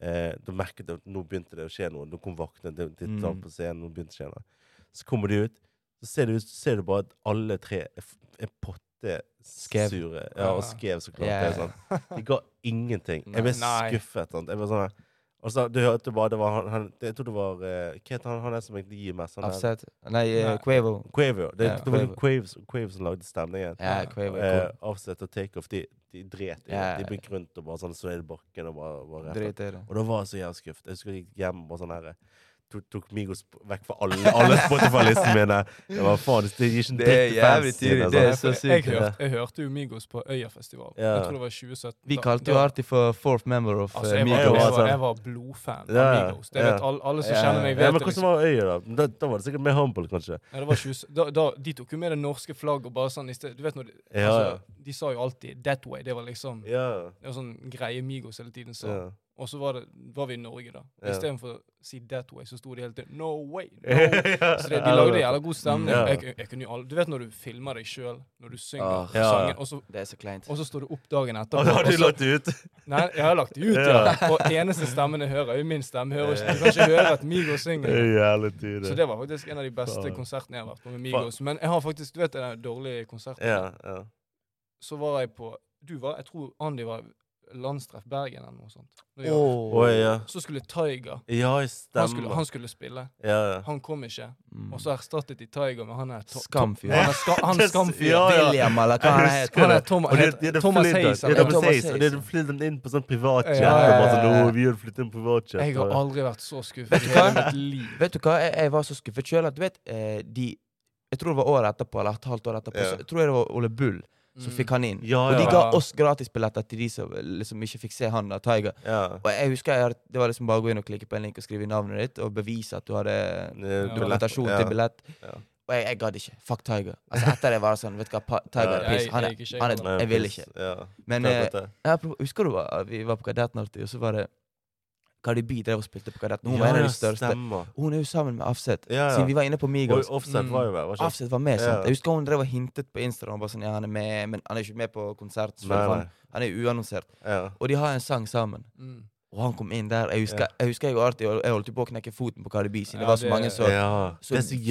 [SPEAKER 1] eh, da merket jeg at nå begynte det å skje noe. Nå kom vaktene til til
[SPEAKER 3] Mm.
[SPEAKER 1] tall på scenen. Nå begynte det å skje noe. Så kommer de ut, så ser du, ser du bare at alle tre er, f- er
[SPEAKER 3] Skrev.
[SPEAKER 1] pottesure. Ja, og
[SPEAKER 2] Ah.
[SPEAKER 1] skrev, så klart.
[SPEAKER 3] Ja,
[SPEAKER 1] Det er sånn. De ga ingenting. Jeg ble
[SPEAKER 2] Nei.
[SPEAKER 1] skuffet. Sant? Jeg ble sånn her. Og så, du hørte bare, det var han, han Jeg tror det var eh, Hva heter han, han er som egentlig gir mest? Han er-
[SPEAKER 3] Offset. Nei, eh,
[SPEAKER 2] Nei.
[SPEAKER 3] Quavo.
[SPEAKER 1] Quavo. Det,
[SPEAKER 3] Ja,
[SPEAKER 1] det var
[SPEAKER 3] Quavo.
[SPEAKER 1] Quaves, Quaves som lagde stemningen.
[SPEAKER 3] Ja, Quavo.
[SPEAKER 1] Eh,
[SPEAKER 3] er
[SPEAKER 1] offset og takeoff, de, de dret i
[SPEAKER 3] Ja.
[SPEAKER 1] det. De begynte rundt og bare sånn så ned i bakken og bare, bare
[SPEAKER 3] cool.
[SPEAKER 1] rett.
[SPEAKER 3] Drit i det.
[SPEAKER 1] Og da var jeg så jævlig skuffet. Jeg husker jeg gikk hjem og bare sånn her tok, tok Migos p- vekk fra alle,
[SPEAKER 3] [laughs]
[SPEAKER 1] alle Spotify-listene mine. Det var faen, det gir ikke en
[SPEAKER 3] Det er
[SPEAKER 1] dritt til fansen
[SPEAKER 3] jævlig tidlig,
[SPEAKER 1] din,
[SPEAKER 3] det er
[SPEAKER 1] altså.
[SPEAKER 3] så
[SPEAKER 2] For jeg,
[SPEAKER 1] sykt,
[SPEAKER 2] hørte, jeg hørte jo Migos på Øyafestivalen.
[SPEAKER 1] Ja.
[SPEAKER 2] Jeg tror det var 2017.
[SPEAKER 3] Vi
[SPEAKER 2] Da-
[SPEAKER 3] kalte
[SPEAKER 2] da-
[SPEAKER 3] jo alltid for fourth member of
[SPEAKER 2] altså,
[SPEAKER 3] eh,
[SPEAKER 2] jeg, var,
[SPEAKER 1] Migos,
[SPEAKER 2] jeg,
[SPEAKER 3] Migos.
[SPEAKER 1] altså.
[SPEAKER 2] var, jeg var blodfan
[SPEAKER 1] Ja,
[SPEAKER 2] av Migos. Det
[SPEAKER 1] ja.
[SPEAKER 2] vet alle, alle som
[SPEAKER 3] Ja,
[SPEAKER 2] kjenner meg,
[SPEAKER 1] ja, men
[SPEAKER 2] vet det.
[SPEAKER 1] hvordan
[SPEAKER 2] Liksom.
[SPEAKER 1] var øyet, da? da? Da var det sikkert mer humble, kanskje.
[SPEAKER 2] Ja, det var 20, da, da, de tok jo med det norske flagget og bare sånn i sted, Du vet når de,
[SPEAKER 1] Ja, ja.
[SPEAKER 2] altså, de sa jo alltid 'that way'. Det var liksom
[SPEAKER 1] Ja.
[SPEAKER 2] Det var sånn greie Migos hele tiden sa.
[SPEAKER 1] ja.
[SPEAKER 2] Og så var, det, var vi i Norge, da.
[SPEAKER 1] Ja.
[SPEAKER 2] Istedenfor å si 'that way', så sto de hele tiden 'no way'. No way.
[SPEAKER 1] [laughs] [laughs] Ja.
[SPEAKER 2] Så det, de lagde jævla god stemning.
[SPEAKER 1] Ja.
[SPEAKER 2] Jeg, jeg kunne jo aldri, du vet når du filmer deg sjøl, når du synger
[SPEAKER 3] Ah.
[SPEAKER 1] Ja.
[SPEAKER 2] sangen, og så,
[SPEAKER 3] Det er så kleint.
[SPEAKER 2] og så står du
[SPEAKER 1] [laughs]
[SPEAKER 2] opp dagen etterpå
[SPEAKER 1] Og da har
[SPEAKER 2] og
[SPEAKER 1] du
[SPEAKER 2] så-
[SPEAKER 1] lagt
[SPEAKER 2] [laughs]
[SPEAKER 1] det ut.
[SPEAKER 2] Nei, jeg har lagt det ut, ja. Og eneste stemmen jeg hører, er jo min stemme. Jeg, hører ikke, jeg kan ikke høre at Migos
[SPEAKER 1] Det
[SPEAKER 2] synger.
[SPEAKER 1] er jævlig tidlig.
[SPEAKER 2] Så det var faktisk en av de beste
[SPEAKER 1] Faen.
[SPEAKER 2] konsertene jeg har vært på med Migos. Men jeg har faktisk, du vet den dårlige konserten?
[SPEAKER 1] Ja, ja.
[SPEAKER 2] Så var jeg på Du var, jeg tror Andy var landstreff Bergen eller noe sånt. Når vi var-
[SPEAKER 3] Åh.
[SPEAKER 1] Oi, ja.
[SPEAKER 2] Så skulle Tiger
[SPEAKER 1] Ja,
[SPEAKER 2] han skulle,
[SPEAKER 1] stemmer.
[SPEAKER 2] han skulle spille.
[SPEAKER 1] Ja, ja.
[SPEAKER 2] Han kom ikke.
[SPEAKER 3] Mm.
[SPEAKER 2] Og så erstattet de Tiger med han her to-
[SPEAKER 3] Skamfyr.
[SPEAKER 2] Han er ska,
[SPEAKER 1] [laughs]
[SPEAKER 2] han er skamfyr.
[SPEAKER 1] Ja, ja.
[SPEAKER 3] William, eller hva han
[SPEAKER 1] Jeg
[SPEAKER 3] heter.
[SPEAKER 1] husker
[SPEAKER 2] Han er
[SPEAKER 1] det.
[SPEAKER 2] Tom,
[SPEAKER 1] Og det, det, det
[SPEAKER 2] Thomas
[SPEAKER 1] flyr den-
[SPEAKER 2] Hayes.
[SPEAKER 1] Det,
[SPEAKER 3] Ja,
[SPEAKER 1] er
[SPEAKER 3] Thomas
[SPEAKER 1] Thomas Hayes. Og det,
[SPEAKER 3] Hayes,
[SPEAKER 1] det flyr den inn på sånn privatjet.
[SPEAKER 2] Ja, ja,
[SPEAKER 1] og bare sånn,
[SPEAKER 3] ja, ja.
[SPEAKER 1] «Å, vi vil flytte inn på privatjet.
[SPEAKER 2] Jeg har
[SPEAKER 1] og-
[SPEAKER 2] aldri vært så skuffet
[SPEAKER 3] Vet
[SPEAKER 2] i
[SPEAKER 3] du
[SPEAKER 2] hele
[SPEAKER 3] hva?
[SPEAKER 2] mitt liv.
[SPEAKER 3] Vet du hva, jeg, jeg var så skuffet sjøl at du vet eh, de Jeg tror det var året etterpå, eller et halvt år etterpå,
[SPEAKER 1] Ja.
[SPEAKER 3] så jeg tror jeg det var Ole Bull som
[SPEAKER 2] Mm.
[SPEAKER 3] fikk han inn.
[SPEAKER 1] Ja,
[SPEAKER 3] Og de
[SPEAKER 1] ja.
[SPEAKER 3] ga oss gratisbilletter til de som liksom ikke fikk se han da, Tiger.
[SPEAKER 1] Ja.
[SPEAKER 3] Og jeg husker jeg, hadde- det var liksom bare å gå inn og klikke på en link og skrive i navnet ditt og bevise at du hadde
[SPEAKER 1] Eh,
[SPEAKER 3] dokumentasjon
[SPEAKER 1] ja.
[SPEAKER 3] til billett.
[SPEAKER 1] Ja.
[SPEAKER 3] Og jeg, jeg gadd ikke. Fuck Tiger. Altså Etter det var det sånn Vet du hva, pa- Tiger
[SPEAKER 1] Ja.
[SPEAKER 3] er piss.
[SPEAKER 2] Jeg-
[SPEAKER 3] Han
[SPEAKER 2] jeg
[SPEAKER 3] er,
[SPEAKER 2] gikk ikke
[SPEAKER 3] han
[SPEAKER 2] heller.
[SPEAKER 3] er,
[SPEAKER 1] Nei,
[SPEAKER 3] jeg vil
[SPEAKER 1] piss.
[SPEAKER 3] ikke.
[SPEAKER 1] Ja.
[SPEAKER 3] Men eh,
[SPEAKER 1] Klart dette.
[SPEAKER 3] ja, apropos- husker du hva- vi var på Kadett Norti, og så var det Kadiby drev og spilte på Kadett. Hun
[SPEAKER 1] Ja,
[SPEAKER 3] var en av
[SPEAKER 1] ja,
[SPEAKER 3] de største.
[SPEAKER 1] Stemmer.
[SPEAKER 3] Hun er jo sammen med Afset.
[SPEAKER 1] Ja,
[SPEAKER 3] Siden vi
[SPEAKER 1] ja.
[SPEAKER 3] var inne på
[SPEAKER 1] Og
[SPEAKER 3] Migos.
[SPEAKER 1] Offset
[SPEAKER 2] Mm.
[SPEAKER 1] var jo der, var ikke
[SPEAKER 3] Afset var med, sant?
[SPEAKER 1] Ja.
[SPEAKER 3] Jeg husker hun drev og hintet på Instagram. Bare sånn, ja, han er med, men han er ikke med på konsert. så
[SPEAKER 1] Nei, nei.
[SPEAKER 3] han- Han er jo uannonsert.
[SPEAKER 1] Ja.
[SPEAKER 3] Og de har en sang sammen.
[SPEAKER 2] Mm.
[SPEAKER 3] Og han kom inn der. Jeg husker jeg, husker jeg, og Arti, og jeg holdt jo på å knekke foten på Cardi B,
[SPEAKER 2] Ja,
[SPEAKER 3] siden det var så
[SPEAKER 2] det-
[SPEAKER 3] mange som
[SPEAKER 1] ja.
[SPEAKER 3] så
[SPEAKER 1] Det er så
[SPEAKER 3] fløy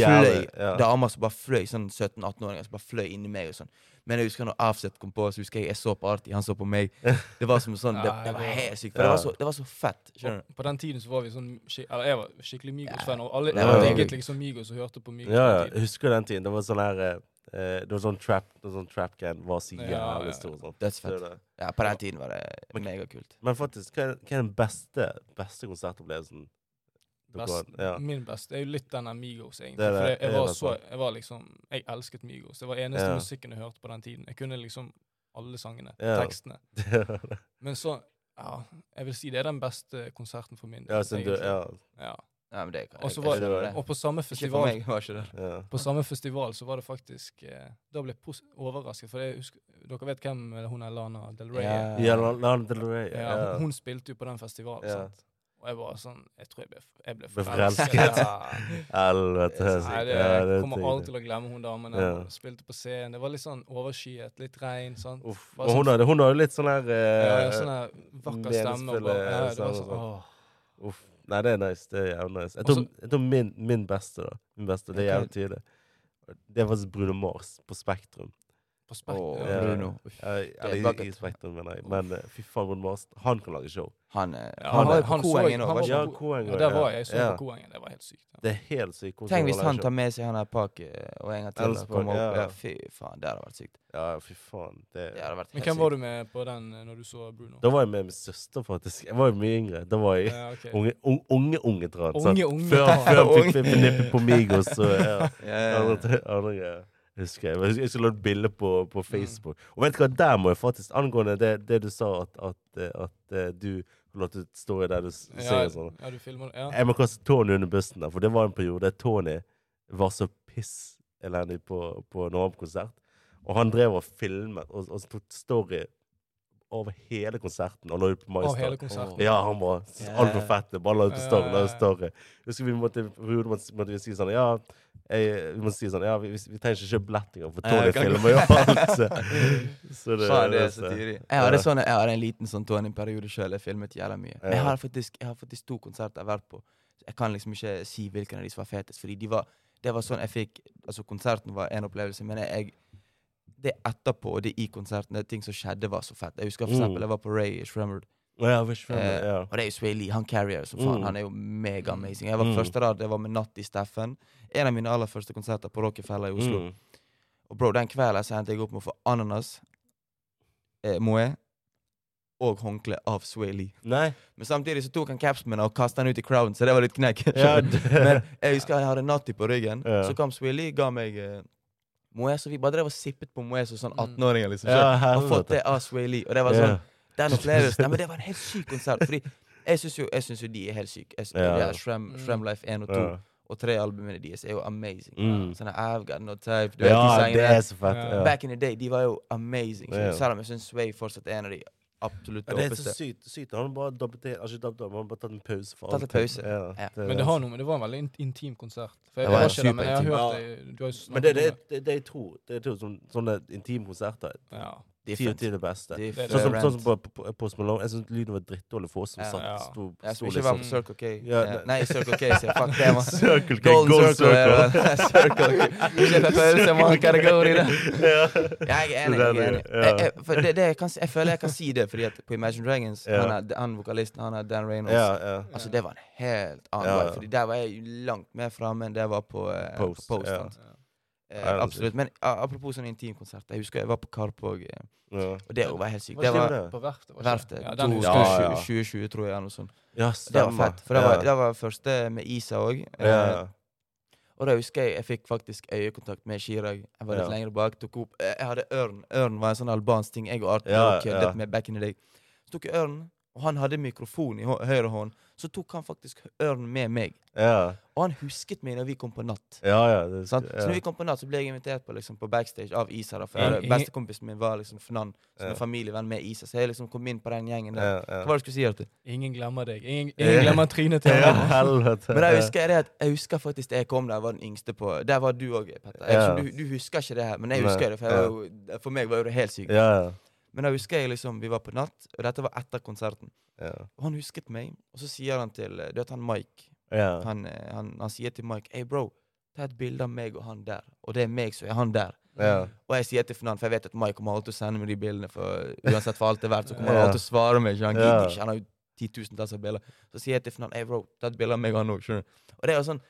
[SPEAKER 1] jævlig. Ja.
[SPEAKER 3] damer som bare fløy, sånn 17-18-åringer som bare fløy inni meg. og sånn Men jeg husker når Afset kom på, så husker jeg jeg så på Arti, han så på
[SPEAKER 1] [laughs]
[SPEAKER 3] meg. Det var som sånn, det,
[SPEAKER 2] Ja,
[SPEAKER 3] det var
[SPEAKER 2] det-
[SPEAKER 3] helt sykt. For det var så, det var så fett. Skjønner du?
[SPEAKER 2] Og På den tiden så var vi sånn skik- Eller jeg var skikkelig Migos-fan, og alle
[SPEAKER 3] Ja,
[SPEAKER 1] ja, ja.
[SPEAKER 2] digget liksom Migos og hørte på Migos.
[SPEAKER 1] Ja, ja.
[SPEAKER 2] på den
[SPEAKER 1] Jeg
[SPEAKER 2] tiden.
[SPEAKER 1] husker den tiden. Det var sånn her eh, eh, Det var sånn trap det var sånn trap can var så
[SPEAKER 2] Ja,
[SPEAKER 1] jævlig
[SPEAKER 2] ja.
[SPEAKER 1] stor. sånn.
[SPEAKER 3] Dødsfett.
[SPEAKER 1] Det er det.
[SPEAKER 3] Ja, på den tiden var det megakult.
[SPEAKER 1] Men faktisk, hva er, hva er den beste, beste konsertopplevelsen?
[SPEAKER 3] [laughs]
[SPEAKER 1] dere har?
[SPEAKER 2] Best,
[SPEAKER 1] Ja.
[SPEAKER 2] Min beste er jo litt den der Migos, egentlig.
[SPEAKER 1] Det er det.
[SPEAKER 2] For jeg, jeg,
[SPEAKER 1] Det er
[SPEAKER 2] var
[SPEAKER 1] det
[SPEAKER 2] så, jeg var liksom Jeg elsket Migos. Det var eneste
[SPEAKER 1] Ja.
[SPEAKER 2] musikken jeg hørte på den tiden. Jeg kunne liksom alle sangene,
[SPEAKER 1] Ja.
[SPEAKER 2] tekstene. Men så Ja, jeg vil si det er den beste konserten for min del.
[SPEAKER 1] ja, siden du,
[SPEAKER 2] egentlig.
[SPEAKER 1] ja,
[SPEAKER 2] Ja.
[SPEAKER 3] Ja, men det kan
[SPEAKER 2] Og så
[SPEAKER 3] jeg-
[SPEAKER 2] var-
[SPEAKER 3] jeg skjønner det.
[SPEAKER 2] Og på samme
[SPEAKER 3] Ikke for
[SPEAKER 2] festival
[SPEAKER 3] meg, var ikke det.
[SPEAKER 1] ja.
[SPEAKER 2] På samme festival så var det faktisk eh, Da ble jeg pos- overrasket, for jeg husker, dere vet hvem eh, hun er Lana Del Rey er?
[SPEAKER 1] Ja, Lana Del Rey.
[SPEAKER 2] Ja,
[SPEAKER 1] Ja.
[SPEAKER 2] hun, hun spilte jo på den festivalen,
[SPEAKER 1] Ja.
[SPEAKER 2] sant? Og jeg var sånn Jeg tror jeg ble, f- jeg ble
[SPEAKER 1] Ble
[SPEAKER 2] forelsket.
[SPEAKER 1] forelsket. [laughs]
[SPEAKER 2] Ja.
[SPEAKER 1] Helvete.
[SPEAKER 2] Nei, det,
[SPEAKER 1] ja,
[SPEAKER 2] jeg
[SPEAKER 1] er
[SPEAKER 2] kommer
[SPEAKER 1] tidlig.
[SPEAKER 2] aldri til å glemme hun damen der.
[SPEAKER 1] Ja.
[SPEAKER 2] Hun Spilte på scenen. Det var litt sånn overskyet, litt regn. sant?
[SPEAKER 1] Uff.
[SPEAKER 2] Bare
[SPEAKER 1] Og hun
[SPEAKER 2] sånn-
[SPEAKER 1] har, hun har jo litt sånn her eh,
[SPEAKER 2] ja, ja, sånn der vakker stemme.
[SPEAKER 1] meningsfulle
[SPEAKER 2] Og bare, ja, det var
[SPEAKER 1] sanger
[SPEAKER 2] sånn, åh.
[SPEAKER 1] Uff. Nei, det er nice. Det er jævlig nice. Jeg
[SPEAKER 2] Og
[SPEAKER 1] tror, jeg tror min, min beste, da. Min beste, Det er
[SPEAKER 2] Ok.
[SPEAKER 1] jævlig tidlig. Det var Bruno Mars på Spektrum.
[SPEAKER 2] På
[SPEAKER 3] Åh,
[SPEAKER 2] spekter.
[SPEAKER 1] Ja.
[SPEAKER 3] Bruno. Uff.
[SPEAKER 1] Eh, Eller i, i
[SPEAKER 3] bucket.
[SPEAKER 1] Spektrum, mener jeg. Men eh, fy faen, Bruno Mars, han kan lage show.
[SPEAKER 3] Han, eh,
[SPEAKER 2] Ja,
[SPEAKER 3] han var jo
[SPEAKER 2] han- han
[SPEAKER 3] på
[SPEAKER 2] så-
[SPEAKER 3] Koengen
[SPEAKER 2] han
[SPEAKER 3] òg,
[SPEAKER 2] var
[SPEAKER 3] var ikke
[SPEAKER 2] på-
[SPEAKER 1] Ja,
[SPEAKER 3] han?
[SPEAKER 1] Koeng
[SPEAKER 2] Ja, der var jeg. Jeg så
[SPEAKER 1] ja.
[SPEAKER 2] på Koengen. Det var helt sykt. Ja.
[SPEAKER 1] Det er helt sykt. hvordan
[SPEAKER 3] Tenk hvis
[SPEAKER 1] lager
[SPEAKER 3] han
[SPEAKER 1] show.
[SPEAKER 3] tar med seg han her Park eh, og en gang til.
[SPEAKER 1] Elfsborg,
[SPEAKER 3] og kommer opp.
[SPEAKER 1] ja.
[SPEAKER 3] Ja, fy faen, det hadde vært sykt.
[SPEAKER 1] Ja, fy faen. Det,
[SPEAKER 3] Det hadde vært
[SPEAKER 2] Men
[SPEAKER 3] helt
[SPEAKER 2] hvem var
[SPEAKER 3] sykt.
[SPEAKER 2] du med på den eh, når du så Bruno?
[SPEAKER 1] Da var jeg med min søster, faktisk. Jeg var jo mye yngre. Da var jeg
[SPEAKER 2] Ja, ok.
[SPEAKER 1] unge, unge, unge, unge tran. sant?
[SPEAKER 2] Unge, unge
[SPEAKER 1] Før,
[SPEAKER 2] tran.
[SPEAKER 1] før han
[SPEAKER 3] Unge.
[SPEAKER 1] fikk nippet på Migos. Så, ja.
[SPEAKER 3] Ja, ja, ja.
[SPEAKER 1] andre, andre greier. Husker jeg. Jeg skulle lagt bilde på,
[SPEAKER 2] Mm.
[SPEAKER 1] på Facebook. Og vet du hva, der må jeg faktisk Angående det, det du sa, at, at, eh, at eh, du lot det stå i der du s-
[SPEAKER 2] Ja,
[SPEAKER 1] synger sånn.
[SPEAKER 2] ja, du filmer det. Ja.
[SPEAKER 1] Jeg må kaste Tony under bussen, der, for det var en periode der Tony var så pisselendig på, på Norham-konsert. Og han drev og filmet og, og tok story over hele konserten og la ut på My
[SPEAKER 2] Og
[SPEAKER 1] Story.
[SPEAKER 2] hele konserten.
[SPEAKER 1] Ja, han var
[SPEAKER 3] Ja.
[SPEAKER 1] altfor fett. Bare la ut på story. La ut
[SPEAKER 2] Ja.
[SPEAKER 1] story. Husker vi måtte, vi måtte, måtte vi si sånn Ja, jeg, vi måtte si sånn Ja, vi, vi, vi trenger ikke kjøpe billett engang, for
[SPEAKER 3] Ja,
[SPEAKER 1] Tony
[SPEAKER 3] kan gå.
[SPEAKER 1] filmer jo alt. Så, så
[SPEAKER 3] [laughs] Faen, det er så tidlig. Jeg hadde,
[SPEAKER 1] Ja.
[SPEAKER 3] sånn, jeg hadde en liten sånn Tony-periode sjøl. Jeg filmet jævla mye. Men jeg
[SPEAKER 1] Ja.
[SPEAKER 3] har faktisk, jeg har faktisk to konserter jeg har vært på. Jeg kan liksom ikke si hvilken av de som var fetest. Fordi de var, det var sånn jeg fikk Altså, konserten var en opplevelse, men jeg det etterpå og det i konserten, det ting som skjedde, var så fett. Jeg husker for
[SPEAKER 1] Mm.
[SPEAKER 3] eksempel, jeg var på Ray Shremmer.
[SPEAKER 1] Ja, Wish Family,
[SPEAKER 3] Eh,
[SPEAKER 1] ja.
[SPEAKER 3] Og det er jo Sway Lee. Han carrier som faen.
[SPEAKER 1] Mm.
[SPEAKER 3] Han er jo mega amazing. Jeg var
[SPEAKER 1] Mm.
[SPEAKER 3] på første rad, det var med Natti Steffen. En av mine aller første konserter på Rockefeller i Oslo.
[SPEAKER 1] Mm.
[SPEAKER 3] Og bro, den kvelden så endte jeg opp med å få ananas, eh, moe og håndkle av Sway Lee.
[SPEAKER 1] Nei.
[SPEAKER 3] Men samtidig så tok han capsen min og kastet den ut i crowden, så det var litt knekk.
[SPEAKER 1] [laughs] Ja,
[SPEAKER 3] Men
[SPEAKER 1] det,
[SPEAKER 3] [laughs] jeg husker jeg hadde Natti på ryggen,
[SPEAKER 1] Ja.
[SPEAKER 3] så kom Sway Lee, ga meg eh, moe, så vi bare drev og sippet på moe som sånn
[SPEAKER 2] Mm.
[SPEAKER 3] 18-åringer, liksom.
[SPEAKER 1] ja,
[SPEAKER 3] Ja, og fått
[SPEAKER 1] helvete.
[SPEAKER 3] det av Sway Lee, og det var sånn
[SPEAKER 1] Ja. [laughs]
[SPEAKER 3] den opplevelsen Nei, men det var en helt syk konsert. Fordi jeg syns jo, jeg synes jo de er helt syke. Jeg,
[SPEAKER 1] Ja.
[SPEAKER 3] ja, Shrem, Shrem Life 1 og 2
[SPEAKER 1] Ja.
[SPEAKER 3] og tre albumene deres er jo amazing.
[SPEAKER 1] Mm.
[SPEAKER 3] Sånn I've Got No Type du vet, de
[SPEAKER 1] Ja, det
[SPEAKER 3] sangene
[SPEAKER 1] er så fett.
[SPEAKER 2] Ja.
[SPEAKER 1] Ja.
[SPEAKER 3] Back in the day, de var jo amazing.
[SPEAKER 1] Ja.
[SPEAKER 3] skjønner du? Selv om jeg syns Sway fortsatt er en av de absolutt
[SPEAKER 1] Ja, det er så
[SPEAKER 3] dopeste.
[SPEAKER 1] sykt. sykt. Han har bare dobbelt, altså, ikke dobbelt, han har bare tatt en pause. For
[SPEAKER 3] Tatt en
[SPEAKER 1] alt.
[SPEAKER 3] pause.
[SPEAKER 1] Ja,
[SPEAKER 3] Ja.
[SPEAKER 2] Men det, har noe, men det var en veldig in- intim konsert. For jeg
[SPEAKER 3] Det var
[SPEAKER 2] var
[SPEAKER 3] en
[SPEAKER 2] ikke der, men jeg har
[SPEAKER 3] superintim.
[SPEAKER 2] hørt det. Du har jo snakket
[SPEAKER 1] Men det er det,
[SPEAKER 2] om
[SPEAKER 1] det, det jeg tror. Det jeg tror sånn- sånne intime konserter.
[SPEAKER 2] Ja.
[SPEAKER 1] Ti av ti er det beste.
[SPEAKER 2] Different.
[SPEAKER 1] Sånn som,
[SPEAKER 3] Different.
[SPEAKER 1] sånn som på, på, på Post Malone. Jeg syns lyden var drittdårlig for oss som
[SPEAKER 3] Ja.
[SPEAKER 1] satt
[SPEAKER 2] Ja.
[SPEAKER 1] sto,
[SPEAKER 3] Jeg
[SPEAKER 1] sto
[SPEAKER 3] skulle ikke være
[SPEAKER 1] liksom.
[SPEAKER 3] på Circle K.
[SPEAKER 1] Ja,
[SPEAKER 3] Eh,
[SPEAKER 1] nei.
[SPEAKER 3] Nei, Circle K, sier jeg. Fuck det, mann.
[SPEAKER 1] [laughs] Circle K,
[SPEAKER 3] Golden
[SPEAKER 1] Gold Circle.
[SPEAKER 3] Circle. ja, [laughs] Circle K. Kjøper pølse, mann. Hva er det går i det?
[SPEAKER 1] Ja.
[SPEAKER 3] Jeg er
[SPEAKER 1] Så
[SPEAKER 3] enig. Jeg,
[SPEAKER 1] den
[SPEAKER 3] er
[SPEAKER 1] er-
[SPEAKER 3] enig.
[SPEAKER 1] ja.
[SPEAKER 3] Jeg, jeg, for det, det jeg, kan, si- jeg føler jeg kan si det, fordi at på Imagine Dragons
[SPEAKER 1] Ja.
[SPEAKER 3] han, er, han vokalisten, han er Dan Reynolds.
[SPEAKER 1] ja, ja.
[SPEAKER 3] Altså, det var en helt annen
[SPEAKER 1] Ja,
[SPEAKER 3] vibe,
[SPEAKER 1] ja.
[SPEAKER 3] Fordi der var jeg langt mer framme enn det jeg var på eh,
[SPEAKER 1] Post,
[SPEAKER 3] på Post
[SPEAKER 1] ja.
[SPEAKER 3] sant?
[SPEAKER 2] Ja.
[SPEAKER 3] Eh,
[SPEAKER 1] Ja, det er
[SPEAKER 3] absolutt. Men ah, apropos sånn intimkonsert. Jeg husker jeg var på Karpe òg, eh,
[SPEAKER 1] ja.
[SPEAKER 3] og det var helt sykt.
[SPEAKER 1] Hva
[SPEAKER 3] Det
[SPEAKER 1] skjer
[SPEAKER 3] var
[SPEAKER 1] med
[SPEAKER 2] På verftet, var det
[SPEAKER 3] Verftet.
[SPEAKER 2] Ja, den
[SPEAKER 3] to-
[SPEAKER 2] husker
[SPEAKER 1] Ja,
[SPEAKER 2] jeg.
[SPEAKER 3] 2020,
[SPEAKER 1] ja.
[SPEAKER 3] 2020, tror jeg. Eller noe sånt.
[SPEAKER 1] Ja,
[SPEAKER 3] Det var
[SPEAKER 1] stemmer.
[SPEAKER 3] fett. For det var,
[SPEAKER 1] ja.
[SPEAKER 3] det var første med Isa òg.
[SPEAKER 1] ja.
[SPEAKER 3] Og da husker jeg jeg fikk faktisk øyekontakt med Chirag. Jeg var
[SPEAKER 1] Ja.
[SPEAKER 3] litt lenger bak, tok opp eh, Jeg hadde ørn. Ørn var en sånn albansk ting jeg og Art
[SPEAKER 1] Ja,
[SPEAKER 3] og køddet
[SPEAKER 1] ja.
[SPEAKER 3] med back in the day. Så tok jeg ørn, og han hadde mikrofon i hå- høyre hånd. Så tok han faktisk ørn med meg.
[SPEAKER 1] ja.
[SPEAKER 3] Og han husket meg når vi kom på natt.
[SPEAKER 1] Ja, ja. Det,
[SPEAKER 3] Sant? Så når
[SPEAKER 1] ja.
[SPEAKER 3] vi kom på natt, så ble jeg invitert på, liksom, på backstage av Isa. da, For
[SPEAKER 2] Ja.
[SPEAKER 3] jeg- Bestekompisen min var liksom Fnan, som
[SPEAKER 1] Ja.
[SPEAKER 3] er familievenn med Isa. Så jeg liksom kom inn på den gjengen der.
[SPEAKER 1] Ja, ja.
[SPEAKER 3] Hva var det du skulle si, Arthur?
[SPEAKER 2] Ingen glemmer deg. Ingen, ingen glemmer trynet til
[SPEAKER 1] Ja, [laughs]
[SPEAKER 2] deg.
[SPEAKER 1] helvete.
[SPEAKER 3] Men jeg husker, det at jeg husker faktisk da jeg kom der, jeg var den yngste på Der var du òg, Petter. Jeg,
[SPEAKER 1] Ja.
[SPEAKER 3] skjønner, du, du husker ikke det her, men jeg
[SPEAKER 1] Nei,
[SPEAKER 3] husker det. For, jeg
[SPEAKER 1] ja.
[SPEAKER 3] var jo, for meg var jo det helt sykt.
[SPEAKER 1] Ja, ja.
[SPEAKER 3] Men da husker jeg liksom, vi var på natt, og dette var etter konserten.
[SPEAKER 1] Ja.
[SPEAKER 3] Og han husket meg, og så sier han til eh, Du vet han Mike?
[SPEAKER 1] ja.
[SPEAKER 3] Han, eh, han, han sier til Mike Hey, bro, ta et bilde av meg og han der. Og det er meg som er han der.
[SPEAKER 1] Ja.
[SPEAKER 3] Og jeg sier til Fnan, for jeg vet at Mike kommer alltid til å sende meg de bildene. For uansett for alt det er verdt, så kommer han
[SPEAKER 1] Ja.
[SPEAKER 3] alltid til å svare meg. ikke? Han
[SPEAKER 1] Ja.
[SPEAKER 3] gidder ikke, han har jo 10 000 av bilder. Så sier jeg til Fnan, hey bro, ta et bilde av meg og han òg. skjønner du? Og det var sånn,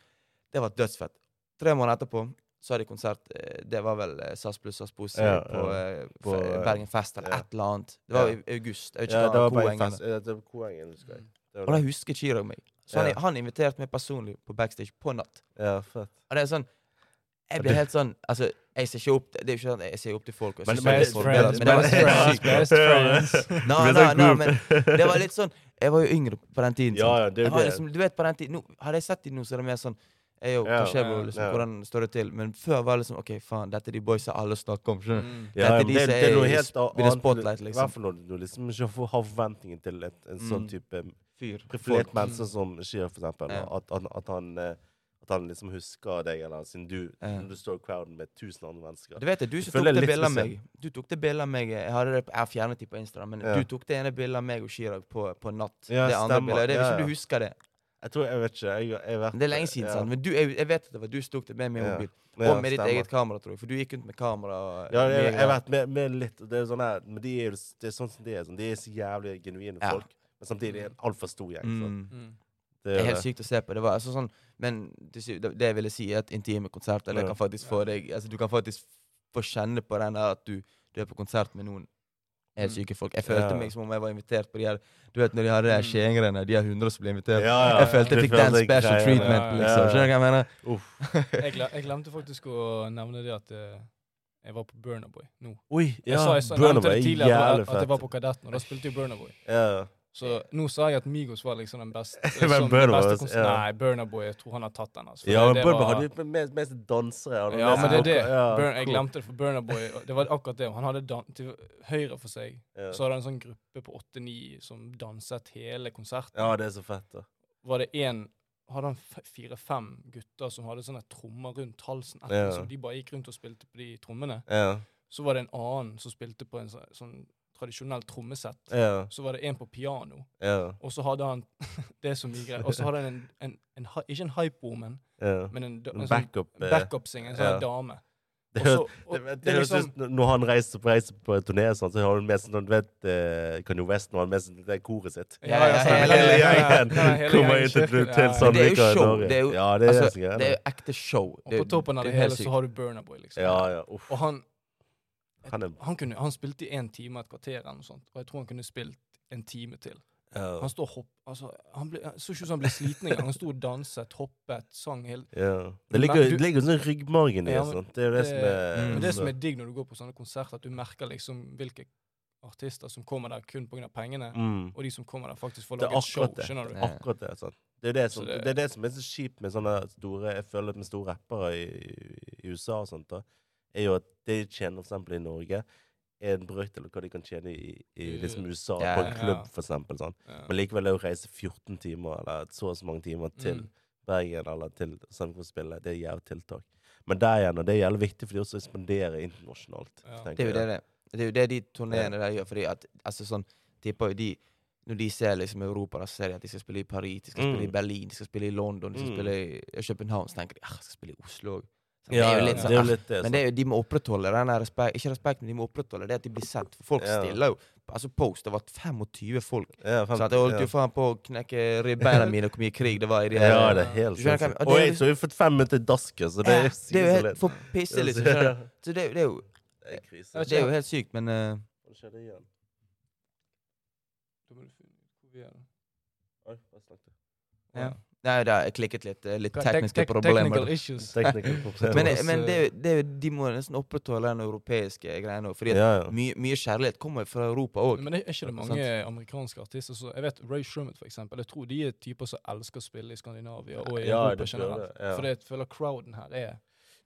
[SPEAKER 3] det var dødsfett. Tre måneder etterpå så hadde jeg konsert. eh, Det var vel eh, SAS pluss SAS Pose
[SPEAKER 1] Ja,
[SPEAKER 3] på, eh,
[SPEAKER 1] På,
[SPEAKER 3] fe-
[SPEAKER 1] eh,
[SPEAKER 3] Bergen Fest eller
[SPEAKER 1] ja.
[SPEAKER 3] et eller annet. Det var
[SPEAKER 1] Ja.
[SPEAKER 3] i august. Jeg vet ikke
[SPEAKER 1] Ja,
[SPEAKER 3] hva
[SPEAKER 1] det var
[SPEAKER 3] Koengen
[SPEAKER 1] bare en
[SPEAKER 3] er.
[SPEAKER 1] fest. Ja, det var Koengen, husker jeg. Det
[SPEAKER 3] Og
[SPEAKER 1] var
[SPEAKER 3] da
[SPEAKER 1] det.
[SPEAKER 3] husker Chirag meg. Så han,
[SPEAKER 1] Ja.
[SPEAKER 3] han inviterte meg personlig på backstage på natt.
[SPEAKER 1] Ja, fett.
[SPEAKER 3] Og det er sånn Jeg blir helt sånn Altså, jeg ser ikke opp Det er jo ikke sånn at jeg ser opp til folk. Og
[SPEAKER 1] Men-
[SPEAKER 3] synes
[SPEAKER 1] men-
[SPEAKER 3] det er
[SPEAKER 2] Best
[SPEAKER 3] så
[SPEAKER 1] men-
[SPEAKER 3] bra,
[SPEAKER 2] friends,
[SPEAKER 3] men det var sånn-
[SPEAKER 2] best
[SPEAKER 3] helt
[SPEAKER 2] friends,
[SPEAKER 3] sykt.
[SPEAKER 2] best friends.
[SPEAKER 3] Nå,
[SPEAKER 1] Det
[SPEAKER 3] nå,
[SPEAKER 1] er så
[SPEAKER 3] nå,
[SPEAKER 1] cool.
[SPEAKER 3] men det var litt sånn Jeg var jo yngre på den tiden.
[SPEAKER 1] Ja,
[SPEAKER 3] sant?
[SPEAKER 1] ja, det er
[SPEAKER 3] Jeg
[SPEAKER 1] jo
[SPEAKER 3] var
[SPEAKER 1] det.
[SPEAKER 3] liksom, du vet, på den tiden nå, Hadde jeg sett dem nå, så er det mer sånn «Ey, yo,
[SPEAKER 1] Ja,
[SPEAKER 3] hva skjer, bro?
[SPEAKER 2] ja,
[SPEAKER 3] Liksom,
[SPEAKER 1] ja.
[SPEAKER 3] Hvordan står det til? Men før var det liksom OK, faen, dette er de boysa alle snakker om. skjønner
[SPEAKER 1] [laughs]
[SPEAKER 3] du?
[SPEAKER 2] Mm.
[SPEAKER 1] Ja,
[SPEAKER 3] Dette
[SPEAKER 1] ja,
[SPEAKER 3] er
[SPEAKER 1] men
[SPEAKER 3] de
[SPEAKER 1] det,
[SPEAKER 3] som
[SPEAKER 1] det er
[SPEAKER 3] er
[SPEAKER 1] noe
[SPEAKER 3] i
[SPEAKER 1] helt
[SPEAKER 3] sp- i
[SPEAKER 1] annet.
[SPEAKER 3] det spotlight,
[SPEAKER 1] I
[SPEAKER 3] liksom.
[SPEAKER 1] hvert fall når du liksom ikke får- har forventningen til et, en sånn
[SPEAKER 3] Mm.
[SPEAKER 1] type
[SPEAKER 3] Fyr.
[SPEAKER 1] profilert
[SPEAKER 3] Folk.
[SPEAKER 1] menneske som Shia, for eksempel.
[SPEAKER 3] Ja.
[SPEAKER 1] At, at, at, han, eh, at han liksom husker deg, eller siden du,
[SPEAKER 3] Ja.
[SPEAKER 1] når du står i crowden med tusen andre mennesker.
[SPEAKER 3] Du vet det, du som tok
[SPEAKER 1] føler
[SPEAKER 3] det
[SPEAKER 1] litt
[SPEAKER 3] bildet av meg.
[SPEAKER 1] spesielt.
[SPEAKER 3] Du tok det bildet av meg Jeg hadde det på, jeg fjernet det på Insta, men
[SPEAKER 1] Ja.
[SPEAKER 3] du tok det ene bildet av meg og Chirag på, på natt.
[SPEAKER 1] Ja,
[SPEAKER 3] det andre
[SPEAKER 1] stemmer.
[SPEAKER 3] bildet. Det er
[SPEAKER 1] Ja,
[SPEAKER 3] ikke
[SPEAKER 1] ja.
[SPEAKER 3] du husker det.
[SPEAKER 1] Jeg tror, jeg vet ikke, jeg, jeg har vært-
[SPEAKER 3] Men Det er lenge siden,
[SPEAKER 1] ja.
[SPEAKER 3] sant? Men du, jeg, jeg vet at det var du som tok det med min
[SPEAKER 1] Ja.
[SPEAKER 3] mobil. Og
[SPEAKER 1] Ja,
[SPEAKER 3] med ditt
[SPEAKER 1] stemmer.
[SPEAKER 3] eget kamera, tror jeg. For du gikk rundt med kamera. og-
[SPEAKER 1] Ja, jeg,
[SPEAKER 3] mye
[SPEAKER 1] jeg
[SPEAKER 3] greier.
[SPEAKER 1] har vært med, med litt, og det er sånn her, men de er jo, det er sånn som de er, sånn. de er så jævlig genuine
[SPEAKER 3] Ja.
[SPEAKER 1] folk, men samtidig er det en altfor stor gjeng. sant?
[SPEAKER 3] Mm.
[SPEAKER 2] Mm.
[SPEAKER 1] Det,
[SPEAKER 3] Det
[SPEAKER 1] er
[SPEAKER 3] er
[SPEAKER 1] jo
[SPEAKER 3] helt
[SPEAKER 1] det.
[SPEAKER 3] sykt å se på. Det var altså sånn Men til syv- det det jeg ville si, er at intime konserter det
[SPEAKER 1] Ja.
[SPEAKER 3] kan faktisk få deg Altså Du kan faktisk få kjenne på den der at du, du er på konsert med noen helt
[SPEAKER 2] Mm.
[SPEAKER 3] syke folk. Jeg følte
[SPEAKER 1] Ja.
[SPEAKER 3] meg som om jeg var invitert på de her Du vet når de hadde de her
[SPEAKER 2] Mm.
[SPEAKER 3] Skien-greiene, de her 100 som ble invitert.
[SPEAKER 1] Ja, ja,
[SPEAKER 3] Jeg følte jeg
[SPEAKER 1] du
[SPEAKER 3] fikk den
[SPEAKER 1] følte
[SPEAKER 3] special
[SPEAKER 1] greia,
[SPEAKER 3] treatment,
[SPEAKER 2] ja, ja.
[SPEAKER 3] liksom.
[SPEAKER 1] Ja.
[SPEAKER 3] Skjønner du hva jeg mener?
[SPEAKER 1] Uff.
[SPEAKER 2] Jeg, gle jeg glemte faktisk å nevne det at eh, jeg var på Burner Boy nå.
[SPEAKER 1] Oi,
[SPEAKER 2] Jeg
[SPEAKER 1] ja,
[SPEAKER 2] sa- jeg sa-
[SPEAKER 1] Burna
[SPEAKER 2] nevnte
[SPEAKER 1] Boy
[SPEAKER 2] det
[SPEAKER 1] er
[SPEAKER 2] tidligere at-
[SPEAKER 1] jævlig
[SPEAKER 2] at jeg var på
[SPEAKER 1] fett.
[SPEAKER 2] Kadetten, og da spilte jo Burner Boy.
[SPEAKER 1] Ja.
[SPEAKER 2] Så nå sa jeg at Migos var liksom
[SPEAKER 1] [laughs]
[SPEAKER 2] den beste.
[SPEAKER 1] Men
[SPEAKER 2] som den
[SPEAKER 1] Burna
[SPEAKER 2] beste
[SPEAKER 1] Boy,
[SPEAKER 2] konsert-
[SPEAKER 1] ja.
[SPEAKER 2] Nei, Burna Boy, jeg tror han har tatt den. Altså. For
[SPEAKER 1] Ja, men
[SPEAKER 2] det- det
[SPEAKER 1] Burna
[SPEAKER 2] var-
[SPEAKER 1] hadde jo mest, mest dansere. han hadde
[SPEAKER 2] Ja,
[SPEAKER 1] mest
[SPEAKER 2] men det er det.
[SPEAKER 1] rockere. Ja,
[SPEAKER 2] Burn, jeg
[SPEAKER 1] cool.
[SPEAKER 2] glemte det, for Burna Boy det var akkurat det. Han hadde dan til høyre for seg
[SPEAKER 1] Ja.
[SPEAKER 2] så hadde han en sånn gruppe på åtte-ni som danset hele konserten.
[SPEAKER 1] Ja, det er så fett, da.
[SPEAKER 2] Var det en, hadde han fire-fem gutter som hadde sånne trommer rundt halsen etter,
[SPEAKER 1] Ja.
[SPEAKER 2] så de bare gikk rundt og spilte på de trommene.
[SPEAKER 1] Ja,
[SPEAKER 2] Så var det en annen som spilte på en sånn, sånn tradisjonell trommesett.
[SPEAKER 1] ja,
[SPEAKER 2] Så var det en på piano,
[SPEAKER 1] ja.
[SPEAKER 2] og så hadde han [laughs] det er så mye greier. Og så hadde han en, en, en, hy- ikke en hype-woman,
[SPEAKER 1] ja.
[SPEAKER 2] men en, da- en sånn
[SPEAKER 1] Backup. eh,
[SPEAKER 2] backup-singer, en sånn
[SPEAKER 1] ja.
[SPEAKER 2] dame.
[SPEAKER 1] [laughs] Det
[SPEAKER 2] Og
[SPEAKER 1] høres
[SPEAKER 2] så- og
[SPEAKER 1] Det, det,
[SPEAKER 2] det er
[SPEAKER 1] høres
[SPEAKER 2] liksom-
[SPEAKER 1] ut som når han reiser på, reiser på turné, og sånn, så har han med seg sånn, du vet, eh, Kanye West når han har med seg det koret sitt.
[SPEAKER 3] Ja, ja, ja, hele
[SPEAKER 1] gjengen kommer inn til, til
[SPEAKER 3] Men
[SPEAKER 1] sånn
[SPEAKER 3] det er jo
[SPEAKER 1] Rikard
[SPEAKER 3] show,
[SPEAKER 1] Norge.
[SPEAKER 3] det er jo-
[SPEAKER 1] Ja, det er
[SPEAKER 3] altså,
[SPEAKER 1] så greiene.
[SPEAKER 3] Det er jo ekte show.
[SPEAKER 2] Og på toppen av det, hele så har du Burnaboy, liksom.
[SPEAKER 1] Ja, ja. Uff.
[SPEAKER 2] Og han,
[SPEAKER 1] Han er
[SPEAKER 2] han, kunne, han spilte i en time og et kvarter, eller noe sånt, og jeg tror han kunne spilt en time til.
[SPEAKER 1] ja.
[SPEAKER 2] Han står og hopp... Altså, han ble, jeg så ikke ut som han ble sliten engang. Han sto og danset, hoppet, sang hele
[SPEAKER 1] ja. Det ligger
[SPEAKER 2] Men du-
[SPEAKER 1] det ligger jo sånn ryggmargen i
[SPEAKER 2] Ja,
[SPEAKER 1] og
[SPEAKER 2] men
[SPEAKER 1] sånt. Det er jo det
[SPEAKER 2] det-
[SPEAKER 1] som er
[SPEAKER 3] Mm.
[SPEAKER 2] Men det som er digg når du går på sånne konserter, at du merker liksom hvilke artister som kommer der kun pga. pengene,
[SPEAKER 1] mm.
[SPEAKER 2] og de som kommer der faktisk får
[SPEAKER 1] Det er
[SPEAKER 2] laget show,
[SPEAKER 1] akkurat det.
[SPEAKER 2] skjønner du?
[SPEAKER 3] Ja.
[SPEAKER 1] Akkurat det. sånn. Det er det, som,
[SPEAKER 2] Så det-
[SPEAKER 1] det er det som er så kjipt med sånne store Jeg føler at med store rappere i, i USA og sånt, da, er jo at det de tjener for eksempel i Norge, er en brøkdel av hva de kan tjene i, i liksom USA,
[SPEAKER 3] Ja,
[SPEAKER 1] på en
[SPEAKER 2] ja, ja.
[SPEAKER 1] klubb, for eksempel. Sånn.
[SPEAKER 2] Ja.
[SPEAKER 1] Men likevel er å reise 14 timer, eller så og så mange timer, til
[SPEAKER 2] Mm.
[SPEAKER 1] Bergen eller til Sandefjord og spille, det er jævlig tiltak. Men der igjen, og det er jævlig viktig, for de også ekspanderer internasjonalt.
[SPEAKER 2] Ja.
[SPEAKER 1] tenker
[SPEAKER 3] Det er jo
[SPEAKER 1] jeg.
[SPEAKER 3] det, det. det, er jo det de turneene der gjør. Fordi at, altså sånn, tipper jo de Når de ser liksom Europa, da ser de at de skal spille i Paris, de skal
[SPEAKER 1] Mm.
[SPEAKER 3] spille i Berlin, de skal spille i London, de skal
[SPEAKER 1] Mm.
[SPEAKER 3] spille i København. Så tenker de at de skal spille i Oslo òg.
[SPEAKER 1] Ja,
[SPEAKER 3] det er
[SPEAKER 1] ja,
[SPEAKER 3] jo litt
[SPEAKER 1] det er jo
[SPEAKER 3] sånn,
[SPEAKER 1] litt det.
[SPEAKER 3] "Ah." men det er jo, de må opprettholde den der respekt, ikke respekt, men de må opprettholde det at de blir sett. For folk
[SPEAKER 1] Ja.
[SPEAKER 3] stiller jo. Altså Post, det var 25 folk.
[SPEAKER 1] sånn. Ja,
[SPEAKER 3] Så
[SPEAKER 1] fem-
[SPEAKER 3] at jeg holdt
[SPEAKER 1] ja.
[SPEAKER 3] jo faen på å knekke ribbeina mine, og hvor mye krig det var i de her
[SPEAKER 1] Ja, det er helt
[SPEAKER 3] Du skjønner hva jeg
[SPEAKER 1] sinnssykt.
[SPEAKER 3] mener?
[SPEAKER 1] Og
[SPEAKER 3] Og det er
[SPEAKER 1] jeg
[SPEAKER 3] jo-
[SPEAKER 1] så vi har fått fem minutter i dasken, så det
[SPEAKER 3] Ja,
[SPEAKER 1] er jo
[SPEAKER 3] Det er jo
[SPEAKER 1] sikkert så
[SPEAKER 3] helt
[SPEAKER 1] lett.
[SPEAKER 3] for pisse, liksom. skjønner du? Så det, er jo- det, er jo,
[SPEAKER 1] [laughs] Det er krise.
[SPEAKER 2] Jeg vet
[SPEAKER 3] det er jo helt sykt, men eh,
[SPEAKER 1] Hva skjedde igjen?
[SPEAKER 2] Da må du finne ut hvor vi er.
[SPEAKER 1] Oi, hva snakket jeg?
[SPEAKER 3] ja. Nei, da, jeg klikket litt. eh, Litt tekniske
[SPEAKER 2] Tek- tek-
[SPEAKER 3] problemer.
[SPEAKER 2] Technical issues.
[SPEAKER 1] [laughs]
[SPEAKER 2] eh.
[SPEAKER 1] Tekniske
[SPEAKER 3] Men,
[SPEAKER 1] problemer.
[SPEAKER 2] det-
[SPEAKER 3] men det, er jo- det, er jo- de må nesten opprettholde den europeiske greia nå. Fordi at
[SPEAKER 1] Ja, ja.
[SPEAKER 3] mye, mye kjærlighet kommer fra Europa òg.
[SPEAKER 2] Men det er ikke
[SPEAKER 1] Sånn.
[SPEAKER 2] det mange
[SPEAKER 3] Sant.
[SPEAKER 2] amerikanske artister som Jeg vet Ray Shrummet, for eksempel. Jeg tror de er typer som elsker å spille i Skandinavia og i
[SPEAKER 1] Ja,
[SPEAKER 2] Europa
[SPEAKER 1] det tror jeg,
[SPEAKER 2] generelt.
[SPEAKER 1] ja.
[SPEAKER 2] For jeg føler crowden her er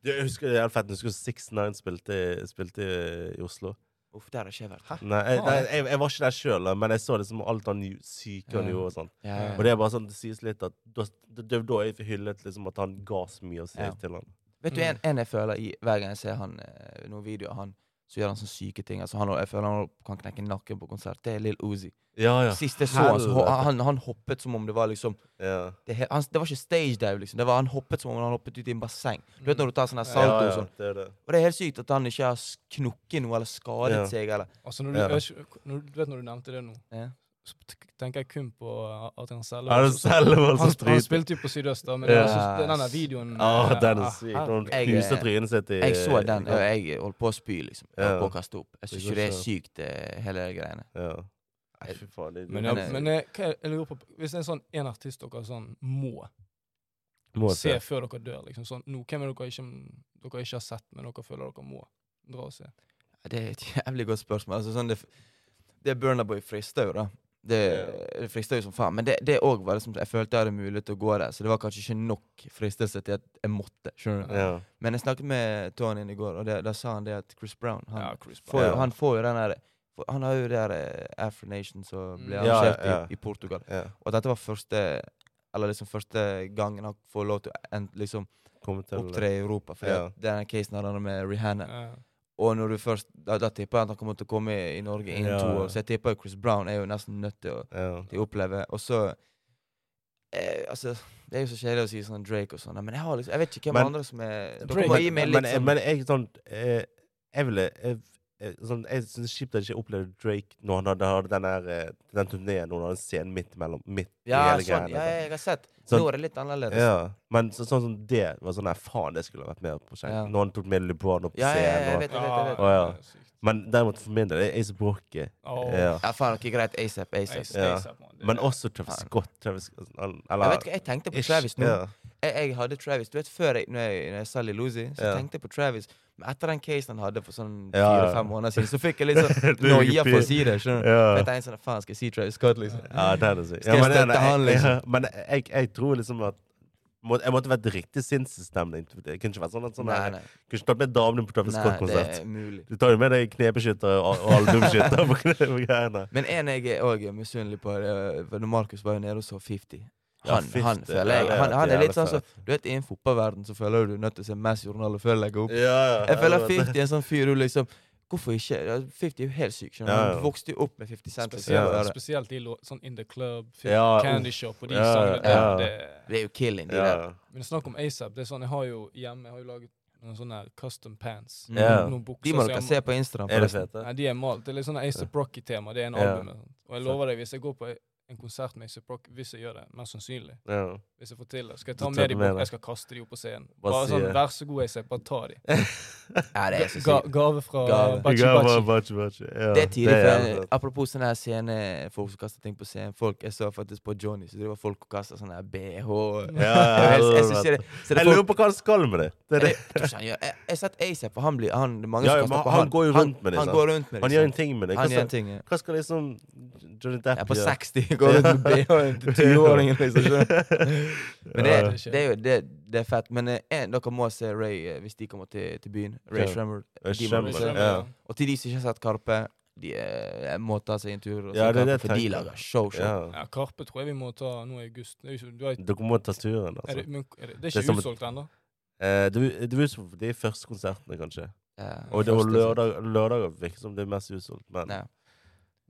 [SPEAKER 1] Jeg husker det er helt fett, jeg husker 6ix9ine spilte, spilte i Oslo.
[SPEAKER 3] Uff, der har ikke jeg vært.
[SPEAKER 1] Nei, jeg,
[SPEAKER 2] Ah,
[SPEAKER 1] nei,
[SPEAKER 2] ja.
[SPEAKER 1] jeg, jeg var ikke der sjøl, men jeg så liksom alt han gj- syke han
[SPEAKER 3] Ja.
[SPEAKER 1] gjorde. og sånn.
[SPEAKER 3] Ja,
[SPEAKER 2] Ja.
[SPEAKER 1] Og det er bare sånn, det sies litt at da, da, da er jeg hyllet liksom at han ga så mye å si
[SPEAKER 3] Ja.
[SPEAKER 1] til han.
[SPEAKER 3] Vet du en, en jeg føler i hver gang jeg ser han eh, noen videoer av han, så gjør han sånne syke ting. Altså, han, jeg føler han kan knekke nakken på konsert. Det er Lill Uzi.
[SPEAKER 1] Ja, ja.
[SPEAKER 3] Sist jeg så han, så ho-
[SPEAKER 1] Helvete.
[SPEAKER 3] han, han hoppet som om det var liksom
[SPEAKER 1] ja.
[SPEAKER 3] Det, he- han, det var ikke stage dive, liksom. Det var, han hoppet som om han hoppet ut i en basseng. Du vet når du tar sånn her
[SPEAKER 2] Ja,
[SPEAKER 3] salto
[SPEAKER 1] ja,
[SPEAKER 3] og
[SPEAKER 1] ja,
[SPEAKER 3] sånn.
[SPEAKER 1] det er det.
[SPEAKER 3] Og det er helt sykt at han ikke har s- knukket noe eller skadet
[SPEAKER 1] Ja.
[SPEAKER 3] seg eller
[SPEAKER 2] Altså, når du,
[SPEAKER 1] Ja.
[SPEAKER 2] jeg vet ikke- når, du vet når du nevnte det nå,
[SPEAKER 3] ja.
[SPEAKER 2] så t- tenker jeg kun på uh, Adrian Selvaas.
[SPEAKER 1] Er det Selvold som
[SPEAKER 2] han, han
[SPEAKER 1] stryker?
[SPEAKER 2] spilte jo på Sydøst, da, men
[SPEAKER 1] Ja.
[SPEAKER 2] jeg synes den der videoen
[SPEAKER 1] Å,
[SPEAKER 2] eh,
[SPEAKER 1] den er
[SPEAKER 2] ah,
[SPEAKER 1] syk.
[SPEAKER 2] her-
[SPEAKER 1] Når han
[SPEAKER 3] Jeg-
[SPEAKER 1] knuste trynet sitt i
[SPEAKER 3] Jeg så den, og
[SPEAKER 1] Eh, Ja.
[SPEAKER 3] jeg holdt på å spy, liksom. Jeg
[SPEAKER 1] Ja.
[SPEAKER 3] holdt på å kaste opp. Jeg
[SPEAKER 1] Det
[SPEAKER 3] syns
[SPEAKER 1] går
[SPEAKER 3] ikke det er
[SPEAKER 1] ikke.
[SPEAKER 3] sykt, eh, hele de greiene.
[SPEAKER 1] Ja. Nei, fy faen. Det,
[SPEAKER 2] Men,
[SPEAKER 3] ja,
[SPEAKER 2] jeg,
[SPEAKER 3] Men, eh,
[SPEAKER 2] men eh, hva, er- jeg lurer på, hvis det er sånn en artist dere sånn må
[SPEAKER 1] må
[SPEAKER 2] eh, se før dere dør, liksom sånn nå, Hvem er dere ikke, dere ikke har sett, men dere føler dere må dra og se?
[SPEAKER 3] Ja, Det er et jævlig godt spørsmål. Altså, sånn, det, f- det Burnaboy frister jo, da. Det, det frister jo som faen. Men det, det òg var liksom, jeg følte jeg hadde mulighet til å gå der, så det var kanskje ikke nok fristelse til at jeg måtte. skjønner du?
[SPEAKER 1] Ja.
[SPEAKER 3] Men jeg snakket med Tony i går, og det, da sa han det at Chris Brown han,
[SPEAKER 2] ja, Chris
[SPEAKER 3] får,
[SPEAKER 2] Brown.
[SPEAKER 1] Ja.
[SPEAKER 3] jo- han får jo den der for- Han har jo det der eh, Afro Nation som ble
[SPEAKER 2] Mm.
[SPEAKER 1] Ja,
[SPEAKER 3] arrangert
[SPEAKER 1] ja.
[SPEAKER 3] I, i Portugal.
[SPEAKER 1] ja.
[SPEAKER 3] Og dette var første Eller liksom første gangen han får lov til å en, liksom,
[SPEAKER 1] Kommer til
[SPEAKER 3] opptre i Europa. For
[SPEAKER 1] Ja.
[SPEAKER 3] denne casen hadde han med Rihanna.
[SPEAKER 2] Ja.
[SPEAKER 3] Og når du først Da, da tipper jeg at han kommer til å komme i Norge innen
[SPEAKER 1] Ja,
[SPEAKER 3] to
[SPEAKER 1] ja.
[SPEAKER 3] år. Så jeg tipper jo Chris Brown er jo nesten nødt til å,
[SPEAKER 1] Ja.
[SPEAKER 3] til å oppleve. Og så eh, Altså, det er jo så kjedelig å si sånn Drake og sånn, men jeg har liksom Jeg vet ikke hvem
[SPEAKER 1] Men-
[SPEAKER 3] andre som er Dere
[SPEAKER 2] Drake-
[SPEAKER 3] må gi meg
[SPEAKER 1] Men,
[SPEAKER 3] litt
[SPEAKER 1] men,
[SPEAKER 3] sånn
[SPEAKER 1] men jeg sånn eh, Jeg ville Jeg, jeg- sånn, jeg syns det er kjipt at jeg ikke opplevde Drake når han hadde, hadde den, der, eh, den turneen når han hadde en scene midt imellom. Midt
[SPEAKER 3] Ja,
[SPEAKER 1] i hele
[SPEAKER 3] sånn.
[SPEAKER 1] greia.
[SPEAKER 3] Ja, jeg har sett.
[SPEAKER 1] Sånn-
[SPEAKER 3] Nå er det litt annerledes.
[SPEAKER 1] Ja. Men så, sånn som det var sånn Nei, faen, det skulle vært med på prosjektet.
[SPEAKER 3] Ja.
[SPEAKER 1] Når han tok med LeBron opp på
[SPEAKER 3] Ja, ja, ja,
[SPEAKER 1] scenen.
[SPEAKER 3] jeg
[SPEAKER 1] og-
[SPEAKER 3] vet, jeg vet, jeg vet.
[SPEAKER 1] Å, ja.
[SPEAKER 2] det er sykt.
[SPEAKER 1] Men derimot for min del er Ace Brocky.
[SPEAKER 2] Å,
[SPEAKER 1] Ja.
[SPEAKER 3] Ja, faen, ok, greit. ASAP, ASAP.
[SPEAKER 2] Ace-
[SPEAKER 1] Ja.
[SPEAKER 2] Ace er på en- det-
[SPEAKER 1] Men også Travis
[SPEAKER 3] Faen.
[SPEAKER 1] Scott. Travis, eller,
[SPEAKER 3] Jeg vet ikke, jeg tenkte på
[SPEAKER 1] Ish,
[SPEAKER 3] Travis nå.
[SPEAKER 1] ja.
[SPEAKER 3] Jeg, jeg hadde Travis. Du vet, Før jeg, når jeg, når jeg sa Lil Uzi, så
[SPEAKER 1] Ja.
[SPEAKER 3] tenkte jeg på Travis. Men etter den casen han hadde for sånn
[SPEAKER 1] Ja, ja.
[SPEAKER 3] fire-fem måneder siden, så fikk jeg litt sånn
[SPEAKER 1] [laughs] Du er
[SPEAKER 3] noia
[SPEAKER 1] ikke
[SPEAKER 3] for å
[SPEAKER 1] pi-
[SPEAKER 3] si det. skjønner du?
[SPEAKER 1] Ja.
[SPEAKER 3] Jeg tenkte sånn, faen, skal jeg si Travis Scott, liksom?
[SPEAKER 1] Ja, det er det sykt.
[SPEAKER 3] Skal jeg
[SPEAKER 1] men,
[SPEAKER 3] støtte han, liksom?
[SPEAKER 1] jeg, [laughs] men jeg, jeg tror liksom at må, Jeg måtte vært riktig sinnsstemning. Det kunne ikke vært sånn at sånn
[SPEAKER 3] Nei,
[SPEAKER 1] her-
[SPEAKER 3] nei,
[SPEAKER 1] Kunne ikke tatt med damene på Travis
[SPEAKER 3] nei, det
[SPEAKER 1] Scott-konsert.
[SPEAKER 3] er mulig.
[SPEAKER 1] Du tar jo med deg knepeskytter og, og albumskytter på [laughs] kne- på greiene.
[SPEAKER 3] Men en jeg òg er misunnelig på, det er- for når Markus var jo nede og så 50.
[SPEAKER 1] Ja,
[SPEAKER 3] Han,
[SPEAKER 1] 50,
[SPEAKER 3] han
[SPEAKER 1] ja,
[SPEAKER 3] føler jeg
[SPEAKER 1] det er
[SPEAKER 3] han, han er litt
[SPEAKER 1] jævlig
[SPEAKER 3] sånn som Du vet, innen fotballverden så føler du du er nødt til å se Messi og Ronaldo før de legger opp.
[SPEAKER 1] Ja, ja,
[SPEAKER 3] Jeg føler
[SPEAKER 1] vet
[SPEAKER 3] 50 er en sånn fyr du liksom Hvorfor ikke? Ja, 50 er jo helt syk. skjønner du?
[SPEAKER 1] Ja, ja.
[SPEAKER 3] Han vokste jo opp med 50 Cent. og
[SPEAKER 1] Ja,
[SPEAKER 2] Spesielt,
[SPEAKER 1] ja.
[SPEAKER 3] sånn.
[SPEAKER 2] spesielt de lå- sånn In The Club,
[SPEAKER 1] Ja,
[SPEAKER 2] Candy
[SPEAKER 1] uff.
[SPEAKER 2] Shop og de
[SPEAKER 1] Ja, ja,
[SPEAKER 2] sangene
[SPEAKER 1] ja.
[SPEAKER 2] der. Det,
[SPEAKER 3] Det er jo killing, de
[SPEAKER 1] det. Ja.
[SPEAKER 3] der.
[SPEAKER 2] men snakk om ASAP. Det er sånn, jeg har jo hjemme jeg har jo laget noen sånne her custom pants.
[SPEAKER 3] Mm.
[SPEAKER 1] Ja.
[SPEAKER 2] Noen bukser
[SPEAKER 3] De må
[SPEAKER 2] som
[SPEAKER 3] dere
[SPEAKER 2] jeg-
[SPEAKER 3] se på Instagram.
[SPEAKER 1] Er det
[SPEAKER 3] forresten.
[SPEAKER 1] fete?
[SPEAKER 2] Nei, de er malt. Det er litt sånn ASAP Rocky-tema. Det er en
[SPEAKER 1] Ja.
[SPEAKER 2] album. og sånt. Og jeg lover deg, hvis jeg går på en konsert med ASAP Rocky, hvis jeg gjør det, mest sannsynlig,
[SPEAKER 1] Ja.
[SPEAKER 2] hvis jeg får til det, skal jeg
[SPEAKER 1] Du
[SPEAKER 2] ta
[SPEAKER 1] tar
[SPEAKER 2] med de
[SPEAKER 1] med
[SPEAKER 2] bort,
[SPEAKER 1] det.
[SPEAKER 2] jeg skal kaste de opp på scenen.
[SPEAKER 1] Bare
[SPEAKER 2] Bare
[SPEAKER 1] si
[SPEAKER 2] sånn,
[SPEAKER 1] det.
[SPEAKER 2] vær så god, ASAP, bare ta de.
[SPEAKER 3] Ja, det er så
[SPEAKER 2] Ga
[SPEAKER 3] sykt.
[SPEAKER 2] gave fra eh,
[SPEAKER 3] Gave.
[SPEAKER 1] [laughs]
[SPEAKER 2] Bachi
[SPEAKER 1] Ja,
[SPEAKER 2] Bachi.
[SPEAKER 1] bare- bare- bare- ja.
[SPEAKER 3] Det er tidlig. For,
[SPEAKER 1] jævlig
[SPEAKER 3] eh,
[SPEAKER 1] fett.
[SPEAKER 3] apropos sånne her scene folk som kaster ting på scenen. Folk, Jeg så faktisk på Johnny, så driver folk og kaster sånne her BH.
[SPEAKER 1] Ja,
[SPEAKER 3] [laughs] Jeg, jeg, jeg,
[SPEAKER 1] helvete.
[SPEAKER 3] synes ikke det- så det
[SPEAKER 1] Jeg
[SPEAKER 3] er folk-
[SPEAKER 1] lurer på hva han skal med det. det, er
[SPEAKER 3] Jeg
[SPEAKER 1] det.
[SPEAKER 3] tror ikke han gjør Jeg jeg har sett ASAP, og han blir han, det er mange
[SPEAKER 1] Ja,
[SPEAKER 3] som
[SPEAKER 1] ja, men
[SPEAKER 3] kaster på
[SPEAKER 1] han går jo rundt med det,
[SPEAKER 3] Han
[SPEAKER 1] sant?
[SPEAKER 3] går rundt med det.
[SPEAKER 1] Han gjør en ting med det.
[SPEAKER 3] sant?
[SPEAKER 1] Hva
[SPEAKER 3] Han gjør en
[SPEAKER 1] skal,
[SPEAKER 3] ting, ja.
[SPEAKER 1] hva skal liksom Johnny Depp
[SPEAKER 3] Ja, på
[SPEAKER 1] gjøre?
[SPEAKER 3] 60 går rundt med
[SPEAKER 1] [laughs]
[SPEAKER 3] BH-en til 20-åringen, liksom. skjønner du? Men det,
[SPEAKER 2] Ja, ja.
[SPEAKER 3] det er jo det, det er fett. Men eh, en, dere må se Ray eh, hvis de kommer til, til byen. Ray
[SPEAKER 1] Ja.
[SPEAKER 3] Shremmer.
[SPEAKER 1] Jeg
[SPEAKER 3] de liksom
[SPEAKER 1] skjønner
[SPEAKER 3] må vi
[SPEAKER 2] Hvis
[SPEAKER 3] se.
[SPEAKER 2] jeg-
[SPEAKER 1] det, ja.
[SPEAKER 3] Og til de som ikke har sett Karpe, de eh, må ta seg en tur. Og
[SPEAKER 1] Ja,
[SPEAKER 3] se
[SPEAKER 1] det er det
[SPEAKER 3] Karpe,
[SPEAKER 1] jeg
[SPEAKER 3] for de
[SPEAKER 1] tenker.
[SPEAKER 3] lager show, show.
[SPEAKER 1] Ja.
[SPEAKER 2] Ja, Karpe tror jeg vi må ta nå i august. Det er, jo ikke, du har,
[SPEAKER 1] Dere må ta turen,
[SPEAKER 2] er,
[SPEAKER 1] altså.
[SPEAKER 2] det, men, er det, det er
[SPEAKER 1] Det er
[SPEAKER 2] ikke
[SPEAKER 1] som et-
[SPEAKER 2] utsolgt ennå.
[SPEAKER 1] Eh, Det er det er utsolgt for de første konsertene, kanskje.
[SPEAKER 3] Eh,
[SPEAKER 1] Og det var
[SPEAKER 3] første-
[SPEAKER 1] lørdag, lørdager virker som det er mest utsolgt, men
[SPEAKER 3] Ja.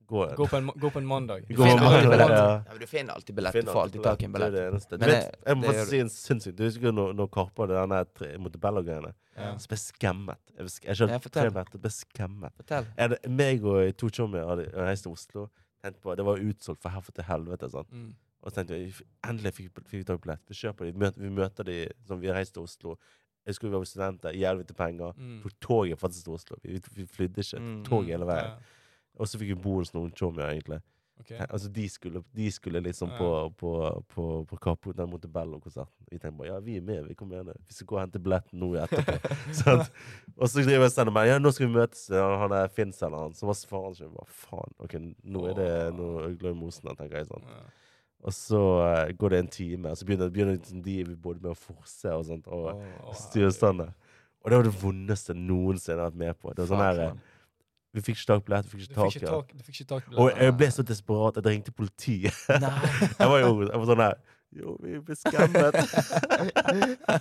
[SPEAKER 1] gå
[SPEAKER 2] Gå på en, gå på en mandag.
[SPEAKER 3] Du
[SPEAKER 1] Gå
[SPEAKER 3] finner
[SPEAKER 1] på mandag,
[SPEAKER 3] alltid billetter.
[SPEAKER 1] ja.
[SPEAKER 3] Ja, men du finner alltid billett.
[SPEAKER 1] Finn
[SPEAKER 3] Du får alltid tak i en
[SPEAKER 1] Det er
[SPEAKER 3] billett.
[SPEAKER 1] det eneste. Du
[SPEAKER 3] Men
[SPEAKER 1] vet,
[SPEAKER 3] det-
[SPEAKER 1] jeg må
[SPEAKER 3] det
[SPEAKER 1] faktisk
[SPEAKER 3] gjør
[SPEAKER 1] si en sinnssyk Du husker når, når Karpe hadde den der Montebello-greiene?
[SPEAKER 3] Ja.
[SPEAKER 1] Så ble jeg skammet. Jeg ble sk- Jeg kjøpte
[SPEAKER 3] Ja,
[SPEAKER 1] tre
[SPEAKER 3] fortell.
[SPEAKER 1] billetter, ble skammet.
[SPEAKER 3] Fortell.
[SPEAKER 1] Jeg, hadde- meg og to tjommier hadde reist til Oslo. tenkte På, det var utsolgt fra herfra til helvete. sånn. sant?
[SPEAKER 2] Mm.
[SPEAKER 1] Og så tenkte jeg, endelig fikk fikk vi tak i billett. Vi kjøper de, vi møter, vi møter de som vi reiste til Oslo. Jeg husker vi var studenter, jævlig lite penger.
[SPEAKER 2] Mm.
[SPEAKER 1] Tok toget faktisk til Oslo. Vi, vi flydde ikke.
[SPEAKER 3] Mm.
[SPEAKER 1] Tog hele veien.
[SPEAKER 2] Ja,
[SPEAKER 1] Og så fikk vi bo hos noen tjommier, egentlig.
[SPEAKER 2] ok.
[SPEAKER 1] He- Altså, de skulle, de skulle liksom
[SPEAKER 2] Ja.
[SPEAKER 1] på, på, på, på Kapo, den Montebello-konserten. Vi tenkte bare ja, vi er med, vi kommer gjerne. Vi skal gå og hente billetten nå etterpå. [laughs]
[SPEAKER 2] [laughs]
[SPEAKER 1] Sant? og så driver jeg og sender meg ja, nå skal vi møtes. Ja, Han er finselgeren hans. Så var faren sin bare faen. Ok, nå er det noe Øgløy Mosen her, tenker jeg. sånn. sant?
[SPEAKER 2] Ja.
[SPEAKER 1] Og så eh, går det en time, og så begynner, begynner liksom de både med å forse og sånt. Og
[SPEAKER 2] Å,
[SPEAKER 1] styrestande. Og det var det vondeste noensinne jeg har vært med på. Det var sånn
[SPEAKER 3] Fuck,
[SPEAKER 1] her, eh,
[SPEAKER 3] man.
[SPEAKER 1] Vi fikk ikke tak i billett, vi fikk
[SPEAKER 2] Du
[SPEAKER 1] ikke
[SPEAKER 2] fikk
[SPEAKER 1] tak i
[SPEAKER 2] ikke
[SPEAKER 1] det.
[SPEAKER 2] tak, du fikk ikke tak i
[SPEAKER 1] Og
[SPEAKER 2] billetten.
[SPEAKER 1] jeg ble så desperat at jeg ringte politiet.
[SPEAKER 3] Nei.
[SPEAKER 1] [laughs] Jeg var jo jeg var sånn her Jo, vi ble
[SPEAKER 3] [laughs]
[SPEAKER 1] skammet.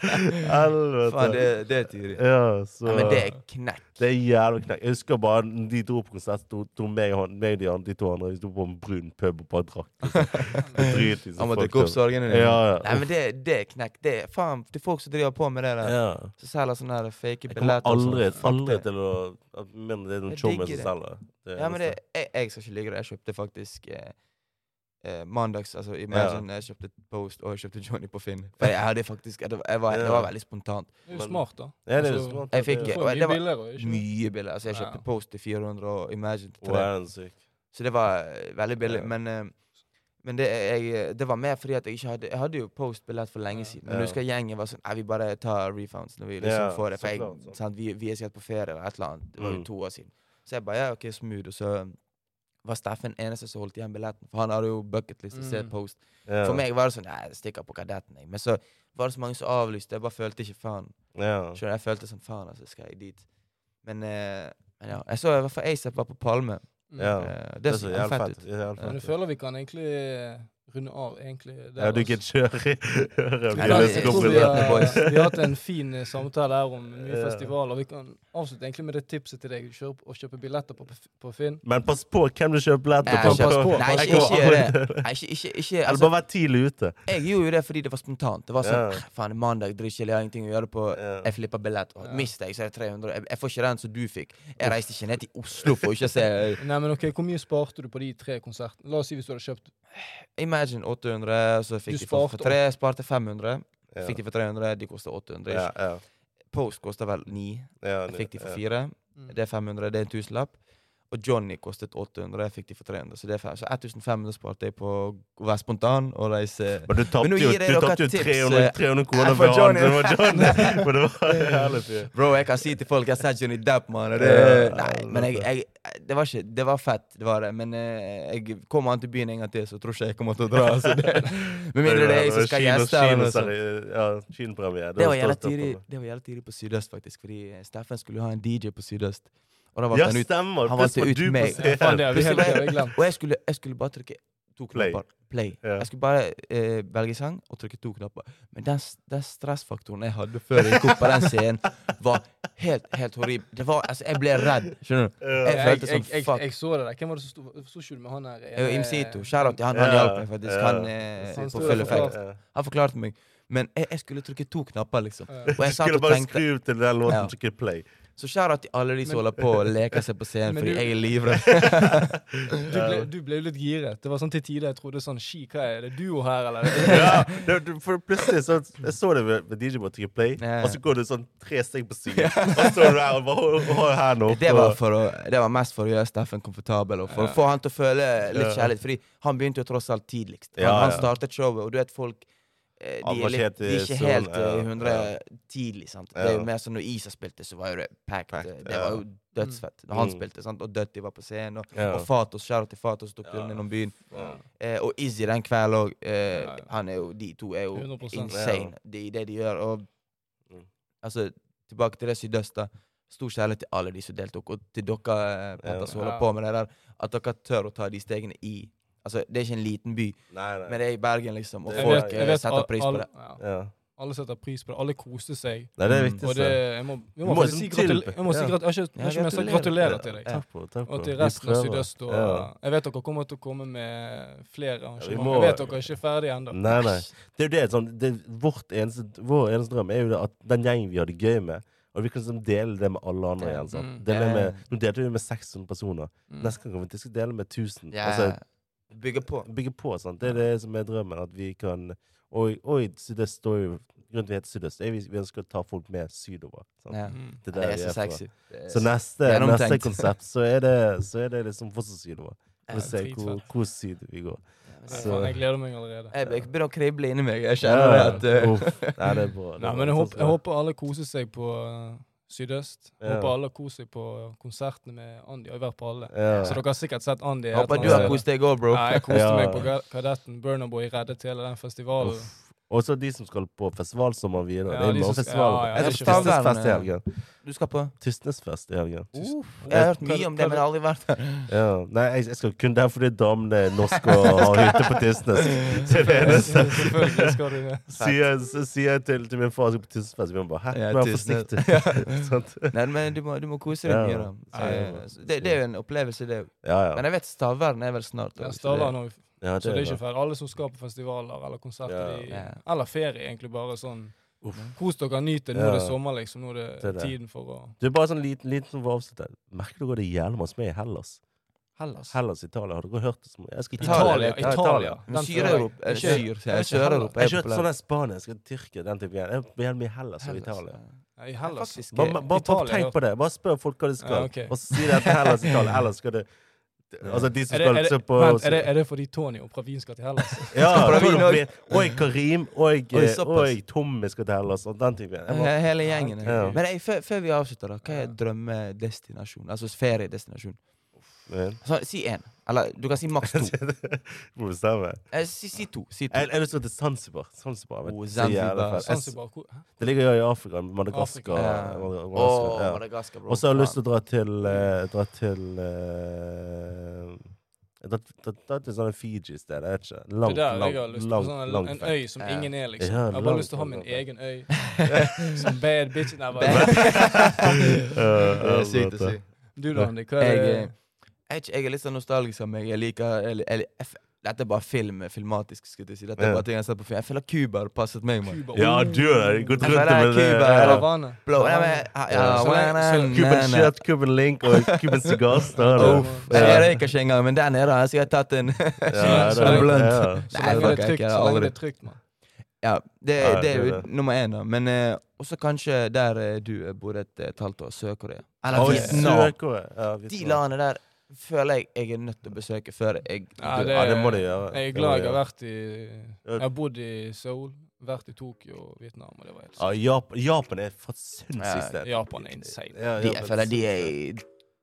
[SPEAKER 1] Helvete.
[SPEAKER 3] Faen, det, det er tidlig.
[SPEAKER 1] Ja, så
[SPEAKER 3] Ja, men det er knekk.
[SPEAKER 1] Det
[SPEAKER 3] [laughs]
[SPEAKER 1] er jævlig knekk. Jeg husker bare de dro på konsert, tok tok meg og han- meg og de, andre- de to andre, vi sto på en brun pub og bare drakk. Liksom. Det driter de
[SPEAKER 3] Han må
[SPEAKER 1] fucked
[SPEAKER 3] dukke opp
[SPEAKER 1] up.
[SPEAKER 3] sorgene dine.
[SPEAKER 1] Ja,
[SPEAKER 3] Nei,
[SPEAKER 1] ja.
[SPEAKER 3] men det, det er knekk. Det er faen til folk som driver på med det der.
[SPEAKER 1] ja.
[SPEAKER 3] Som selger sånne her fake
[SPEAKER 1] Jeg kommer
[SPEAKER 3] billetter. og sånn.
[SPEAKER 1] aldri,
[SPEAKER 3] Fuck
[SPEAKER 1] aldri
[SPEAKER 3] det.
[SPEAKER 1] til å at- Men det er noen
[SPEAKER 3] Jeg
[SPEAKER 1] tjommer som
[SPEAKER 3] digger
[SPEAKER 1] selger. Det er
[SPEAKER 3] Ja, men det,
[SPEAKER 1] eneste.
[SPEAKER 3] jeg, jeg skal ikke ligge der. Jeg kjøpte faktisk eh, eh, mandags altså Imagine jeg kjøpte Post og jeg kjøpte Johnny på Finn. For jeg hadde faktisk jeg, jeg var, Det var
[SPEAKER 1] Ja.
[SPEAKER 3] veldig spontant.
[SPEAKER 2] Det er jo smart, da.
[SPEAKER 1] Ja, det er
[SPEAKER 2] Altså,
[SPEAKER 1] smart. det
[SPEAKER 3] jeg fikk-
[SPEAKER 2] Du
[SPEAKER 1] er-
[SPEAKER 2] får
[SPEAKER 3] og det
[SPEAKER 2] mye
[SPEAKER 3] var
[SPEAKER 2] billigere, ikke sant?
[SPEAKER 3] Mye billig. Altså Jeg kjøpte
[SPEAKER 2] Ja.
[SPEAKER 3] Post til 400 og Imagine til 300.
[SPEAKER 1] Wow, den er syk.
[SPEAKER 3] Så det var eh, veldig billig.
[SPEAKER 1] Ja.
[SPEAKER 3] Men, eh, men det, eh, jeg, det var mer fordi at jeg ikke hadde Jeg hadde jo Post-billett for lenge
[SPEAKER 2] Ja.
[SPEAKER 3] siden. Men
[SPEAKER 1] Ja.
[SPEAKER 3] jeg husker gjengen var sånn Nei, vi bare tar refunds når vi
[SPEAKER 1] Ja,
[SPEAKER 3] liksom får det.
[SPEAKER 1] så
[SPEAKER 3] For jeg,
[SPEAKER 1] klart, sant.
[SPEAKER 3] sant, vi, vi er sikkert på ferie eller et eller annet. Det var
[SPEAKER 1] Mm.
[SPEAKER 3] jo to år siden. Så jeg bare ja, OK, smooth. Og så eh, var Steffen eneste som holdt igjen billetten. For han hadde jo bucketlist å se
[SPEAKER 2] Mm.
[SPEAKER 3] Post.
[SPEAKER 1] Ja.
[SPEAKER 3] For meg var det sånn Nei, jeg stikker på Kadetten, jeg. Men så var det så mange som avlyste. Jeg bare følte ikke faen.
[SPEAKER 1] Ja.
[SPEAKER 3] Skjønner, du, jeg følte sånn faen, altså, skal jeg dit? Men, eh, men ja. Jeg så i hvert fall ASAP var på Palme.
[SPEAKER 1] Ja.
[SPEAKER 3] Eh,
[SPEAKER 1] Det
[SPEAKER 3] det
[SPEAKER 1] er så
[SPEAKER 3] så
[SPEAKER 1] jævlig
[SPEAKER 3] fett ut.
[SPEAKER 1] fett. Det er jævlig
[SPEAKER 3] Ja,
[SPEAKER 2] Mm. Men jeg
[SPEAKER 1] fett.
[SPEAKER 2] føler vi kan egentlig runde av, egentlig. der,
[SPEAKER 1] Ja, du kan
[SPEAKER 2] altså.
[SPEAKER 1] kjøre i [laughs] øret.
[SPEAKER 3] Nei,
[SPEAKER 1] Vi
[SPEAKER 2] Ja,
[SPEAKER 3] det
[SPEAKER 1] er
[SPEAKER 3] er
[SPEAKER 2] jeg
[SPEAKER 1] så
[SPEAKER 3] ikke
[SPEAKER 2] tror
[SPEAKER 1] kompiser.
[SPEAKER 2] vi,
[SPEAKER 3] komplisert,
[SPEAKER 2] har,
[SPEAKER 3] boys.
[SPEAKER 2] vi har hatt en fin eh, samtale her om mye
[SPEAKER 1] Ja.
[SPEAKER 2] festivaler. Vi kan avslutte egentlig med det tipset til deg. Kjøp, å kjøpe billetter på, på Finn.
[SPEAKER 1] Men pass på hvem du kjøper billetter
[SPEAKER 3] Nei,
[SPEAKER 1] på.
[SPEAKER 2] pass på.
[SPEAKER 3] Nei,
[SPEAKER 1] Jeg
[SPEAKER 3] ikke,
[SPEAKER 1] kommer
[SPEAKER 3] ikke gjør
[SPEAKER 1] aldri
[SPEAKER 3] det.
[SPEAKER 1] til det.
[SPEAKER 3] Nei, ikke, ikke, ikke,
[SPEAKER 1] Eller
[SPEAKER 3] altså,
[SPEAKER 1] bare vær tidlig ute.
[SPEAKER 3] jeg gjorde jo det fordi det var spontant. Det var sånn
[SPEAKER 1] Ja.
[SPEAKER 3] "Ah, Faen, det er mandag, dritkjedelig, jeg har ingenting å gjøre på.
[SPEAKER 1] Ja.
[SPEAKER 3] Jeg flipper billett. Og
[SPEAKER 2] Ja.
[SPEAKER 3] mister jeg, så er det 300. Jeg, jeg får ikke den som du fikk. Jeg reiste ikke ned til Oslo for ikke å se
[SPEAKER 1] [laughs]
[SPEAKER 2] Nei, men ok, Hvor mye sparte du på de tre konsertene? La oss si hvis du hadde kjøpt
[SPEAKER 3] Imagine 800, så
[SPEAKER 2] Du
[SPEAKER 3] fikk de for,
[SPEAKER 2] sparte
[SPEAKER 3] for tre. Sparte 500.
[SPEAKER 1] Ja.
[SPEAKER 3] Fikk de for 300, de kosta 800.
[SPEAKER 1] Ja,
[SPEAKER 3] ikke?
[SPEAKER 1] ja,
[SPEAKER 3] Post kosta vel 9.
[SPEAKER 1] ja,
[SPEAKER 3] Jeg fikk de
[SPEAKER 1] ja.
[SPEAKER 3] for 4.
[SPEAKER 2] mm,
[SPEAKER 3] Det er 500, det er en tusenlapp. Og Johnny kostet 800, og jeg fikk de for 300. Så det er fair. Så 1500 sparte jeg på å være spontan og reise
[SPEAKER 1] Men du
[SPEAKER 3] Men nå
[SPEAKER 1] tapte jo,
[SPEAKER 3] gir jeg
[SPEAKER 1] du
[SPEAKER 3] dere
[SPEAKER 1] tapte jo
[SPEAKER 3] tips,
[SPEAKER 1] 300,
[SPEAKER 3] eh,
[SPEAKER 1] 300 kroner
[SPEAKER 3] for
[SPEAKER 1] for han.
[SPEAKER 3] Johnny.
[SPEAKER 1] Det var
[SPEAKER 3] [laughs]
[SPEAKER 1] Johnny. Men det var [laughs] herlig. fyr.
[SPEAKER 3] Bro, jeg kan si til folk jeg har sett Johnny Depp, mann. og Det,
[SPEAKER 1] Ja,
[SPEAKER 3] nei, men jeg, jeg, det var ikke Det var fett, det var det. Men eh, jeg kommer an til byen en gang til, så tror ikke jeg kommer til å dra. Så det,
[SPEAKER 1] [laughs]
[SPEAKER 3] med mindre det er jeg som skal
[SPEAKER 1] Kino-
[SPEAKER 3] gjeste. eller
[SPEAKER 1] kino-
[SPEAKER 3] noe sånt.
[SPEAKER 1] Ja, kinopremiere.
[SPEAKER 3] Det var jævla
[SPEAKER 1] stort opp
[SPEAKER 3] tidlig
[SPEAKER 1] på meg.
[SPEAKER 3] Det var jævla tidlig på Sydøst, faktisk. Fordi eh, Steffen skulle ha en DJ på Sydøst. Og da
[SPEAKER 1] Ja,
[SPEAKER 3] valgte han ut
[SPEAKER 1] stemmer!
[SPEAKER 3] han
[SPEAKER 1] Plutselig
[SPEAKER 3] valgte
[SPEAKER 1] var
[SPEAKER 3] ut
[SPEAKER 1] du [laughs] på
[SPEAKER 3] meg.
[SPEAKER 2] Ja, faen, det har vi helt
[SPEAKER 3] Plutselig-
[SPEAKER 2] jævlig glemt.
[SPEAKER 3] Og jeg skulle, jeg skulle bare trykke to
[SPEAKER 1] Play.
[SPEAKER 3] knapper. Play.
[SPEAKER 1] Ja.
[SPEAKER 3] Jeg skulle bare eh, velge sang og trykke to knapper. Men den, s- den stressfaktoren jeg hadde før jeg gikk opp på den scenen, var helt helt horribel. Det var, altså, jeg ble redd. Skjønner du?
[SPEAKER 1] Ja.
[SPEAKER 3] Jeg følte som
[SPEAKER 2] jeg,
[SPEAKER 3] fuck.
[SPEAKER 2] jeg så det der. Hvem var det som sto Så ikke du med han eh, her?
[SPEAKER 3] Jeg og Imsito. Shout-out til han. Han
[SPEAKER 1] Eh, Ja,
[SPEAKER 3] hjalp meg faktisk.
[SPEAKER 1] ja.
[SPEAKER 3] Han, eh,
[SPEAKER 2] Han sto
[SPEAKER 3] på
[SPEAKER 2] der
[SPEAKER 3] full
[SPEAKER 2] og forklarte.
[SPEAKER 3] effekt. Han forklarte meg. Men jeg, jeg skulle trykke to knapper, liksom.
[SPEAKER 2] Ja.
[SPEAKER 1] [laughs]
[SPEAKER 3] Og jeg satt
[SPEAKER 1] Skulle
[SPEAKER 3] og
[SPEAKER 1] bare
[SPEAKER 3] tenkte.
[SPEAKER 1] skrive til den
[SPEAKER 3] Ja.
[SPEAKER 1] låten som ikke
[SPEAKER 3] [laughs]
[SPEAKER 1] play.
[SPEAKER 3] Så shout-out til alle de
[SPEAKER 2] Men-
[SPEAKER 3] som holder på å leke seg på
[SPEAKER 2] [laughs]
[SPEAKER 3] scenen
[SPEAKER 2] Men
[SPEAKER 3] fordi
[SPEAKER 2] du-
[SPEAKER 3] jeg er livredd.
[SPEAKER 2] Du ble, du ble jo litt giret. Det var sånn til tider jeg trodde sånn Ski, hva er det? Duo her, eller?
[SPEAKER 1] ja, det, det- for plutselig så Jeg så det ved, ved DJ på Triple Play,
[SPEAKER 3] Ja, ja.
[SPEAKER 1] og så går du sånn tre steg på siden. Og så er du der og bare hold, hold her nå.
[SPEAKER 3] Det var,
[SPEAKER 1] og-
[SPEAKER 3] for å, det var mest for å gjøre Steffen komfortabel og for
[SPEAKER 2] Ja.
[SPEAKER 3] å få han til å føle
[SPEAKER 1] Ja.
[SPEAKER 3] litt kjærlighet. Fordi han begynte jo tross alt tidligst. Han,
[SPEAKER 1] Ja,
[SPEAKER 3] han
[SPEAKER 1] ja.
[SPEAKER 3] startet showet, og du vet folk eh,
[SPEAKER 1] Han
[SPEAKER 3] de
[SPEAKER 1] var
[SPEAKER 3] er,
[SPEAKER 1] ikke helt
[SPEAKER 3] litt, de er
[SPEAKER 1] i
[SPEAKER 3] ikke helt
[SPEAKER 1] sonen, ja,
[SPEAKER 3] eh, i hundre
[SPEAKER 1] ja.
[SPEAKER 3] tidlig. sant?
[SPEAKER 1] Ja.
[SPEAKER 3] Det er jo mer sånn Når Isa spilte, så var jo det packed.
[SPEAKER 1] Packed,
[SPEAKER 3] eh,
[SPEAKER 1] ja.
[SPEAKER 3] Det var jo dødsfett. Når han
[SPEAKER 1] Mm.
[SPEAKER 3] spilte, sant? og Dutty var på scenen, og,
[SPEAKER 1] Ja.
[SPEAKER 3] og Fatos, Shadow til Fatos tok
[SPEAKER 1] Ja.
[SPEAKER 3] turen innom byen.
[SPEAKER 1] Ja.
[SPEAKER 3] Eh, og Izzy den kvelden òg. Eh,
[SPEAKER 2] Ja, ja.
[SPEAKER 3] han er jo- De to er jo
[SPEAKER 2] 100%.
[SPEAKER 3] insane de- i det de gjør. Og
[SPEAKER 1] Mm.
[SPEAKER 3] altså, tilbake til det sydøst, da. Stor kjærlighet til alle de som deltok, og til dere eh, Petter, som
[SPEAKER 2] Ja.
[SPEAKER 3] holder på med det der. At dere tør å ta de stegene i Altså, Det er ikke en liten by,
[SPEAKER 1] Nei, nei.
[SPEAKER 3] men det er i Bergen, liksom. Og
[SPEAKER 1] Det-
[SPEAKER 3] folk
[SPEAKER 1] vet-
[SPEAKER 3] eh, setter pris på
[SPEAKER 2] alle,
[SPEAKER 3] det.
[SPEAKER 2] Ja,
[SPEAKER 1] Ja.
[SPEAKER 2] alle setter pris på det. Alle koser seg.
[SPEAKER 1] nei, det er
[SPEAKER 3] Mm.
[SPEAKER 1] viktig.
[SPEAKER 2] Og det, jeg må, jeg
[SPEAKER 1] Du
[SPEAKER 2] må
[SPEAKER 1] må
[SPEAKER 2] faktisk si
[SPEAKER 1] liksom
[SPEAKER 2] gratul-
[SPEAKER 1] tilby.
[SPEAKER 2] jeg må si
[SPEAKER 1] Ja.
[SPEAKER 2] grat- jeg har ikke- jeg
[SPEAKER 3] Ja,
[SPEAKER 2] har ikke mer sagt gratulerer til deg.
[SPEAKER 1] Takk på, takk på.
[SPEAKER 2] Og til
[SPEAKER 1] Vi
[SPEAKER 2] resten av
[SPEAKER 1] prøver.
[SPEAKER 2] Sydøst. Og,
[SPEAKER 1] Ja.
[SPEAKER 2] Jeg vet dere kommer til å komme med flere arrangementer.
[SPEAKER 1] må-
[SPEAKER 2] Jeg vet dere er ikke ferdige ennå.
[SPEAKER 1] Nei, nei. Det er jo det, sånn, det vårt eneste, Vår eneste drøm er jo det at den gjengen vi har det gøy med, og vi kan liksom dele det med alle andre
[SPEAKER 3] Ja.
[SPEAKER 1] igjen. sant?
[SPEAKER 2] Mm.
[SPEAKER 1] Dele
[SPEAKER 3] Ja.
[SPEAKER 1] med, nå delte vi med 600 personer.
[SPEAKER 2] Mm.
[SPEAKER 1] Neste gang kommer vi til å dele med 1000.
[SPEAKER 3] Ja,
[SPEAKER 1] Altså,
[SPEAKER 3] Bygge på.
[SPEAKER 1] bygge på. Sant? Det er det som er drømmen. At vi kan Og, og i Sydøst står jo Grunnen til at vi heter Sydøst, er vi, vi ønsker å ta folk med sydover. Sant?
[SPEAKER 3] Ja.
[SPEAKER 2] Mm.
[SPEAKER 1] Det er
[SPEAKER 3] Det
[SPEAKER 1] der
[SPEAKER 3] er
[SPEAKER 1] vi
[SPEAKER 3] så
[SPEAKER 1] er fra.
[SPEAKER 3] sexy. Det er
[SPEAKER 1] Så
[SPEAKER 3] så-
[SPEAKER 1] neste,
[SPEAKER 3] Gjennomtenkt.
[SPEAKER 1] neste konsept, så er det, så er det liksom fortsatt sydover. Vi
[SPEAKER 2] Ja,
[SPEAKER 1] får se hvor,
[SPEAKER 2] dritfett.
[SPEAKER 1] hvor syd vi går.
[SPEAKER 2] Nei,
[SPEAKER 1] så-
[SPEAKER 2] faen, Jeg gleder meg allerede.
[SPEAKER 3] Jeg jeg begynner å krible inni meg. Jeg kjenner
[SPEAKER 1] Ja, Oh,
[SPEAKER 3] det at eh,
[SPEAKER 1] uff. Nei, det er bra. det er
[SPEAKER 2] Nei,
[SPEAKER 1] bra.
[SPEAKER 2] men jeg,
[SPEAKER 1] Sånn
[SPEAKER 2] håper,
[SPEAKER 1] som
[SPEAKER 2] jeg
[SPEAKER 1] det.
[SPEAKER 2] håper alle koser seg på eh, Sydøst. Jeg
[SPEAKER 1] Ja.
[SPEAKER 2] Håper alle koser seg på konsertene med Andy. Jeg har vært på alle.
[SPEAKER 1] Ja.
[SPEAKER 2] Så dere har sikkert sett Andy. et
[SPEAKER 3] Håper
[SPEAKER 2] eller
[SPEAKER 3] du
[SPEAKER 2] annet
[SPEAKER 3] har
[SPEAKER 2] sted.
[SPEAKER 3] kost deg òg, bro.
[SPEAKER 2] Nei, jeg koste
[SPEAKER 1] Ja.
[SPEAKER 2] meg på Ga- Kadetten. Burnerboy reddet hele den festivalen.
[SPEAKER 1] Og så de som skal på festivalsommeren videre.
[SPEAKER 2] Ja,
[SPEAKER 1] det er
[SPEAKER 2] de
[SPEAKER 1] mange
[SPEAKER 2] som skal-
[SPEAKER 1] festivaler.
[SPEAKER 2] ja, ja,
[SPEAKER 1] Jeg
[SPEAKER 3] det er
[SPEAKER 1] skal
[SPEAKER 3] ikke-
[SPEAKER 1] Tystnesfest i helgen.
[SPEAKER 3] Du skal på
[SPEAKER 1] Tystnesfest i helgen.
[SPEAKER 3] Jeg har hørt mye om det, men jeg har aldri vært der.
[SPEAKER 1] Ja. Nei, jeg, jeg skal kun der fordi damene er norske og har hytte på
[SPEAKER 2] [laughs]
[SPEAKER 1] Tysnes. Så det er det eneste.
[SPEAKER 2] Selvfølgelig skal du det.
[SPEAKER 1] [laughs] Sier, så sier jeg til, til min far at jeg skal på Tysnesfest, og han bare 'hæ,
[SPEAKER 3] Ja,
[SPEAKER 1] vær
[SPEAKER 3] Tysnes.
[SPEAKER 2] [laughs]
[SPEAKER 1] forsiktig'. [laughs] Sant?
[SPEAKER 3] Nei, men du må, du må kose deg
[SPEAKER 1] Ja.
[SPEAKER 3] mye, da. Så,
[SPEAKER 1] Ja.
[SPEAKER 3] så det, det er jo en opplevelse, det òg.
[SPEAKER 1] Ja, ja.
[SPEAKER 3] Men jeg vet Stavern er vel snart
[SPEAKER 2] Den
[SPEAKER 3] også, så
[SPEAKER 2] staver
[SPEAKER 3] det-
[SPEAKER 2] nå,
[SPEAKER 1] ja
[SPEAKER 2] så det er ikke
[SPEAKER 1] bra.
[SPEAKER 2] feil. Alle som skal på festivaler eller konserter,
[SPEAKER 1] Ja.
[SPEAKER 2] de-
[SPEAKER 3] Ja.
[SPEAKER 2] eller ferie, egentlig bare sånn
[SPEAKER 1] Uff.
[SPEAKER 2] Kos dere, nyt det. Nå
[SPEAKER 1] Ja.
[SPEAKER 2] er det sommer, liksom. Nå er
[SPEAKER 1] Det er
[SPEAKER 2] det
[SPEAKER 1] det.
[SPEAKER 2] tiden for å
[SPEAKER 1] Det er bare sånn liten, liten som var avsluttet. Merker dere det er jævlig masse med i Hellas?
[SPEAKER 3] Hellas.
[SPEAKER 1] Hellas, Italia. Har dere hørt det? Som, jeg skal til
[SPEAKER 3] Italia,
[SPEAKER 1] Ja,
[SPEAKER 2] Italia. Den
[SPEAKER 3] Men
[SPEAKER 2] tror jeg.
[SPEAKER 3] Syr-Europa eh,
[SPEAKER 2] Ikke-
[SPEAKER 3] Syr,
[SPEAKER 1] Jeg har
[SPEAKER 3] sier jeg.
[SPEAKER 1] ikke Hellas.
[SPEAKER 3] Sør-Europa
[SPEAKER 1] Jeg
[SPEAKER 3] er
[SPEAKER 1] har ikke hørt
[SPEAKER 3] populært.
[SPEAKER 1] sånn Spania, skal Tyrkia, den typen greier. Jeg blir med Hellas og Italia.
[SPEAKER 2] Ja, I Hellas.
[SPEAKER 3] Faktisk,
[SPEAKER 1] Bare, bare, bare
[SPEAKER 2] Italia,
[SPEAKER 1] tenk
[SPEAKER 2] ja.
[SPEAKER 1] på det. Bare spør folk hva de skal.
[SPEAKER 2] Ja, ok.
[SPEAKER 1] Og så sier de at Hellas Italia. Ellers skal det Altså, de som
[SPEAKER 2] Er det,
[SPEAKER 1] skal
[SPEAKER 2] er,
[SPEAKER 1] se
[SPEAKER 2] det,
[SPEAKER 1] på
[SPEAKER 2] vent, er, det, er det fordi Tony og Pravin skal til Hellas?
[SPEAKER 1] [laughs] Ja,
[SPEAKER 3] Skal Pravin
[SPEAKER 1] Tony
[SPEAKER 3] også?
[SPEAKER 1] Brin- sånn og Karim og,
[SPEAKER 3] Oi,
[SPEAKER 1] eh,
[SPEAKER 3] såpass.
[SPEAKER 1] og Tommy skal til Hellas og den typen. Jeg [laughs] bare,
[SPEAKER 3] He- Hele gjengen.
[SPEAKER 1] Ja.
[SPEAKER 3] eh. Men eh, før, før vi avslutter, da, hva er
[SPEAKER 2] Ja.
[SPEAKER 3] drømmedestinasjon? Altså feriedestinasjon?
[SPEAKER 1] men,
[SPEAKER 3] Så, Altså, si én. Eller du kan si maks [laughs] to.
[SPEAKER 1] må bestemme.
[SPEAKER 3] Eh, Si, si to. Si to.
[SPEAKER 1] Jeg jeg har lyst til å til Zanzibar. Zanzibar, vet du.
[SPEAKER 3] Oh,
[SPEAKER 1] Så jævlig
[SPEAKER 3] Zanzibar.
[SPEAKER 1] fett. Jeg-
[SPEAKER 2] Zanzibar, hvor- hæ?
[SPEAKER 1] Det ligger jo i Afrika. Madagaskar.
[SPEAKER 2] Afrika.
[SPEAKER 3] Ja.
[SPEAKER 1] Madagaskar,
[SPEAKER 3] Åh,
[SPEAKER 1] ja.
[SPEAKER 3] Madagaskar, bro.
[SPEAKER 1] Og så har jeg lyst til
[SPEAKER 3] Faen.
[SPEAKER 1] å dra til eh, Dra til eh, dra, dra, dra til sånne Fiji-steder. Jeg vet ikke.
[SPEAKER 2] Det
[SPEAKER 1] Langt,
[SPEAKER 2] der jeg har
[SPEAKER 1] langt,
[SPEAKER 2] lyst på
[SPEAKER 1] langt,
[SPEAKER 2] sånn en,
[SPEAKER 1] langt
[SPEAKER 2] en
[SPEAKER 1] vekk.
[SPEAKER 2] øy som
[SPEAKER 3] Ja.
[SPEAKER 2] ingen er, liksom.
[SPEAKER 1] Ja,
[SPEAKER 2] Jeg har bare
[SPEAKER 1] langt,
[SPEAKER 2] lyst til å ha min
[SPEAKER 1] langt,
[SPEAKER 2] egen
[SPEAKER 1] [laughs]
[SPEAKER 2] øy. Som bad bitch. Nei, bare.
[SPEAKER 1] Eh,
[SPEAKER 3] [laughs]
[SPEAKER 1] Det
[SPEAKER 3] Det er sykt å si.
[SPEAKER 2] Du da, Andy. Hva er
[SPEAKER 3] Jeg,
[SPEAKER 2] det?
[SPEAKER 3] eh, jeg, er ikke- jeg er litt sånn nostalgisk av meg. Jeg liker eller, eller, jeg, f- Dette er bare film, filmatisk. skulle jeg si Dette er
[SPEAKER 1] Ja.
[SPEAKER 3] bare ting Jeg har sett på film Jeg føler Cuba hadde passet meg. Man.
[SPEAKER 2] Cuba.
[SPEAKER 1] Ja,
[SPEAKER 2] Oh.
[SPEAKER 1] du har gått
[SPEAKER 3] Jeg
[SPEAKER 1] rundt
[SPEAKER 3] føler
[SPEAKER 1] med det.
[SPEAKER 3] Cuba
[SPEAKER 1] ja.
[SPEAKER 3] Altså, er
[SPEAKER 2] Havana.
[SPEAKER 3] Blow, ja, men,
[SPEAKER 2] Havana.
[SPEAKER 3] ja,
[SPEAKER 2] Ja, så
[SPEAKER 3] ja,
[SPEAKER 2] lenge-
[SPEAKER 3] na, na,
[SPEAKER 1] Cuban
[SPEAKER 3] na.
[SPEAKER 1] shit, Cuban link og Cuban sigar. står det.
[SPEAKER 2] Uff.
[SPEAKER 1] Ja.
[SPEAKER 3] Jeg røyker ikke engang, men der nede har jeg sikkert tatt en [laughs]
[SPEAKER 1] Ja, det er
[SPEAKER 3] En
[SPEAKER 1] det.
[SPEAKER 3] blunt.
[SPEAKER 1] Ja.
[SPEAKER 2] Så
[SPEAKER 3] Nei,
[SPEAKER 2] lenge det
[SPEAKER 3] fuck, jeg
[SPEAKER 2] er trygt,
[SPEAKER 3] har
[SPEAKER 2] så lenge
[SPEAKER 3] aldri-
[SPEAKER 2] det er trygt, mann.
[SPEAKER 3] Ja, det,
[SPEAKER 1] Ja,
[SPEAKER 3] det er
[SPEAKER 1] det
[SPEAKER 3] jo
[SPEAKER 1] er det.
[SPEAKER 3] nummer én, da. Men eh, også kanskje eh, der eh, du bodde et, et halvt år, Sør-Korea. Eller
[SPEAKER 1] Oi,
[SPEAKER 3] Vietnam.
[SPEAKER 1] Sør-Korea. Ja,
[SPEAKER 3] De
[SPEAKER 1] Vietnam.
[SPEAKER 3] landene der føler jeg jeg er nødt til å besøke før jeg
[SPEAKER 2] Ja,
[SPEAKER 1] Du-
[SPEAKER 2] det-
[SPEAKER 1] ja, det må du gjøre.
[SPEAKER 2] Jeg er
[SPEAKER 1] Det må
[SPEAKER 2] glad
[SPEAKER 1] du
[SPEAKER 2] jeg har
[SPEAKER 1] gjøre.
[SPEAKER 2] vært i Jeg har bodd i Seoul, vært i Tokyo og Vietnam. og det var helt
[SPEAKER 1] Ja, Japan, Japan er et sinnssykt
[SPEAKER 3] Ja,
[SPEAKER 1] sted.
[SPEAKER 2] Japan er insane.
[SPEAKER 1] Ja,
[SPEAKER 3] de,
[SPEAKER 1] Japan
[SPEAKER 3] Jeg føler de er i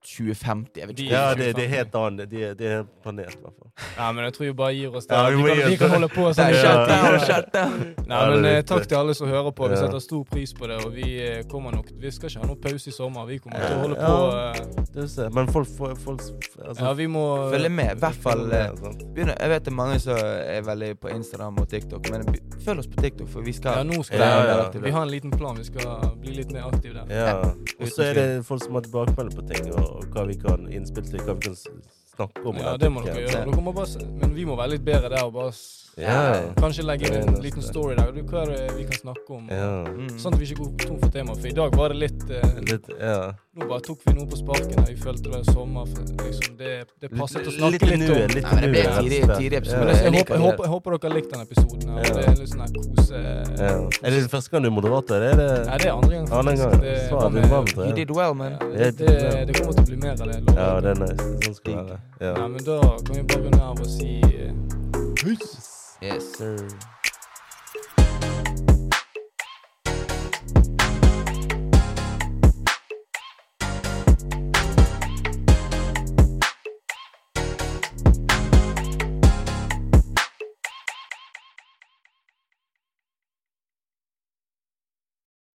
[SPEAKER 3] 2050. Jeg vet
[SPEAKER 2] De-
[SPEAKER 3] ikke.
[SPEAKER 1] Ja, det, det er helt annet. Det er, det er en planet, i hvert fall.
[SPEAKER 2] Nei, men jeg tror vi bare gir oss
[SPEAKER 1] Ja, vi
[SPEAKER 2] der. Vi
[SPEAKER 1] må gi
[SPEAKER 2] kan, vi
[SPEAKER 1] oss
[SPEAKER 2] kan
[SPEAKER 1] det.
[SPEAKER 2] holde på
[SPEAKER 3] Der,
[SPEAKER 2] sånn.
[SPEAKER 1] Ja.
[SPEAKER 3] shut
[SPEAKER 2] [laughs]
[SPEAKER 3] down, shut down.
[SPEAKER 2] Nei,
[SPEAKER 1] Ja, det er
[SPEAKER 2] men eh,
[SPEAKER 1] litt-
[SPEAKER 2] takk til alle som hører på. Vi
[SPEAKER 1] Ja.
[SPEAKER 2] setter stor pris på det, og vi eh, kommer nok Vi skal ikke ha noen pause i sommer. Vi kommer til å holde
[SPEAKER 1] Ja.
[SPEAKER 2] på eh,
[SPEAKER 1] Det er så- Men folk, folk, folk altså,
[SPEAKER 2] Ja, vi må
[SPEAKER 3] Følg med. I hvert fall eh,
[SPEAKER 1] sant?
[SPEAKER 3] begynner, Jeg vet det er mange som er veldig på Instagram og TikTok, men be- følg oss på TikTok, for vi
[SPEAKER 2] Ja,
[SPEAKER 3] skal
[SPEAKER 2] nå skal
[SPEAKER 1] Ja, ja.
[SPEAKER 2] vi Vi har en liten plan. Vi skal bli litt mer aktive der.
[SPEAKER 1] Ja. Og så er
[SPEAKER 3] tvil.
[SPEAKER 1] det folk som har tilbakemelding på ting, og, og hva vi kan innspille til, hva vi kan s- snakke om. og
[SPEAKER 2] Ja,
[SPEAKER 1] den
[SPEAKER 2] det må
[SPEAKER 1] typen
[SPEAKER 2] dere
[SPEAKER 1] ting.
[SPEAKER 2] gjøre. Dere må bare, se- men vi må være litt bedre der og bare s-
[SPEAKER 1] Ja.
[SPEAKER 2] Kanskje legge
[SPEAKER 1] Det er
[SPEAKER 2] inn en
[SPEAKER 1] neste.
[SPEAKER 2] liten story der. Du, Hva er det vi kan snakke om?
[SPEAKER 1] Ja.
[SPEAKER 3] Mm.
[SPEAKER 2] Sånn at vi ikke går tom for tema, for i dag var det litt eh,
[SPEAKER 1] Litt, ja.
[SPEAKER 2] Nå bare tok vi noe på sparken. her. Vi følte det var sommer. for Liksom, det, det passet å snakke litt,
[SPEAKER 1] nu,
[SPEAKER 2] om.
[SPEAKER 1] Litt
[SPEAKER 3] Nei, men
[SPEAKER 1] nu,
[SPEAKER 3] det ble
[SPEAKER 1] rett og
[SPEAKER 3] tidlig-
[SPEAKER 1] slett.
[SPEAKER 3] tidlig episode.
[SPEAKER 1] Ja.
[SPEAKER 2] Men jeg,
[SPEAKER 3] Jeg
[SPEAKER 2] jeg, håper, jeg,
[SPEAKER 3] liker det.
[SPEAKER 2] håper, jeg håper dere har likt denne episoden. her,
[SPEAKER 1] Ja.
[SPEAKER 2] og Det er litt sånn her kose...
[SPEAKER 1] Ja. Er det første gang du er moderator? Er det
[SPEAKER 2] Nei, det er andre gang.
[SPEAKER 1] annen
[SPEAKER 2] faktisk.
[SPEAKER 1] gang?
[SPEAKER 2] Det,
[SPEAKER 1] Svar,
[SPEAKER 2] var
[SPEAKER 1] du
[SPEAKER 2] med-
[SPEAKER 1] var med
[SPEAKER 3] You
[SPEAKER 1] tre.
[SPEAKER 3] did well,
[SPEAKER 2] Ja,
[SPEAKER 3] man.
[SPEAKER 2] det, det, det kommer til å bli mer av det. lover
[SPEAKER 1] Ja,
[SPEAKER 2] jeg.
[SPEAKER 1] det er nice. Sånn skal det være. Ja.
[SPEAKER 2] Nei, men da kan vi bare runde av og si eh,
[SPEAKER 3] Yes, sir.